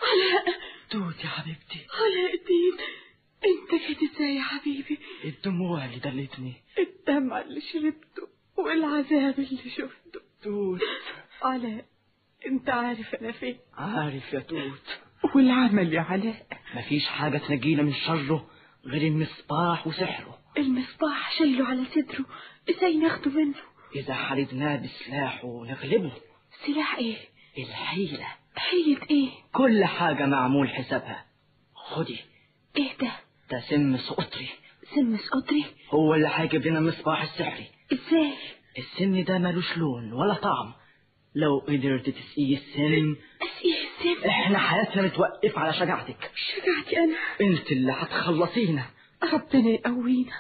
Speaker 20: علاء
Speaker 24: توت يا حبيبتي
Speaker 20: علاء الدين انت جيت ازاي يا حبيبي
Speaker 24: الدموع اللي دلتني
Speaker 20: الدمع اللي شربته والعذاب اللي شفته
Speaker 24: توت
Speaker 20: علاء انت عارف انا فين
Speaker 24: عارف يا توت
Speaker 20: والعمل يا علاء
Speaker 24: مفيش حاجة تنجينا من شره غير المصباح وسحره
Speaker 20: المصباح شايله على صدره ازاي ناخده منه
Speaker 24: إذا حاربناه بسلاحه نغلبه
Speaker 20: سلاح ايه
Speaker 24: الحيلة
Speaker 20: حيلة ايه
Speaker 24: كل حاجة معمول حسابها خدي
Speaker 20: ايه ده
Speaker 24: ده سم سقطري
Speaker 20: سم سقطري
Speaker 24: هو اللي هيجيب لنا المصباح السحري
Speaker 20: ازاي
Speaker 24: السم ده ملوش لون ولا طعم لو قدرت تسقي السم
Speaker 20: اسقيه السم
Speaker 24: احنا حياتنا متوقف على شجاعتك
Speaker 20: شجعتي انا
Speaker 24: انت اللي هتخلصينا
Speaker 20: ربنا يقوينا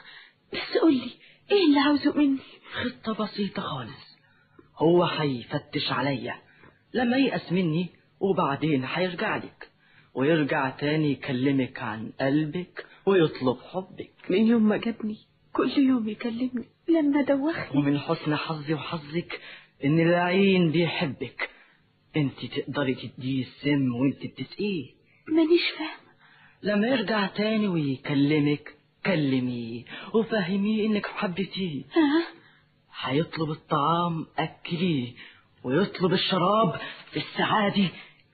Speaker 20: بس قولي ايه اللي عاوزه مني
Speaker 24: خطة بسيطة خالص هو هيفتش عليا لما ييأس مني وبعدين هيرجع لك ويرجع تاني يكلمك عن قلبك ويطلب حبك
Speaker 20: من يوم ما جابني كل يوم يكلمني لما دوخني
Speaker 24: ومن حسن حظي وحظك ان العين بيحبك انت تقدري تديه السم وانت بتسقيه
Speaker 20: مانيش فاهمة
Speaker 24: لما يرجع تاني ويكلمك كلميه وفهميه انك حبيتيه
Speaker 20: ها
Speaker 24: هيطلب الطعام أكليه ويطلب الشراب في الساعة دي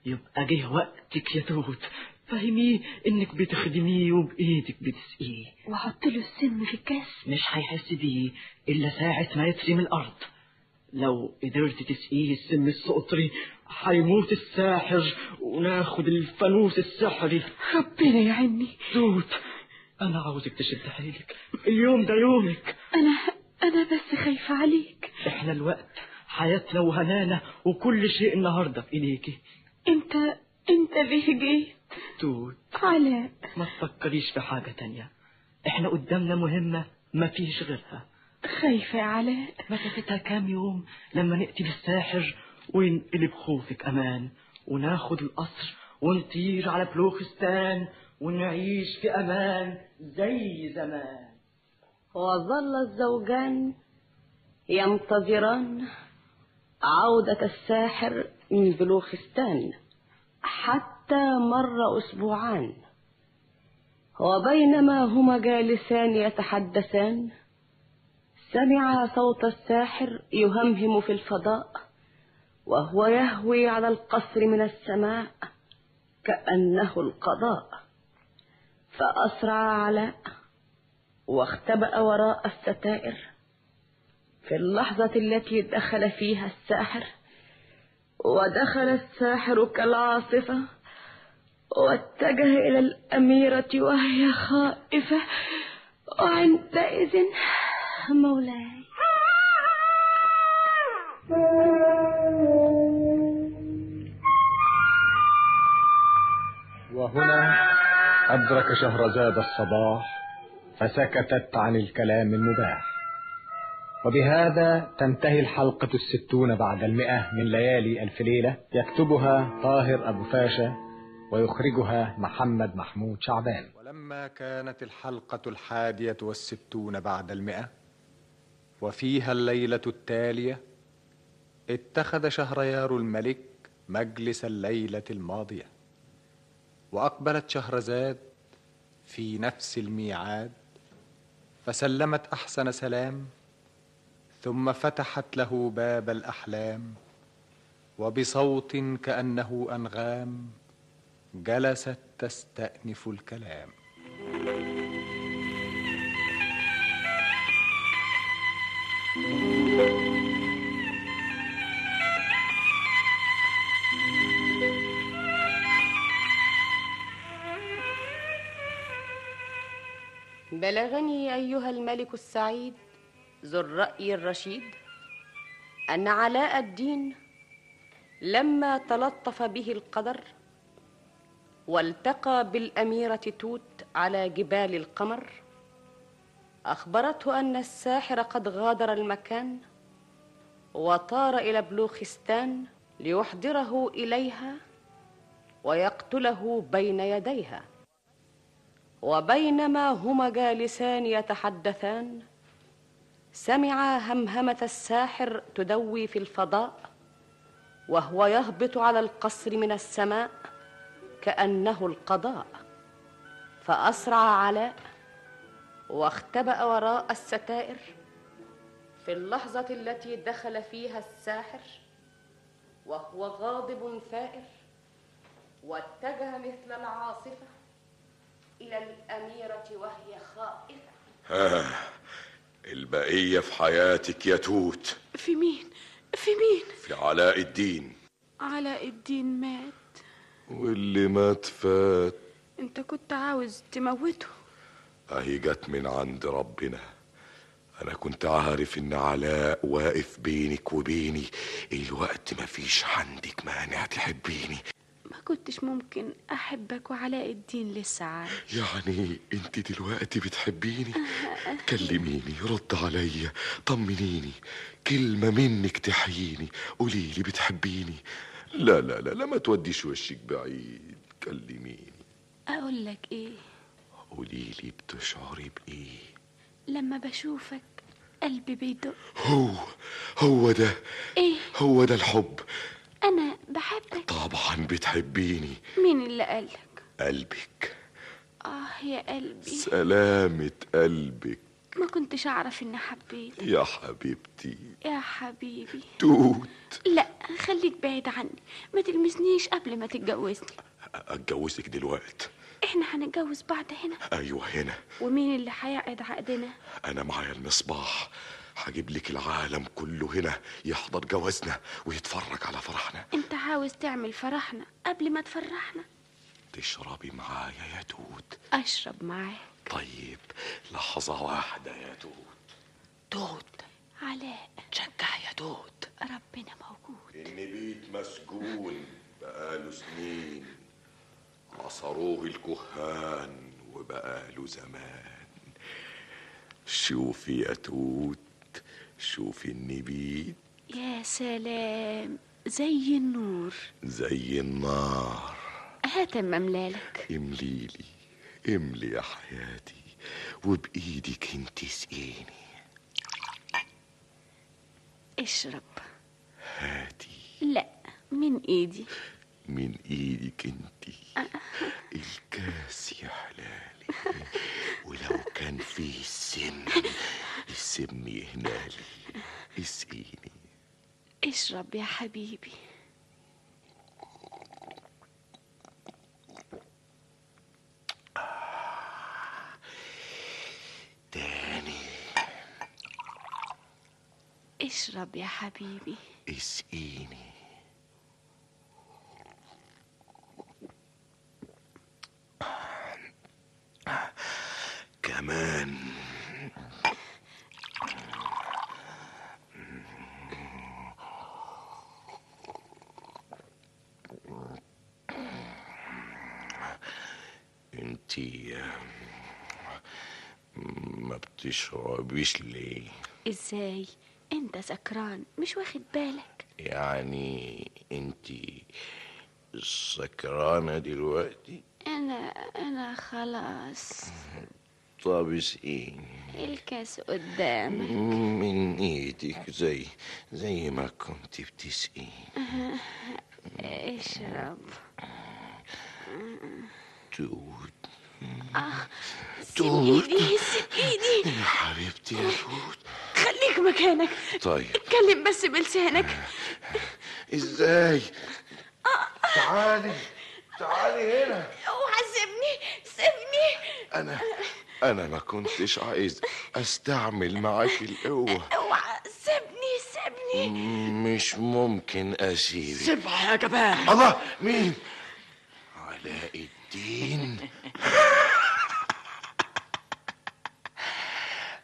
Speaker 24: يبقى جه وقتك يا توت فهميه إنك بتخدميه وبإيدك بتسقيه
Speaker 20: وحط له السم في الكاس
Speaker 24: مش هيحس بيه إلا ساعة ما يترمي الأرض لو قدرت تسقيه السم السقطري هيموت الساحر وناخد الفانوس السحري
Speaker 20: ربنا يعيني
Speaker 24: توت أنا عاوزك تشد حيلك اليوم ده يومك
Speaker 20: انا انا بس خايفة عليك
Speaker 24: احنا الوقت حياتنا وهنانا وكل شيء النهارده في ايديكي
Speaker 20: انت انت ليه جيت
Speaker 24: توت
Speaker 20: علاء
Speaker 24: ما تفكريش في حاجه تانية احنا قدامنا مهمه ما فيش غيرها
Speaker 20: خايفة يا علاء
Speaker 24: مسافتها كام يوم لما نقتل الساحر وينقلب خوفك امان وناخد القصر ونطير على بلوخستان ونعيش في امان زي زمان
Speaker 2: وظل الزوجان ينتظران عودة الساحر من بلوخستان حتى مر أسبوعان وبينما هما جالسان يتحدثان سمع صوت الساحر يهمهم في الفضاء وهو يهوي على القصر من السماء كأنه القضاء فأسرع علاء
Speaker 24: واختبأ وراء الستائر في اللحظة التي دخل فيها الساحر ودخل الساحر كالعاصفة واتجه إلى الأميرة وهي خائفة وعندئذ مولاي
Speaker 1: وهنا أدرك شهرزاد الصباح فسكتت عن الكلام المباح وبهذا تنتهي الحلقة الستون بعد المئة من ليالي ألف ليلة يكتبها طاهر أبو فاشا ويخرجها محمد محمود شعبان ولما كانت الحلقة الحادية والستون بعد المئة وفيها الليلة التالية اتخذ شهريار الملك مجلس الليلة الماضية وأقبلت شهرزاد في نفس الميعاد فسلمت احسن سلام ثم فتحت له باب الاحلام وبصوت كانه انغام جلست تستانف الكلام
Speaker 2: بلغني أيها الملك السعيد ذو الرأي الرشيد أن علاء الدين لما تلطف به القدر والتقى بالأميرة توت على جبال القمر أخبرته أن الساحر قد غادر المكان وطار إلى بلوخستان ليحضره إليها ويقتله بين يديها وبينما هما جالسان يتحدثان سمعا همهمه الساحر تدوي في الفضاء وهو يهبط على القصر من السماء كانه القضاء فاسرع علاء واختبا وراء الستائر في اللحظه التي دخل فيها الساحر وهو غاضب ثائر واتجه مثل العاصفه إلى الأميرة وهي خائفة
Speaker 10: آه البقية في حياتك يا توت
Speaker 13: في مين في مين
Speaker 10: في علاء الدين
Speaker 13: علاء الدين مات
Speaker 10: واللي مات فات
Speaker 13: انت كنت عاوز تموته
Speaker 10: اهي جت من عند ربنا انا كنت عارف ان علاء واقف بينك وبيني الوقت مفيش عندك مانع تحبيني
Speaker 13: ما كنتش ممكن احبك وعلاء الدين لسه عايش
Speaker 10: يعني انت دلوقتي بتحبيني كلميني رد عليا طمنيني كلمة منك تحييني قوليلي بتحبيني لا لا لا لا ما توديش وشك بعيد كلميني
Speaker 13: اقول لك ايه
Speaker 10: قوليلي بتشعري بإيه
Speaker 13: لما بشوفك قلبي بيدق
Speaker 10: هو هو ده
Speaker 13: ايه
Speaker 10: هو ده الحب
Speaker 13: انا بحبك
Speaker 10: طبعا بتحبيني
Speaker 13: مين اللي قالك
Speaker 10: قلبك
Speaker 13: اه يا قلبي
Speaker 10: سلامة قلبك
Speaker 13: ما كنتش اعرف اني حبيتك
Speaker 10: يا حبيبتي
Speaker 13: يا حبيبي
Speaker 10: توت
Speaker 13: لا خليك بعيد عني ما تلمسنيش قبل ما تتجوزني
Speaker 10: اتجوزك دلوقت
Speaker 13: احنا هنتجوز بعض هنا
Speaker 10: ايوه هنا
Speaker 13: ومين اللي هيعقد عقدنا
Speaker 10: انا معايا المصباح هجيب لك العالم كله هنا يحضر جوازنا ويتفرج على فرحنا
Speaker 13: انت عاوز تعمل فرحنا قبل ما تفرحنا
Speaker 10: تشربي معايا يا توت
Speaker 13: اشرب معاك
Speaker 10: طيب لحظة واحدة يا توت
Speaker 13: توت علاء تشجع يا توت ربنا موجود
Speaker 10: النبيت مسجون بقاله سنين عصروه الكهان وبقاله زمان شوفي يا توت شوفي النبيت
Speaker 13: يا سلام زي النور
Speaker 10: زي النار
Speaker 13: هات أما ملالك
Speaker 10: امليلي املي يا حياتي وبايدك انت سقيني
Speaker 13: اشرب
Speaker 10: هاتي
Speaker 13: لا من ايدي
Speaker 10: من ايدك انت الكاس يا حلالي ولو كان فيه السم السم يهنالي اسقيني
Speaker 13: اشرب يا حبيبي
Speaker 10: ده
Speaker 13: اشرب يا حبيبي
Speaker 10: اسقيني كمان انتي ما بتشربيش ليه
Speaker 13: ازاي انت سكران مش واخد بالك
Speaker 10: يعني انتي سكرانة دلوقتي
Speaker 13: انا انا خلاص
Speaker 10: طب اسقيني
Speaker 13: الكاس قدامك <laughs>
Speaker 10: من ايدك زي زي ما كنت بتسقيني
Speaker 13: اشرب
Speaker 10: توت
Speaker 13: آه،
Speaker 10: توت
Speaker 13: ايدي سيب ايدي
Speaker 10: يا حبيبتي يا توت
Speaker 13: خليك مكانك
Speaker 10: طيب
Speaker 13: اتكلم بس بلسانك
Speaker 10: ازاي تعالي تعالي هنا
Speaker 13: اوعى سيبني سيبني
Speaker 10: انا انا ما كنتش عايز استعمل معاك القوة
Speaker 13: اوعى سيبني سيبني
Speaker 10: مش ممكن اسيبك
Speaker 8: سيبها يا جبان
Speaker 10: الله مين علاء الدين <laughs>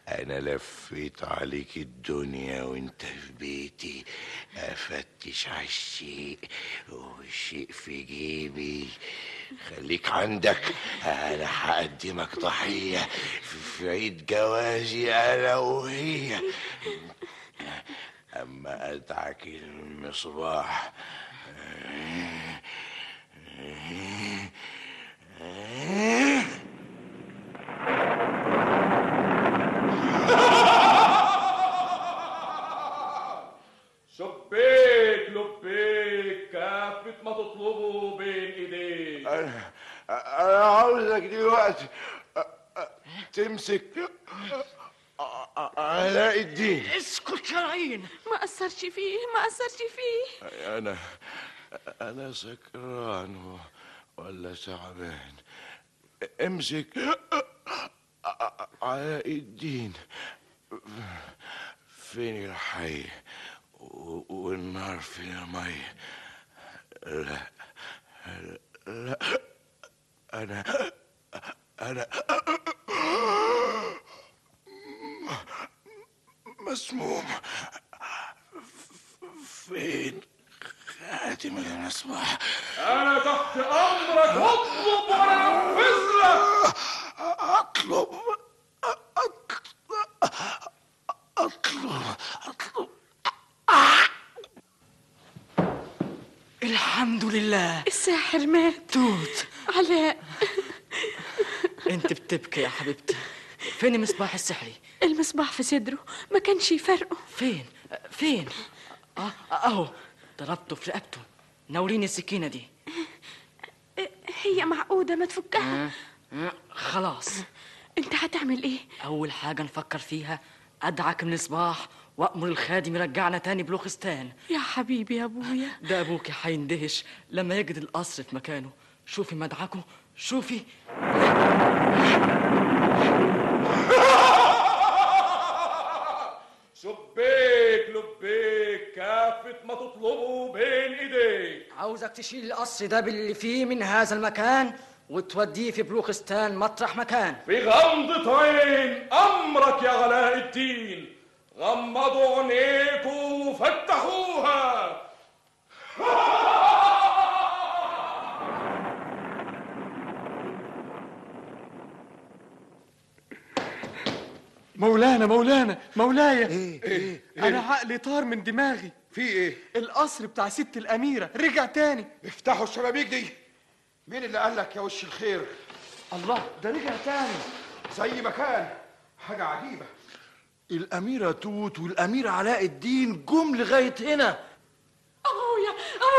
Speaker 10: انا لفيت عليك الدنيا وانت في بيتي افتش على الشيء والشيء في جيبي خليك عندك انا هقدمك ضحيه في عيد جوازي انا وهي اما ادعك المصباح
Speaker 15: شبيك لبيك كافة ما تطلبه بين ايديك
Speaker 10: انا انا عاوزك دلوقتي تمسك علاء الدين
Speaker 8: اسكت يا رعين
Speaker 13: ما اثرش فيه ما اثرش فيه
Speaker 10: انا انا سكران و- ولا تعبان امسك علاء الدين فين الحي و- والنار فين المية لا لا انا انا مسموم فين خاتم المصباح
Speaker 15: انا تحت امرك اطلب وانا انفذ لك
Speaker 10: اطلب اطلب
Speaker 8: آه! الحمد لله
Speaker 13: الساحر مات
Speaker 8: توت
Speaker 13: علاء
Speaker 8: انت بتبكي يا حبيبتي فين المصباح السحري
Speaker 13: المصباح في صدره ما كانش يفرقه
Speaker 8: فين فين اه اهو ضربته في رقبته ناوليني السكينه دي
Speaker 13: هي معقودة ما تفكها
Speaker 8: مم، آه، خلاص
Speaker 13: انت هتعمل ايه
Speaker 8: اول حاجه نفكر فيها ادعك من الصباح وامر الخادم يرجعنا تاني بلوخستان
Speaker 13: يا حبيبي يا ابويا
Speaker 8: ده ابوك هيندهش لما يجد القصر في مكانه شوفي مدعكه شوفي
Speaker 15: <laughs> شبيك لبيك كافة ما تطلبه بين ايديك
Speaker 8: عاوزك تشيل القصر ده باللي فيه من هذا المكان وتوديه في بلوخستان مطرح مكان
Speaker 15: في غمضة عين أمرك يا علاء الدين غمضوا عينيكم وفتحوها
Speaker 17: مولانا مولانا مولايا ايه ايه انا عقلي طار من دماغي
Speaker 16: إيه، في ايه؟
Speaker 17: القصر بتاع ست الاميره رجع تاني
Speaker 16: افتحوا الشبابيك دي مين اللي قال لك يا وش الخير؟
Speaker 8: الله
Speaker 16: ده رجع تاني زي ما كان حاجة عجيبة
Speaker 27: الأميرة توت والأمير علاء الدين جم لغاية هنا
Speaker 13: ابويا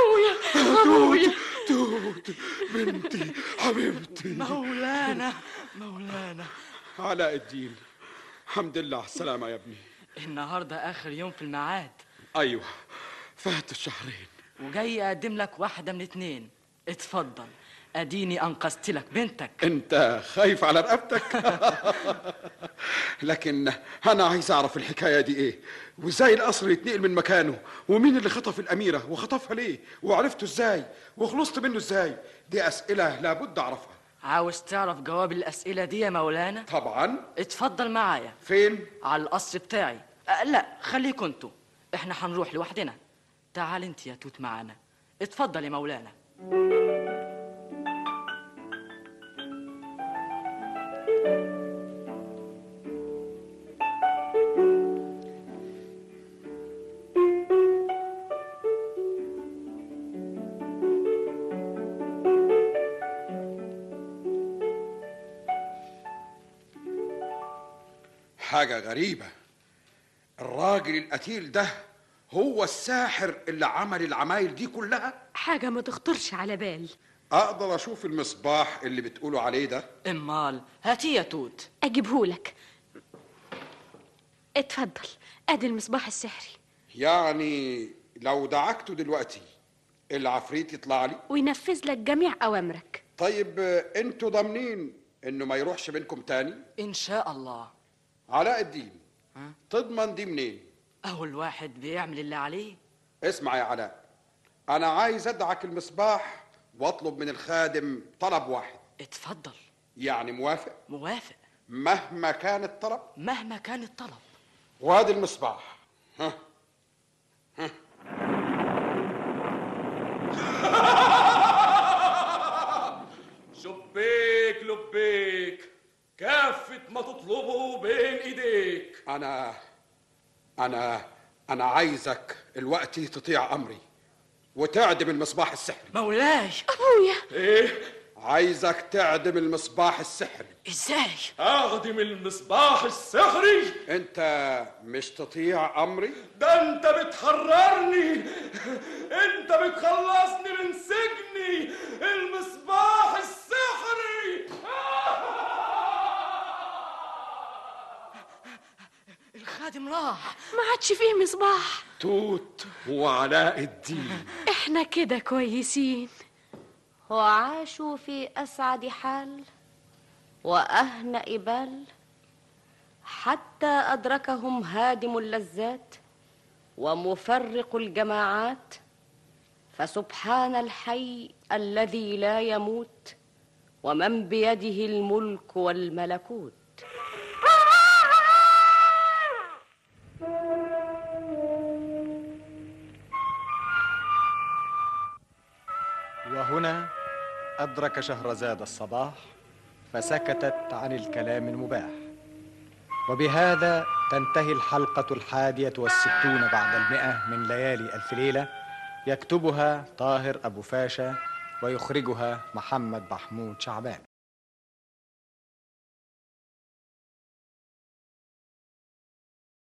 Speaker 13: ابويا ابويا
Speaker 16: توت بنتي حبيبتي
Speaker 8: مولانا مولانا
Speaker 16: علاء الدين الحمد لله على السلامة يا ابني
Speaker 8: النهارده اخر يوم في الميعاد
Speaker 15: أيوة.
Speaker 16: أيوه فات الشهرين
Speaker 8: وجاي اقدم لك واحده من اتنين اتفضل اديني انقذت لك بنتك
Speaker 16: أنت خايف على رقبتك <laughs> لكن انا عايز اعرف الحكايه دي ايه وازاي القصر يتنقل من مكانه ومين اللي خطف الاميره وخطفها ليه وعرفته ازاي وخلصت منه ازاي دي اسئله لابد اعرفها
Speaker 8: عاوز تعرف جواب الأسئلة دي يا مولانا؟
Speaker 16: طبعا
Speaker 8: اتفضل معايا
Speaker 16: فين؟
Speaker 8: على القصر بتاعي أه لا خليكوا انتوا احنا هنروح لوحدنا تعال انت يا توت معانا اتفضل يا مولانا
Speaker 16: حاجه غريبه الراجل القتيل ده هو الساحر اللي عمل العمايل دي كلها
Speaker 13: حاجة ما تخطرش على بال
Speaker 16: اقدر اشوف المصباح اللي بتقولوا عليه ده
Speaker 8: امال هاتيه يا توت
Speaker 13: أجيبهولك اتفضل أدي المصباح السحري
Speaker 16: يعني لو دعكته دلوقتي العفريت يطلع لي
Speaker 13: وينفذ لك جميع أوامرك
Speaker 16: طيب آه، انتوا ضامنين انه ما يروحش منكم تاني
Speaker 8: ان شاء الله
Speaker 16: علاء الدين تضمن دي منين
Speaker 8: اهو الواحد بيعمل اللي عليه
Speaker 16: اسمع يا علاء انا عايز ادعك المصباح واطلب من الخادم طلب واحد
Speaker 8: اتفضل
Speaker 16: يعني موافق
Speaker 8: موافق
Speaker 16: مهما كان الطلب
Speaker 8: مهما كان الطلب
Speaker 16: وادي المصباح ها ها
Speaker 15: شبيك لبيك كافة ما تطلبه بين ايديك
Speaker 16: انا انا انا عايزك الوقت تطيع امري وتعدم المصباح السحري إيه؟
Speaker 8: مولاي
Speaker 13: أبويا
Speaker 15: ايه
Speaker 16: عايزك تعدم المصباح السحري
Speaker 8: ازاي
Speaker 15: اخدم المصباح السحري
Speaker 16: انت مش تطيع امري
Speaker 15: ده انت بتحررني انت بتخلصني من سجني المصباح السحري
Speaker 8: الخادم راح
Speaker 13: ما عادش فيه مصباح
Speaker 16: توت وعلاء الدين
Speaker 13: احنا كده كويسين
Speaker 7: وعاشوا في أسعد حال وأهنأ بال
Speaker 2: حتى أدركهم هادم اللذات ومفرق الجماعات فسبحان الحي الذي لا يموت ومن بيده الملك والملكوت
Speaker 1: وهنا أدرك شهرزاد الصباح فسكتت عن الكلام المباح وبهذا تنتهي الحلقة الحادية والستون بعد المئة من ليالي ألف ليلة يكتبها طاهر أبو فاشا ويخرجها محمد محمود شعبان